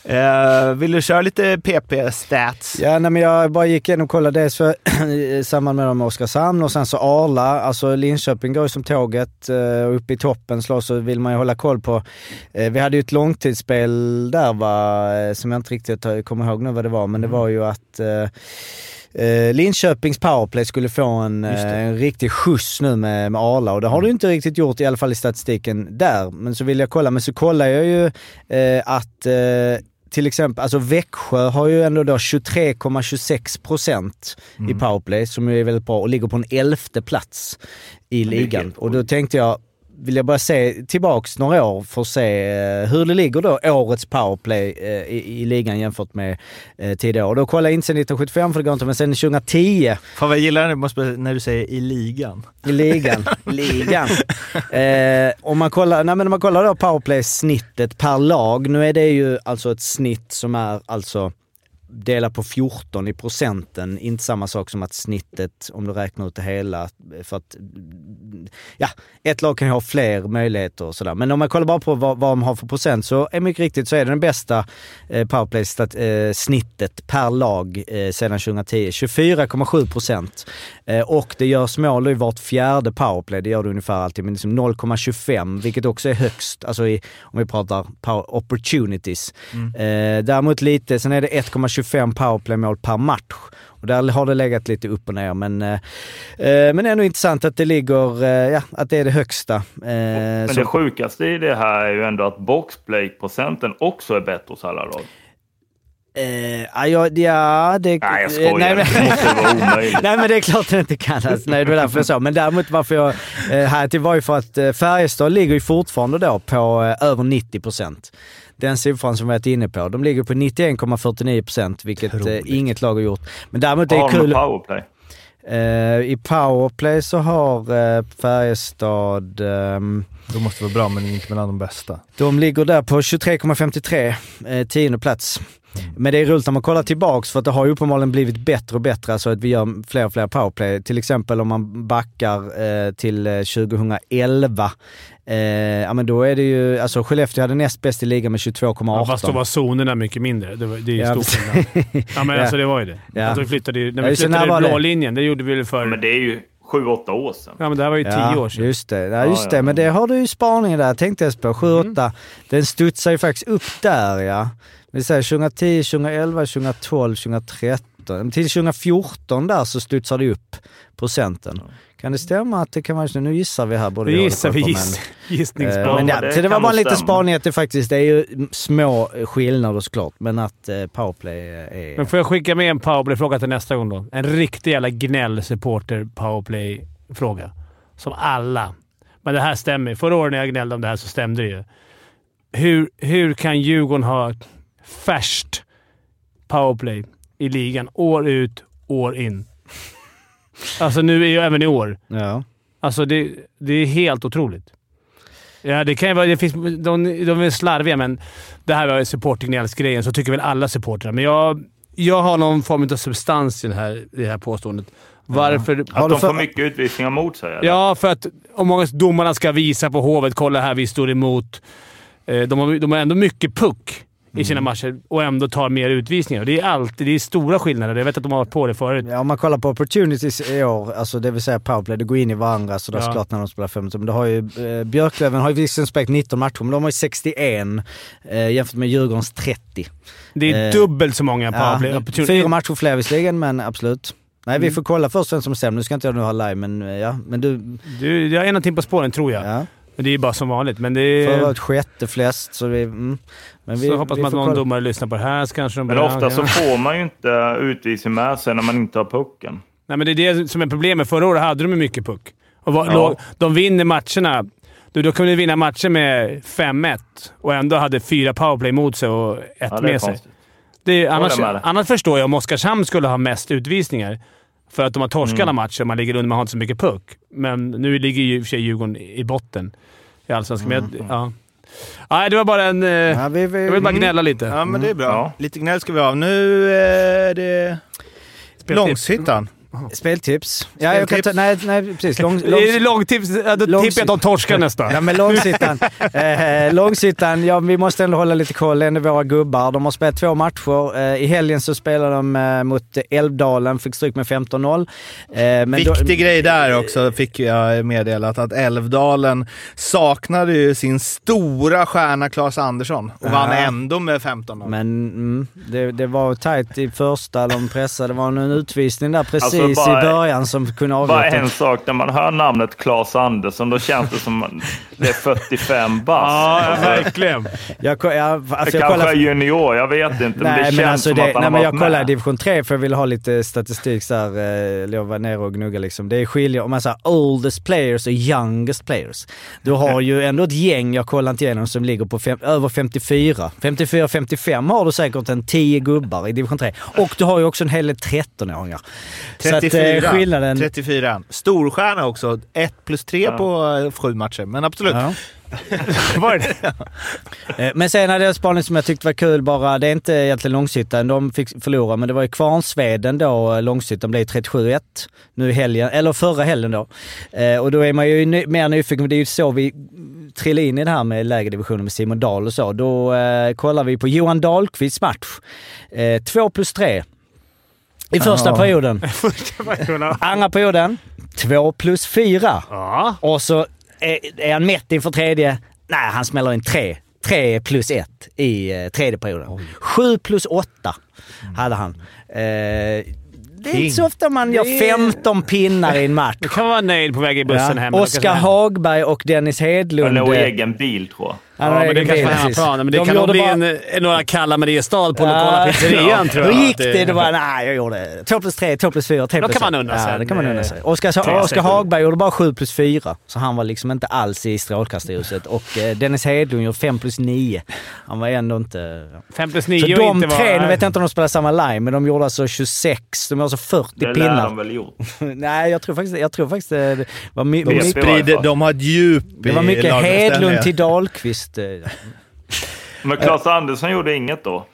C: Eh, vill du köra lite PP-stats?
B: Ja, nej, men jag bara gick igenom och kollade dels för, i samband med dem med Oskarshamn och sen så Arla. Alltså Linköping går ju som tåget eh, och uppe i toppen så, så vill man ju hålla koll på. Eh, Vi hade ju ett långtidsspel där va, eh, som jag inte riktigt har- kommer ihåg nu vad det var, men det var ju att eh, eh, Linköpings powerplay skulle få en, eh, en riktig skjuts nu med, med Arla och det har du inte riktigt gjort i alla fall i statistiken där. Men så vill jag kolla, men så kollar jag ju eh, att eh, till exempel, alltså Växjö har ju ändå då 23,26 procent i powerplay som ju är väldigt bra och ligger på en elfte plats i ligan. Och då tänkte jag, vill jag bara se tillbaks några år för att se eh, hur det ligger då, årets powerplay eh, i, i ligan jämfört med eh, tidigare år. Då kollade jag in sen 1975 för det går inte, men sen 2010
C: Fan vad jag gillar det, måste, när du säger i ligan.
B: i ligan. ligan. Eh, om, man kollar, nej men om man kollar då powerplay-snittet per lag. Nu är det ju alltså ett snitt som är alltså dela på 14 i procenten, inte samma sak som att snittet, om du räknar ut det hela, för att... Ja, ett lag kan ju ha fler möjligheter och sådär. Men om man kollar bara på vad, vad de har för procent så är mycket riktigt så är det den bästa eh, powerplay-snittet per lag eh, sedan 2010. 24,7 procent. Eh, och det görs mål i vart fjärde powerplay, det gör det ungefär alltid, men liksom 0,25 vilket också är högst, alltså i, om vi pratar power opportunities. Eh, däremot lite, sen är det 1,25 powerplaymål per match. Och där har det legat lite upp och ner men, eh, eh, men ändå intressant att det ligger, eh, ja att det är det högsta. Eh,
D: Men
B: som-
D: det sjukaste i det här är ju ändå att boxplay-procenten också är bättre hos alla lag.
B: Eh, ja, jag- ja, det...
D: Nej, jag skojar.
B: Eh, nej, men-
D: Det måste vara omöjligt.
B: nej, men det är klart den inte kan. Alltså, nej, det var därför jag sa. Men däremot varför jag eh, här till var ju för att eh, Färjestad ligger ju fortfarande då på eh, över 90 procent. Den siffran som vi har varit inne på. De ligger på 91,49 procent, vilket eh, inget lag har gjort. Men däremot
D: Det
B: är det kul...
D: powerplay.
B: Eh, I powerplay så har eh, Färjestad... ehm,
F: Då måste det vara bra, men inte mellan de bästa.
B: de ligger där på 23,53, eh, tionde plats.
A: Mm.
B: Men det är roligt när man kollar tillbaks för att det har ju uppenbarligen blivit bättre och bättre, alltså att vi gör fler och fler powerplay. Till exempel om man backar eh, till eh, 2011, eh, ja men då är det ju, alltså Skellefteå hade näst bäst i ligan med 22,18.
A: Ja, fast då var zonerna mycket mindre. Det, var, det är ju
B: Ja,
A: stor
B: precis.
A: skillnad. Ja, men
B: Ja.
A: alltså det var ju det.
B: Ja.
A: Att vi flyttade, ju- när
B: Ja,
A: vi
B: just det, när
A: flyttade
B: var
A: blå
B: det?
A: linjen, det gjorde vi väl
D: Ja, Men
A: för...
D: det är ju sju, åtta år sedan.
A: Ja, men det här var ju
B: Ja,
A: tio år sedan.
B: Just det, ja, just
D: Ja,
B: det.
D: ja.
B: men det har du ju spaningen där, tänkte jag på. 7 8 Den studsar ju faktiskt upp där ja. Vi säger 2010, 2011, 2012, 2013. Men Till 2014 där så studsar det upp procenten. Kan det stämma att det kan vara... Nu gissar vi här. Både
A: Vi
B: jag och
A: gissar, vi
B: Jakob, men-
A: gissar.
B: Eh,
A: Gissningsbara.
B: Men ja,
D: det
B: så det var
D: kan
B: bara en
D: nog
B: liten
D: stämma.
B: spaning att det faktiskt det är ju små skillnader såklart, men att eh, powerplay är...
A: Men får jag skicka med en powerplay-fråga till nästa gång då? En riktig jävla gnäll-supporter-powerplay-fråga. Som alla. Men det här stämmer. Förra året när jag gnällde om det här så stämde det ju. Hur, hur kan Djurgården ha ett färskt powerplay i ligan år ut, år in? Alltså nu är ju även i år.
B: Ja.
A: Alltså det, det är helt otroligt. Ja, det kan ju vara... Det finns, de, de är slarviga, men det här var supportergnällsgrejen, så tycker väl alla supportrar. Men jag, jag har någon form av substans i det här, i det här påståendet. Varför...
D: Att
B: du
D: de
B: för-
D: får mycket utvisningar mot sig. eller?
A: Ja, för att om många domarna ska visa på Hovet, kolla här, vi står emot. Eh, De har, de har ändå mycket puck
B: Mm.
A: i sina matcher och ändå tar mer utvisningar. Det är alltid det är stora skillnader. Jag vet att de har varit på det förut.
B: Ja, om man kollar på opportunities i år, alltså det vill säga powerplay, det går in i varandra sådär
A: Ja.
B: såklart när de spelar 15. Men det har ju, eh, Björklöven har ju visserligen spelat 19 matcher, men de har ju 61 eh, jämfört med Djurgårdens 30.
A: Det är
B: Eh,
A: dubbelt så många
B: Ja,
A: powerplay Mm.
B: fyra
A: opportunities.
B: matcher fler visserligen, men absolut. Nej, vi får kolla först vem som är sämst. Nu ska inte jag nu ha live, men eh, ja. Men du,
A: Du, jag är någonting på spåren, tror jag.
B: ja.
A: Men Det är ju bara som vanligt, men det
B: Förra
A: är...
B: året sjätte flest, så vi... Mm. Men vi
A: så hoppas
B: vi
A: man att
B: får
A: någon
B: kolla.
A: domare lyssnar på det här. Så kanske de
D: Men
A: bara,
D: ofta så
A: ja.
D: får man ju inte utvisning med sig när man inte har pucken.
A: Nej, men det är det som är problemet. Förra året hade de ju mycket puck. Och var,
D: Ja.
A: låg, de vinner matcherna. Du, då kunde de vinna matcher med 5-1 och ändå hade fyra powerplay mot sig och ett
D: Ja, det är
A: med sig.
D: konstigt.
A: Det är,
D: Håller
A: annars,
D: med dig.
A: annars förstår jag om Oskarshamn skulle ha mest utvisningar. För att de har torskat
D: Mm.
A: alla matcher och man ligger under. Man har inte så mycket puck. Men nu ligger ju i och för sig Djurgården i botten i Allsvenskan. Mm. Ja. Nej, det var bara en... eh,
B: Ja, vi, vi, mm.
A: jag vill bara gnälla lite.
F: Ja, men det är bra.
D: Ja.
F: Lite gnäll ska vi ha. Nu är det Långshyttan.
B: Speltips. Ja, jag kan ta,
F: Speltips.
B: nej, nej, precis. Lång, lång,
A: Är det långtips? Ja, Då
B: Långsikt.
A: tippar jag att de torskar nästa.
B: Ja men långsittan. eh, långsittan, ja vi måste ändå hålla lite koll. Ändå våra gubbar. De har spelat två matcher. Eh, I helgen så spelade de eh, mot Älvdalen, fick stryk med 15-0. Eh, men då-
F: Viktig grej där också fick jag meddelat att Älvdalen saknade ju sin stora stjärna Claes Andersson och vann
B: Ja.
F: ändå med 15-0.
B: Men mm, det, det var tajt i första, de pressade. Det var en utvisning där precis
D: Alltså, bara-
B: i början som kunde
D: Bara
B: avgöra.
D: en sak. När man hör namnet Claes Andersson, då känns det som man- det är 45 bast.
A: Ja,
D: Alltså,
A: verkligen.
B: Jag, ko- jag,
D: det
B: alltså, jag
D: kanske
B: kollade-
D: är junior, jag vet inte. men det
B: Nej
D: känns
B: men alltså
D: som
B: det,
D: att han
B: nej,
D: har
B: men
D: varit
B: jag kollade
D: med.
B: division 3 för jag ville ha lite statistik så här, eh, eller jag var nere och gnugga liksom. Det är skiljer om man säger oldest players och youngest players. Du har ju ändå ett gäng, jag kollar inte igenom, som ligger på fem, över 54. 54-55 har du säkert en 10 gubbar i division 3. Och du har ju också en hel del 13-åringar. Så Så att, eh, skillnaden...
C: 34. Storstjärna också. 1 plus 3 på eh, sju matcher, men absolut.
B: Ja. Eh, Men sen hade jag en spaning som jag tyckte var kul bara. Det är inte egentligen Långshyttan de fick förlora, men det var ju Kvarnsveden då eh, Långshyttan blev 37-1 nu i helgen, eller förra helgen då. Eh, Och då är man ju ny, mer nyfiken, för det är ju så vi trillade in i det här med lägre divisioner med Simon Dahl och så. Då eh, kollar vi på Johan Dahlqvists match. 2 plus 3 i första perioden. Andra perioden, 2 plus 4.
A: Ja.
B: Och så är, är han mätt inför tredje. Nej, han smäller in tre. Tre plus ett i eh, tredje perioden. Sju plus åtta hade han. Eh, det är inte så ofta man gör 15 pinnar i en match.
A: Du kan vara nöjd på väg i bussen hem. eller
B: Oskar
A: kanske-
B: Hagberg och Dennis Hedlund.
D: Eller och
B: eh,
D: egen bil tror jag.
B: han har
A: Ja, men det
B: egen
A: kanske
B: bil,
A: var
B: precis.
A: hemmaplanen. Men det
B: De
A: kan nog
B: gjorde
A: bli
B: bara-
A: en, en, några kalla Mariestad på lokala
B: Ah. Ja.
A: pizzerian, tror
B: Då
A: jag.
B: gick
A: Att
B: det. Då var nej, jag gjorde 2 plus 3, 2 plus 4, 3
A: Då
B: plus
A: kan man
B: ett.
A: unna
B: Ja,
A: sig
B: det kan man
A: en,
B: unna sig.
A: eh,
B: Oskar, Oskar
A: säkert.
B: Hagberg gjorde bara 7 plus 4, så han var liksom inte alls i strålkastarljuset. Och eh, Dennis Hedlund gjorde 5 plus 9. Han var ändå inte... Ja.
A: 5 plus
B: Så
A: 9 och
B: de
A: inte
B: tre, nu
A: var...
B: vet jag inte om de spelar samma line, men de gjorde alltså 26. De gjorde alltså 40
D: Det lär de
B: pinnar.
D: väl gjort.
B: Nej, jag tror faktiskt, jag tror faktiskt eh, det var my,
D: De
B: my,
D: spel- sprider-
F: de har ett djup
B: det var mycket Hedlund till Dahlqvist. eh, ja.
D: Men Claes Andersson gjorde inget då.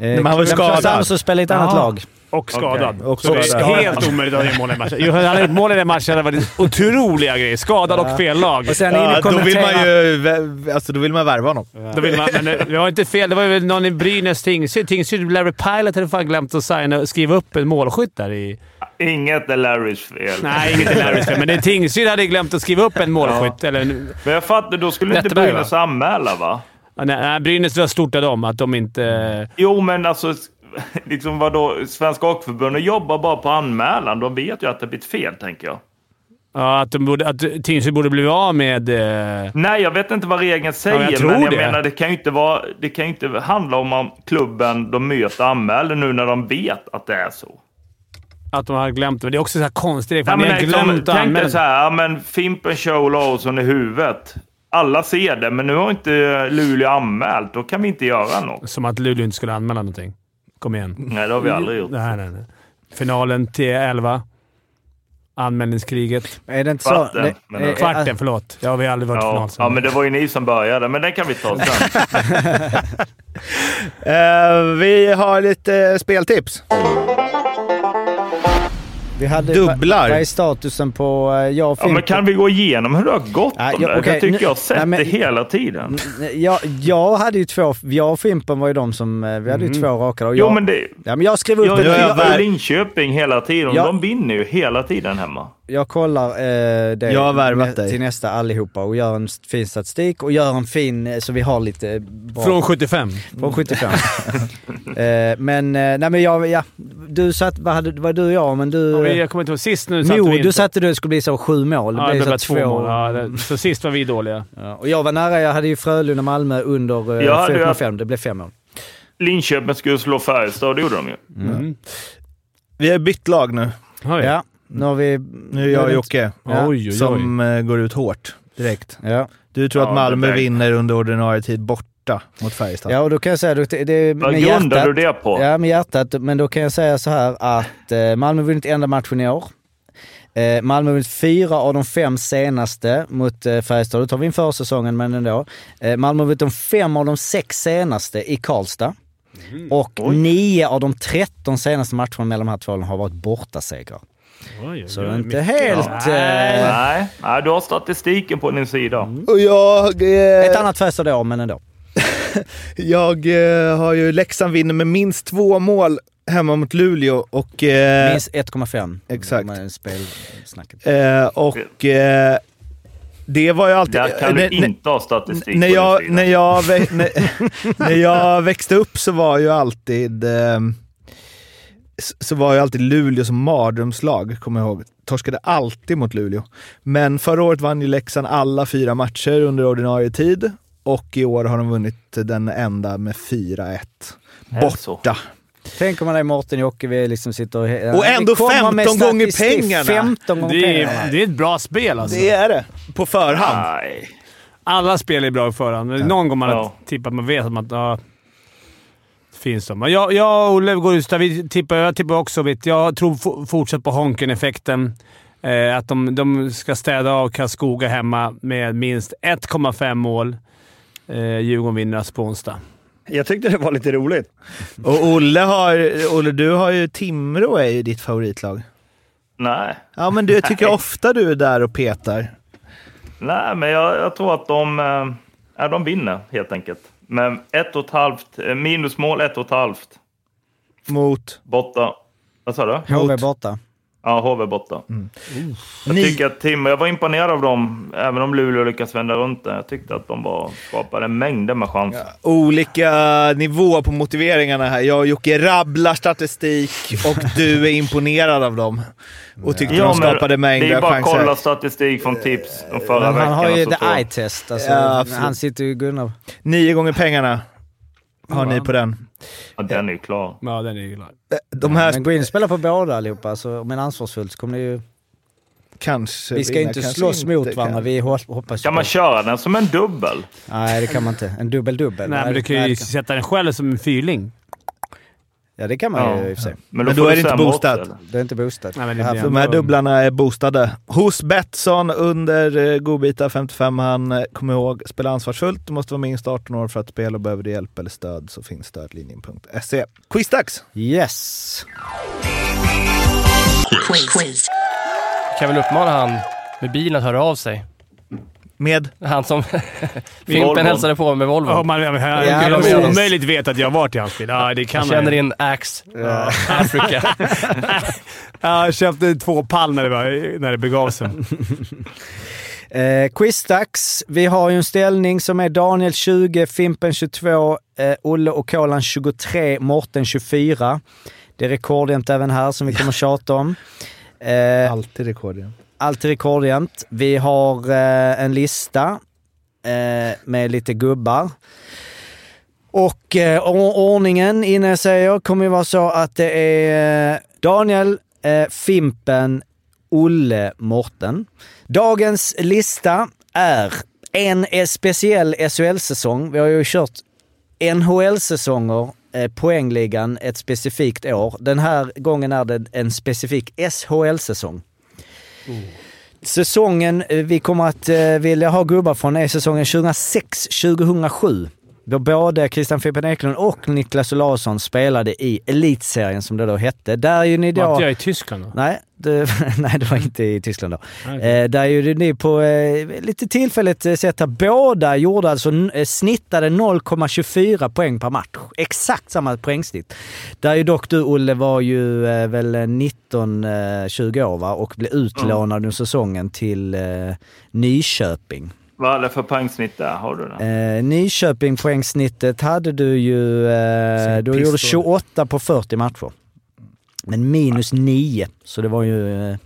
B: Eh,
F: han var ju skadad.
B: Claus Andersson spelade i ett annat
A: Jaha.
B: lag.
A: Och skadad.
F: Och
A: Så det är
F: skadad.
A: Helt omöjligt att göra mål i matchen. Jo, Han hade gjort mål i den matchen. Det var otroliga grejer. Skadad och fel lag.
B: Och sen in
F: Ja,
B: och
F: då vill
B: kommentera.
F: man ju vä- alltså, då vill man värva honom.
A: Då vill man, men eh, det var inte fel. Det var väl någon i Brynäs Tingsryd. Tingsryd, Larry Pilot hade fan glömt att signa, skriva upp en målskytt där i...
D: Inget är Larrys fel.
A: Nej, inget i Larrys fel, men det Tingsryd hade glömt att skriva upp en målskytt. Eller en,
D: Men jag fattar, då skulle inte
A: Nätterberg,
D: Brynäs anmäla va?
A: Ja, nej, nej, Brynäs var stort av dem, att de inte...
D: Jo, men alltså... s- Liksom vadå? Svenska Hockeyförbundet jobbar bara på anmälan. De vet ju att det blivit fel, tänker jag.
A: Ja, att, de borde, att Tingsryd borde bli av med... eh,
D: Nej, jag vet inte vad regeln säger,
A: jag tror
D: men jag
A: det.
D: menar det kan ju inte, vara, det kan ju inte handla om att klubben de möter anmäler nu när de vet att det är så.
A: Att de har glömt det. Men det är också så här konstigt.
D: Nej,
A: Fan,
D: men
A: ni har
D: nej, liksom,
A: glömt att
D: tänk dig
A: anmäla.
D: så här, ja, men Fimpen, Show Larsson i huvudet. Alla ser det, men nu har inte Luleå anmält. Då kan vi inte göra något.
A: Som att Luleå inte skulle anmäla någonting. Kom igen.
D: Nej, det har vi aldrig gjort.
A: Nej, nej, nej. Finalen till 11. Anmälningskriget.
B: Är det inte så?
D: Kvarten,
B: Nej,
D: menar du?
B: eh,
A: Kvarten, förlåt. Ja, vi har aldrig varit i
D: Ja,
A: final sen.
D: ja, men det var ju ni som började, men den kan vi ta sen.
F: Eh, vi har lite eh, speltips.
B: Vi hade,
F: Dubblar.
B: Vad är statusen på... eh, Jag och
D: Ja, men
B: Fimpen?
D: kan vi gå igenom hur det har gått?
B: Nej,
D: om
B: jag-
D: det?
B: okej,
D: jag tycker
B: nu-
D: jag har sett
B: nej, men- Mm,
D: det hela tiden.
B: jag, jag hade ju två... Jag och Fimpen var ju de som... eh, Vi hade
F: Mm.
B: ju två raka. Och
D: Jo,
B: jag,
D: men det,
B: ja, men jag skrev upp...
D: jag,
B: ett-
F: är
D: jag,
F: värd-
D: jag, Linköping hela tiden.
B: Ja.
D: De vinner ju hela tiden hemma.
B: Jag kollar eh, det
F: Jag har värvat dig.
B: till nästa allihopa och gör en fin statistik och gör en fin... eh, Så vi har lite bra...
A: Från 75.
B: från 75. eh, men, eh, nej men jag... Ja, du satt... Vad hade, var du och jag? Men
A: Ja,
B: du...
A: vi-
B: Ja,
A: Jag kommer inte ihåg. Sist nu satte
B: jo,
A: vi inte.
B: du satte du det skulle bli så sju mål.
A: Ja, det blev bara
B: så
A: två mål. Ja, det, så sist var vi dåliga.
B: Ja, Och jag var nära. Jag hade ju Frölunda-Malmö under eh,
D: Jag hade ju-
B: 4,5. Det blev fem mål.
D: Linköping skulle slå Färjestad, och det gjorde de ju.
F: Vi har bytt lag nu.
A: Mm. Har vi?
B: Ja, nu har vi...
D: Mm.
F: Nu är jag och Jocke
B: Ja.
A: Oj, oj, oj.
F: som eh, går ut hårt direkt.
B: Ja.
F: Du tror
D: Ja,
F: att Malmö
D: det där-
F: vinner under ordinarie tid borta mot Färjestad.
B: ja, och då kan jag säga... Det, det,
D: Vad
B: med
D: grundar du
B: hjärtat,
D: det på?
B: ja, med hjärtat. Men då kan jag säga så här att eh, Malmö har vunnit enda matchen i år. Eh, Malmö har vunnit fyra av de fem senaste mot eh, Färjestad. Då tar vi in försäsongen, men ändå. Eh, Malmö har vunnit de fem av de sex senaste i Karlstad. Och nio av de tretton senaste matcherna mellan de här två lagen har varit bortasegrar. Så det är inte helt... Eh,
D: Nej. Nej, du har statistiken på din sida.
B: Mm.
F: Och jag... eh,
B: ett annat Färjestad då, men ändå.
F: Jag eh, har ju Leksand vinner med minst två mål hemma mot Luleå och... Eh,
B: Minst 1,5.
F: Exakt.
B: Med spelsnacket.
F: eh, och eh, det var ju alltid...
D: Där kan du
F: eh, när-
D: inte ha statistik
F: när
D: på
F: jag,
D: din
F: när,
D: sida.
F: jag, vä- när, när jag växte upp så var ju alltid eh, s- så var ju alltid Luleå som mardrömslag, kommer jag ihåg. Torskade alltid mot Luleå. Men förra året vann ju Leksand alla fyra matcher under ordinarie tid och i år har de vunnit den enda med 4-1.
D: Alltså.
F: Borta.
B: Tänk om man är Mårten Jocke, vi liksom sitter och...
F: Och ändå
B: Vi kommer med
F: 15 gånger
B: statistik.
F: pengarna.
B: 15 gånger
A: Det
B: pengarna.
A: är, det är ett bra spel alltså.
F: är det. På förhand.
D: Nej.
A: Alla spel är bra i förhand. Någon gång man har
D: Ja.
A: tippat, man vet att man... Ja, Finns de. Men Jag, jag och Olle går ut. Vi tippar, jag tippar också mitt. Jag tror f- fortsatt på Honken-effekten. Eh, att de, de ska städa av Karlskoga hemma med minst 1,5 mål. Eh, Djurgården vinner alltså på onsdag.
K: Jag tyckte det var lite roligt.
F: Och Olle, har, Olle, du har ju Timrå är ju ditt favoritlag.
D: Nej.
F: Ja, men du, jag tycker ofta du är där och petar.
D: Nej, men jag, jag tror att de, eh, ja, de vinner helt enkelt. Men ett och ett halvt, eh, minusmål ett och ett halvt
F: Mot...
D: borta. Vad sa du?
B: HV borta.
D: Ja, HV borta. Jag tycker att Timrå, jag var imponerad av dem, även om Luleå lyckas vända runt det. Jag tyckte att de var, skapade mängder med chanser.
F: Olika nivåer på motiveringarna här. Jag och Jocke rabblar statistik och du är imponerad av dem. Och tyckte de
D: men
F: skapade
D: Det är
F: mängder
D: bara att
F: chanser.
D: kolla statistik från tips från förra
B: Eh, Men
D: veckan.
B: han har ju
D: och så
B: the
D: tror-
B: eye test. Alltså,
F: Ja, absolut.
B: han sitter ju Gunnar.
F: Nio gånger pengarna har ni på den.
D: Ja, den är ju klar.
A: Ja, den är ju glad.
F: De här
B: Men gå in och spela på båda allihopa, så, men ansvarsfullt så kommer det ju...
F: kanske
B: Vi ska ju
F: vinner,
B: inte
F: kanske
B: slåss
F: inte
B: mot varandra.
F: kan.
B: Vi hop- hoppas ju
D: Kan man
B: på-
D: köra den som en dubbel?
B: Nej, det kan man inte. En dubbel-dubbel.
A: Nej, men du kan
B: nej,
A: ju
B: det
A: sätta den själv som en fyrling.
B: Ja, det kan man ju
D: Ja.
B: i och för sig.
F: Men då
D: får
F: är
D: du
F: det inte
D: sämre
F: boostat.
D: odds, eller?
B: Det är inte boostat.
A: Nej, men det
B: det här
A: blir
B: får-
F: De här dubblarna är boostade. Hos Betsson under eh, godbitar 55. Han eh, kom ihåg, spela ansvarsfullt. Du måste vara minst 18 år för att spela och behöver du hjälp eller stöd så finns stödlinjen.se. E. Quizdags!
B: Yes!
E: Quiz.
I: Kan väl uppmana han med bilen att höra av sig.
F: Med
I: Han som Fimpen
D: Volvon.
I: hälsade på med Volvo.
A: Ja, man, jag, jag,
B: Ja,
A: jag,
B: precis.
A: omöjligt vet att jag varit i hans bil. Ja, det kan
I: jag
A: man
I: känner
A: ju.
I: in Axe eh, Africa.
A: Ja, jag köpte två pall när det, var, när det begav sig.
B: Eh, quizdags. Vi har ju en ställning som är Daniel 20, Fimpen 22, eh, Olle och Kolan 23, Morten 24. Det är rekordjämt även här som vi kommer tjata om. Eh,
F: alltid rekord igen.
B: Alltid rekordjämt. Vi har eh, en lista eh, med lite gubbar. Och eh, or- ordningen innan jag säger kommer ju vara så att det är eh, Daniel, eh, Fimpen, Olle, Morten. Dagens lista är en eh, speciell SHL-säsong. Vi har ju kört NHL-säsonger, eh, poängligan, ett specifikt år. Den här gången är det en specifik SHL-säsong. Säsongen eh, vi kommer att eh, vilja ha gubbar från är säsongen 2006-2007. Då både Christian Fimpen Eklund och Niklas Olausson spelade i Elitserien som det då hette. Där är ju ni då...
A: Var inte jag i Tyskland då?
B: Nej, det, nej, det var inte i Tyskland då. Eh, där gjorde ni på eh, lite tillfälligt eh, sätt att båda gjorde alltså n- eh, snittade 0,24 poäng per match. Exakt samma poängsnitt. Där ju dock du Olle var ju eh, väl 19-20 år va? och blev utlånad under säsongen till eh, Nyköping.
D: Vad är det för poängsnitt där? Har du det?
B: Eh, Nyköping poängsnittet hade du ju... Eh, du gjorde 28 på 40 matcher. Men minus 9, så det var ju... Eh.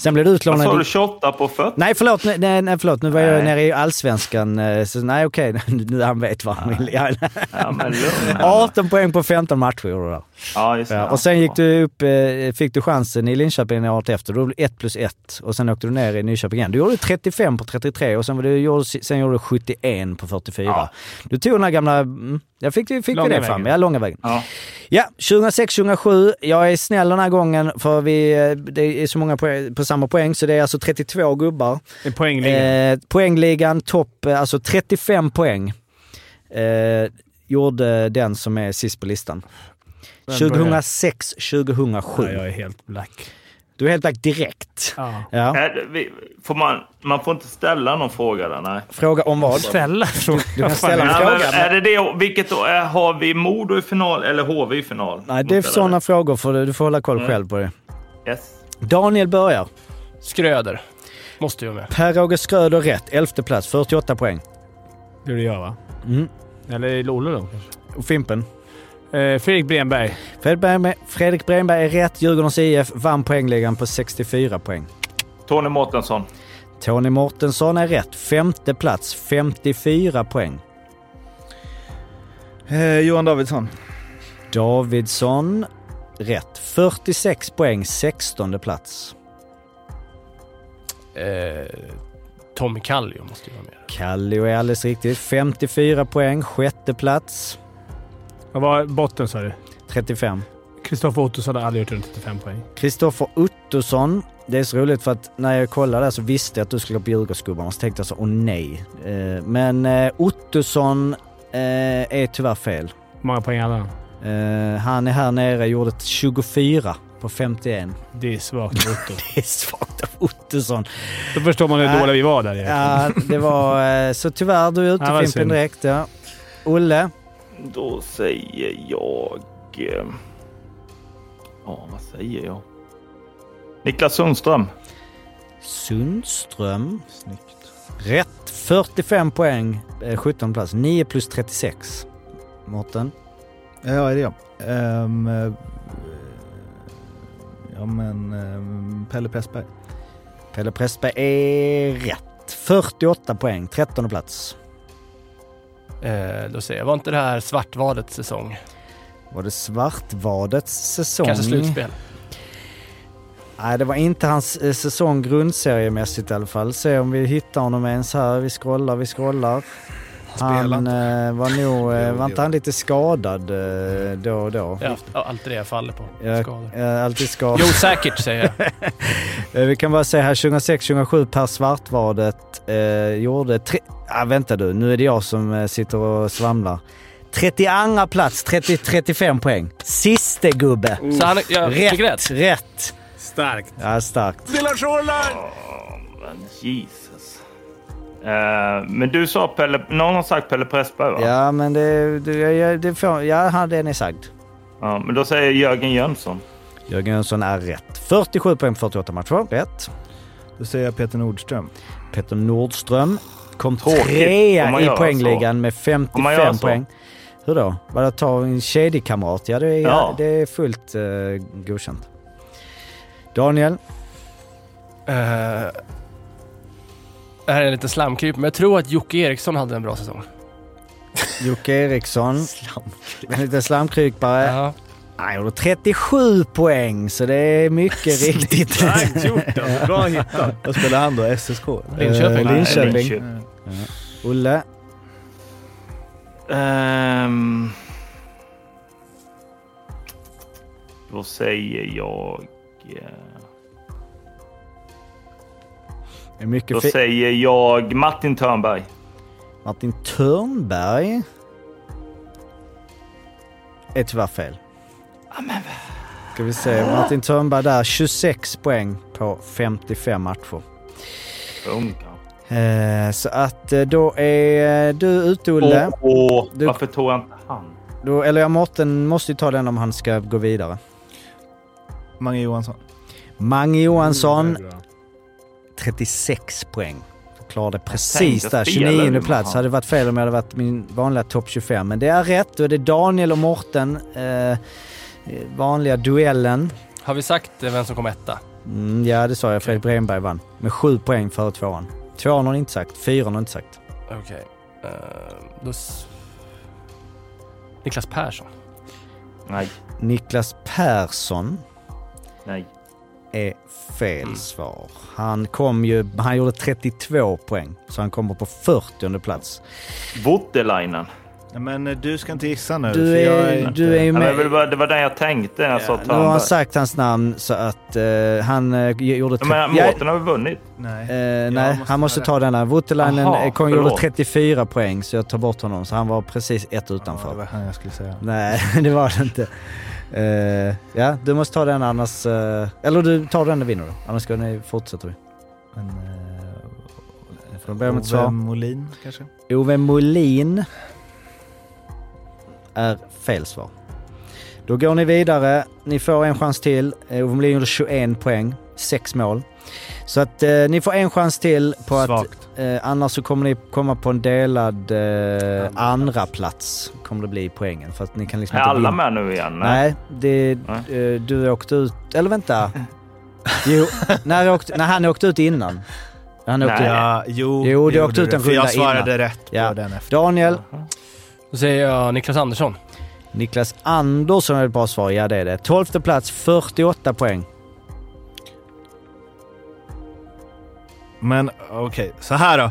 B: Sen blev du
D: Vad
B: utlånad...
D: sa
B: i-
D: du? 28 på fötter?
B: Nej förlåt, nej, nej, nej, förlåt, nu var jag
D: Nej.
B: nere i allsvenskan. eh, Så, nej okej, nu han vet vad han vill. Ja, nej.
D: Ja, men lugn.
B: 18 poäng på 15 matcher gjorde du där.
D: Ja, just det.
B: Ja, och sen gick du upp, eh, fick du chansen i Linköping året efter. Då blev det 1 plus 1 och sen åkte du ner i Nyköping igen. Du gjorde 35 på 33 och sen, var du, gjorde- sen gjorde du 71 på 44.
D: Ja.
B: Du tog den här gamla... mm, Jag fick, fick vi
A: Långa
B: det
A: vägen.
B: fram. Ja, långa vägen.
D: Ja.
B: Ja, 2006-2007. Jag är snäll den här gången för vi, eh, det är så många poäng, på samma poäng så det är alltså 32 gubbar.
A: I poängligan.
B: Eh, poängligan topp, eh, alltså 35 poäng eh, gjorde den som är sist på listan.
A: Vem
B: 2006-2007.
A: Nej, jag är helt black.
B: Du är helt black direkt.
A: Ja.
B: Ja.
D: Är det- Eh, vi- Får man, man får inte ställa någon fråga där, nej.
B: Fråga om vad?
A: Ställa frågan.
B: Du kan ställa en
D: nej men,
B: fråga. men-
D: är det det, vilket då, är, har vi Modo i final eller HV i final?
B: Nej, det är sådana frågor. För du får hålla koll själv på det.
D: Yes.
B: Daniel börjar.
I: Skröder. Måste ju vara med.
B: Per-Åge Schröder rätt. 11 plats, 48 poäng.
A: Det gjorde jag va?
B: Mm.
A: Eller är det Olle då
B: Och Fimpen?
A: kanske? Eh, Fredrik Bremberg.
B: Fredrik Bremberg- Fredrik Bremberg är rätt. Djurgårdens IF vann poängligan på 64 poäng.
D: Tony Mårtensson.
B: Tony Mortensson är rätt. Femte plats, 54 poäng.
F: Eh, Johan Davidsson.
B: Davidsson rätt. 46 poäng, 16 plats.
I: Eh, Tommy Kallio måste ju vara med.
B: Kallio är alldeles riktigt. 54 poäng, sjätte plats.
A: Vad var botten sa du?
B: 35.
A: Kristoffer Ottosson har aldrig gjort under 35 poäng.
B: Kristoffer Ottosson. Det är så roligt för att när jag kollade där så visste jag att du skulle gå på Djurgårdsgubbarna så tänkte jag så åh nej. Eh, Men eh, Ottosson eh, är tyvärr fel.
A: Hur många poäng hade han?
B: Eh, Han är här nere, gjorde ett 24 på 51.
A: Det är svagt av Otto.
B: det är svagt av Ottosson.
A: Då förstår man hur
B: Nej.
A: dåliga vi var där egentligen.
B: Ja, det var... eh, Så tyvärr, du är ute
A: Ja, vad
B: Fimpen
A: synd.
B: direkt. Ja. Olle?
D: Då säger jag... eh, Ja, vad säger jag? Niklas Sundström.
B: Sundström. Rätt. 45 poäng, eh, 17 plats. 9 plus 36. Mårten?
F: Ja, är det jag? Ehm, eh, ja men ehm, Pelle Pressberg.
B: Pelle Pressberg är rätt. 48 poäng, 13 plats.
I: Eh, då säger jag, var inte det här Svartvadets säsong?
B: Var det Svartvadets säsong?
I: Kanske slutspel?
B: Nej, det var inte hans eh, säsong grundseriemässigt i alla fall. Se om vi hittar honom ens här. Vi scrollar, vi scrollar. Han
F: Spelar
B: eh, var nog, eh, var inte han lite skadad eh, då och då?
I: Ja, ja, alltid det jag faller på. Skador.
B: Jag, jag är alltid skadad.
I: Jo, säkert säger jag.
B: Eh, Vi kan bara säga här 2006-2007 Per Svartvadet eh, gjorde... Tre... Ah, vänta du, nu är det jag som eh, sitter och svamlar. 32 plats, 30, 35 poäng. Siste gubbe.
I: Så han, jag
B: Rätt,
I: fick rätt.
B: rätt.
A: Starkt.
B: Ja, starkt.
D: Men Jesus. Eh, men du sa Pelle... Någon har sagt Pelle Pressberg va?
B: Ja, men det, det, jag- det får, ja, han- den är sagd.
D: Ja, men då säger jag Jörgen Jönsson.
B: Jörgen Jönsson är rätt. 47 poäng på 48 matcher. Rätt.
F: Då säger jag Peter Nordström.
B: Peter Nordström kom
D: Tråkigt. Får
B: trea
D: man
B: i
D: göra
B: poängligan med
D: Får man göra
B: 55
D: så?
B: poäng. Hur då? Var det att ta en kedjekamrat? Ja, det är,
D: Ja.
B: Det är fullt uh, godkänt. Daniel,
I: Eh, det här är en liten slamkryp, men jag tror att Jocke Eriksson hade en bra säsong.
B: Jocke Eriksson. En liten slamkrypare.
I: Ja.
B: Han gjorde 37 poäng, så det är mycket riktigt.
A: Starkt gjort alltså. Bra hittat.
F: Vad spelar han då? SSK?
I: Linköping.
F: Eh,
D: Nej,
F: Linköping.
D: Linköping.
B: Olle,
D: Ehm, då säger jag... eh,
B: det är mycket
D: Då
B: fi-
D: säger jag Martin Törnberg.
B: Martin Törnberg är tyvärr fel. Ska vi se, Martin Törnberg där, 26 poäng på 55 matcher.
D: Ung
B: Eh, så att eh, då är eh, du ute Olle.
D: kanske. Åh,
B: Du-
D: varför tog jag inte han?
B: Då, eller ja, Mårten måste ju ta den om han ska gå vidare.
F: Mange Johansson.
B: Mange
A: Det
B: Johansson,
A: är bra.
B: 36 poäng. Jag klarade
D: Jag
B: precis
D: tänkte
B: där,
D: spela nu,
B: 29
D: men
B: plats.
D: fan.
B: Hade varit fel om jag hade varit min vanliga topp 25. Men det är rätt, då är det Daniel och Mårten. Eh, vanliga duellen.
I: Har vi sagt eh, vem som kom etta?
B: Mm, ja, det sa jag. Fredrik Bremberg vann. Med sju poäng före tvåan. Tvåan har ni inte sagt, fyran har ni inte sagt.
I: Okej. Eh, då... s- Niklas Persson.
D: Nej,
B: Niklas Persson
D: nej.
B: är fel svar. Han kom ju... Han gjorde 32 poäng, så han kommer på 40 plats.
D: Voutilainen.
F: Ja, Men eh, du ska inte gissa nu.
B: Du
F: för jag
B: är, du är ju
D: Ja, men jag
B: med...
D: vill bara- Det var den jag tänkte när jag sa
B: Nu har han
D: Törnberg.
B: sagt hans namn så att eh, han eh, gjorde...
D: Ja,
B: tre-
D: Men
B: Jag-
D: Mårten har väl vunnit?
F: Nej.
B: Eh,
F: Jag
B: nej,
F: måste
B: han måste ta denna. Voutilainen
D: Aha,
B: eh, kom-
D: förlåt.
B: gjorde 34 poäng så jag tar bort honom. Så han var precis ett utanför.
F: Ja, det var han jag skulle säga.
B: Nej, det var det inte. Eh, ja, du måste ta den annars... eh, eller du tar den och vinner du. Annars ska ni, fortsätter vi.
F: Men,
B: eh, Får de börja med ett svar?
F: Molin kanske?
B: Ove Molin är fel svar. Då går ni vidare. Ni får en chans till. Eh, Ove Molin gjorde 21 poäng, 6 mål. Så att eh, ni får en chans till på att...
F: Svagt.
B: Eh, annars så kommer ni komma på en delad eh, andra plats kommer det bli i poängen. För att ni kan liksom
D: Är
B: inte
D: alla
B: vinna.
D: med nu igen?
B: Nej, det,
D: Nej.
B: eh, du åkte ut... Eller vänta. Jo, när, jag åkte, när han åkte ut innan. Han åkte
D: Nej.
B: ut.
F: Ja,
B: Jo,
F: jo,
B: det
F: gjorde
B: åkte ut en
F: För jag
B: runda innan.
F: svarade rätt på
B: Ja.
F: den efter.
B: Daniel,
I: Då säger jag Niklas Andersson.
B: Niklas Andersson är ett bra svar. Ja, det är det. 12 plats, 48 poäng.
F: Men okej, så här då.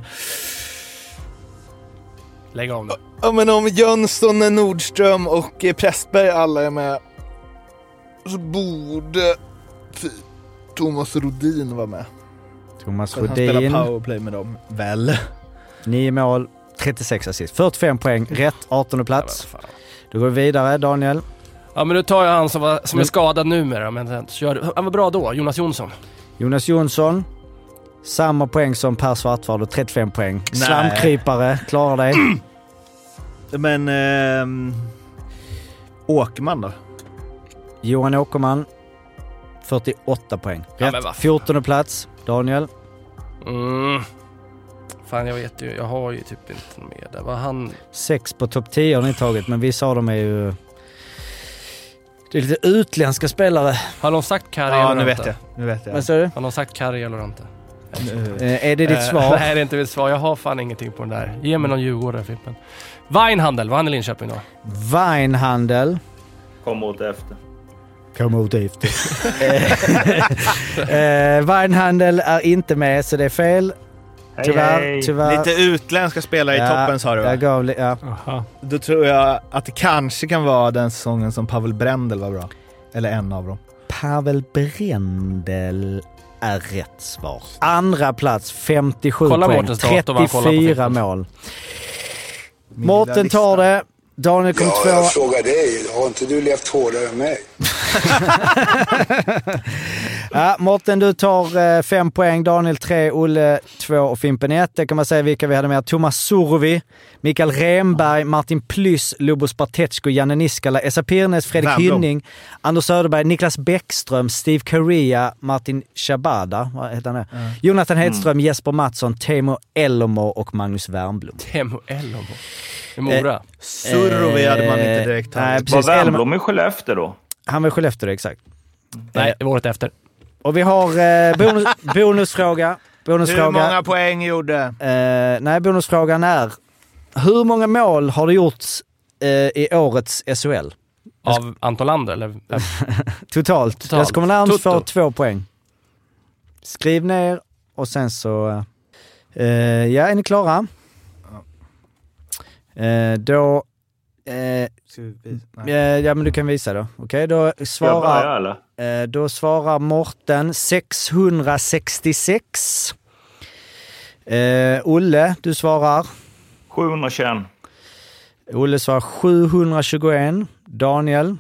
I: Lägg av nu.
C: Ja, men om Jönsson, Nordström och eh, Pressberg alla är med så borde fy, Thomas Rodin vara med.
B: Thomas
C: För att han spelar
B: Rodin.
C: powerplay med dem. Väl?
B: 9 mål, 36 assist. 45 poäng, rätt 18 plats. Då går vi vidare, Daniel.
I: Ja, men nu tar jag han som, var,
B: Mm.
I: som är skadad numera, men sen så gör du. Han var bra då, Jonas Jonsson.
B: Jonas Jonsson. Samma poäng som Per Svartvard och 35 poäng.
I: Nej.
B: Slamkrypare, klarar dig.
C: Men... ehm, Åkerman då?
B: Johan Åkerman. 48 poäng.
I: Ja,
B: Rätt.
I: men vad fan.
B: 14 plats. Daniel.
I: Mm. Fan, jag vet ju. Jag har ju typ inte med det. Vad han...
B: Sex på topp 10 har ni tagit, men vissa av dem är ju... Det är lite utländska spelare.
I: Har de sagt Kari
B: Ja,
I: eller
B: nu
I: inte?
B: vet jag.
C: Nu vet jag.
B: Vad sa du?
I: Har de sagt Kari eller inte?
B: Eh, är det ditt
I: Eh,
B: svar?
I: Nej, det är inte mitt svar. Jag har fan ingenting på den där. Ge mig någon djurgårdare, Fimpen. Weinhandel, var han i Linköping då?
B: Weinhandel.
D: Kommer åt efter.
B: Kom ut efter. eh, Weinhandel är inte med, så det är fel.
C: Hej,
B: Tyvärr.
C: hej.
B: tyvärr.
C: Lite utländska spelare i toppen sa du va?
B: Jag gav, li- ja.
C: Då tror jag att det kanske kan vara den säsongen som Pavel Brendel var bra. Eller en av dem.
B: Pavel Brendel är rätt svar. Andra plats, 57
I: Kolla
B: poäng.
I: Mårtens dator, vad han kollar på
B: 34
I: Fimpen.
B: mål. Mårten tar det. Daniel kom
L: Ja,
B: tvåa.
L: jag frågar dig. Har inte du levt hårdare än mig?
B: Ja, Mårten, du tar eh, fem poäng. Daniel tre, Olle två och Fimpen ett. Det kan man säga vilka vi hade med. Thomas Surovi, Mikael Remberg, Martin Plyss, Lubos Bartetsko, Janne Niskala, Esa Pirnes, Fredrik
F: Wernbloom.
B: Hynning, Anders Söderberg, Niklas Bäckström, Steve Correa, Martin Shabada, vad heter han nu? Jonathan
C: Mm.
B: Hedström, Jesper Mattsson, Teemu Elomo och Magnus Wernbloom.
I: Temo Ellomo. I Mora.
B: Eh, Surovi hade man
C: Eh,
B: inte direkt tagit. nej, precis.
D: Var
B: Elman-
D: Wernbloom i Skellefteå då?
B: Han var i Skellefteå, det är exakt.
I: Nej,
B: eh,
I: det var året efter.
B: Och vi har eh, bonus, bonusfråga. bonusfråga.
C: Hur många poäng gjorde?
B: Eh, nej, bonusfrågan är hur många mål har det gjorts eh, i årets SHL?
I: Av Anton Lander, eller?
B: Totalt.
I: Totalt.
B: Jag kommer närmast få
I: Toto.
B: två poäng. Skriv ner och sen så... eh, ja, är ni klara? Eh, då... eh, eh, ja, men du kan visa då. Okej, då
D: jag börja,
B: svarar...
D: eller?
B: Eh, då svarar Morten 666. Eh, Olle, du svarar?
D: 721.
B: Olle svarar 721. Daniel?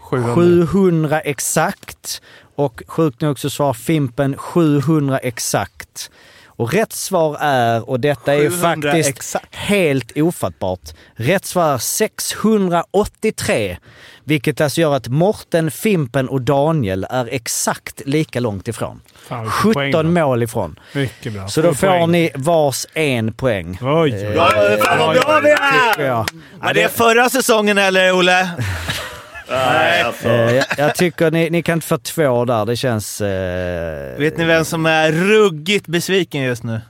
I: 700.
B: 700 exakt. Och sjukt nog så svarar Fimpen 700 exakt. Och rätt svar är, och detta är ju
C: 700
B: faktiskt helt ofattbart, rätt svar är 683. Vilket alltså gör att Morten, Fimpen och Daniel är exakt lika långt ifrån.
A: Fan, vilken poäng då.
B: 17 mål ifrån.
A: Mycket bra.
B: Så då
A: Sju
B: får
A: poäng.
B: ni vars en poäng.
A: Oj,
B: Eh,
A: oj,
C: Ja, fan vad bra vi är!
B: tycker jag.
C: Var det förra säsongen eller, Olle?
D: Nej, alltså.
B: Eh, jag, jag tycker ni, ni kan inte få två där. Det känns... Eh,
C: Vet ni vem som är ruggigt besviken just nu?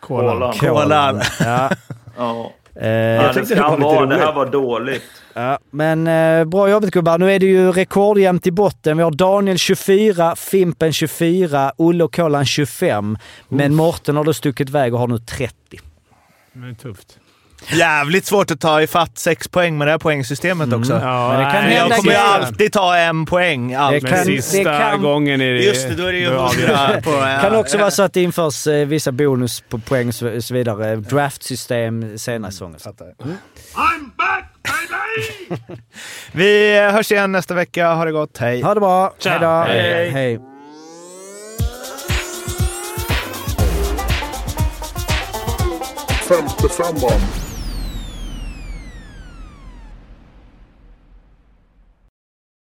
D: Kolan.
C: Kolan.
B: Ja.
D: Ja.
B: Eh,
D: Ja, det, ska vara, det här var dåligt.
B: ja. Men eh, bra jobbat gubbar. Nu är det ju rekordjämnt i botten. Vi har Daniel 24, Fimpen 24, Olle och Kolan 25. Men Morten har då stuckit iväg och har nu 30.
A: Det är tufft.
C: Jävligt svårt att ta ifatt sex poäng med det här poängsystemet också.
A: Ja,
B: Mm. Men det kan
A: nej,
C: Jag
B: hända
C: kommer ju
B: grejer.
C: alltid ta en poäng.
B: Det
C: Alltid.
A: Men
B: kan-
A: sista
B: det kan-
A: gången är det...
C: Just det, då är det ju hundra på...
B: Det
C: Ja.
B: kan också vara så att det införs eh, vissa bonus på poäng och så så vidare. Draftsystem senare i säsongen.
C: Vi hörs igen nästa vecka. Ha det gott. Hej!
B: Ha det bra. Hej då.
D: Hej.
B: Hej.
L: Femte femman.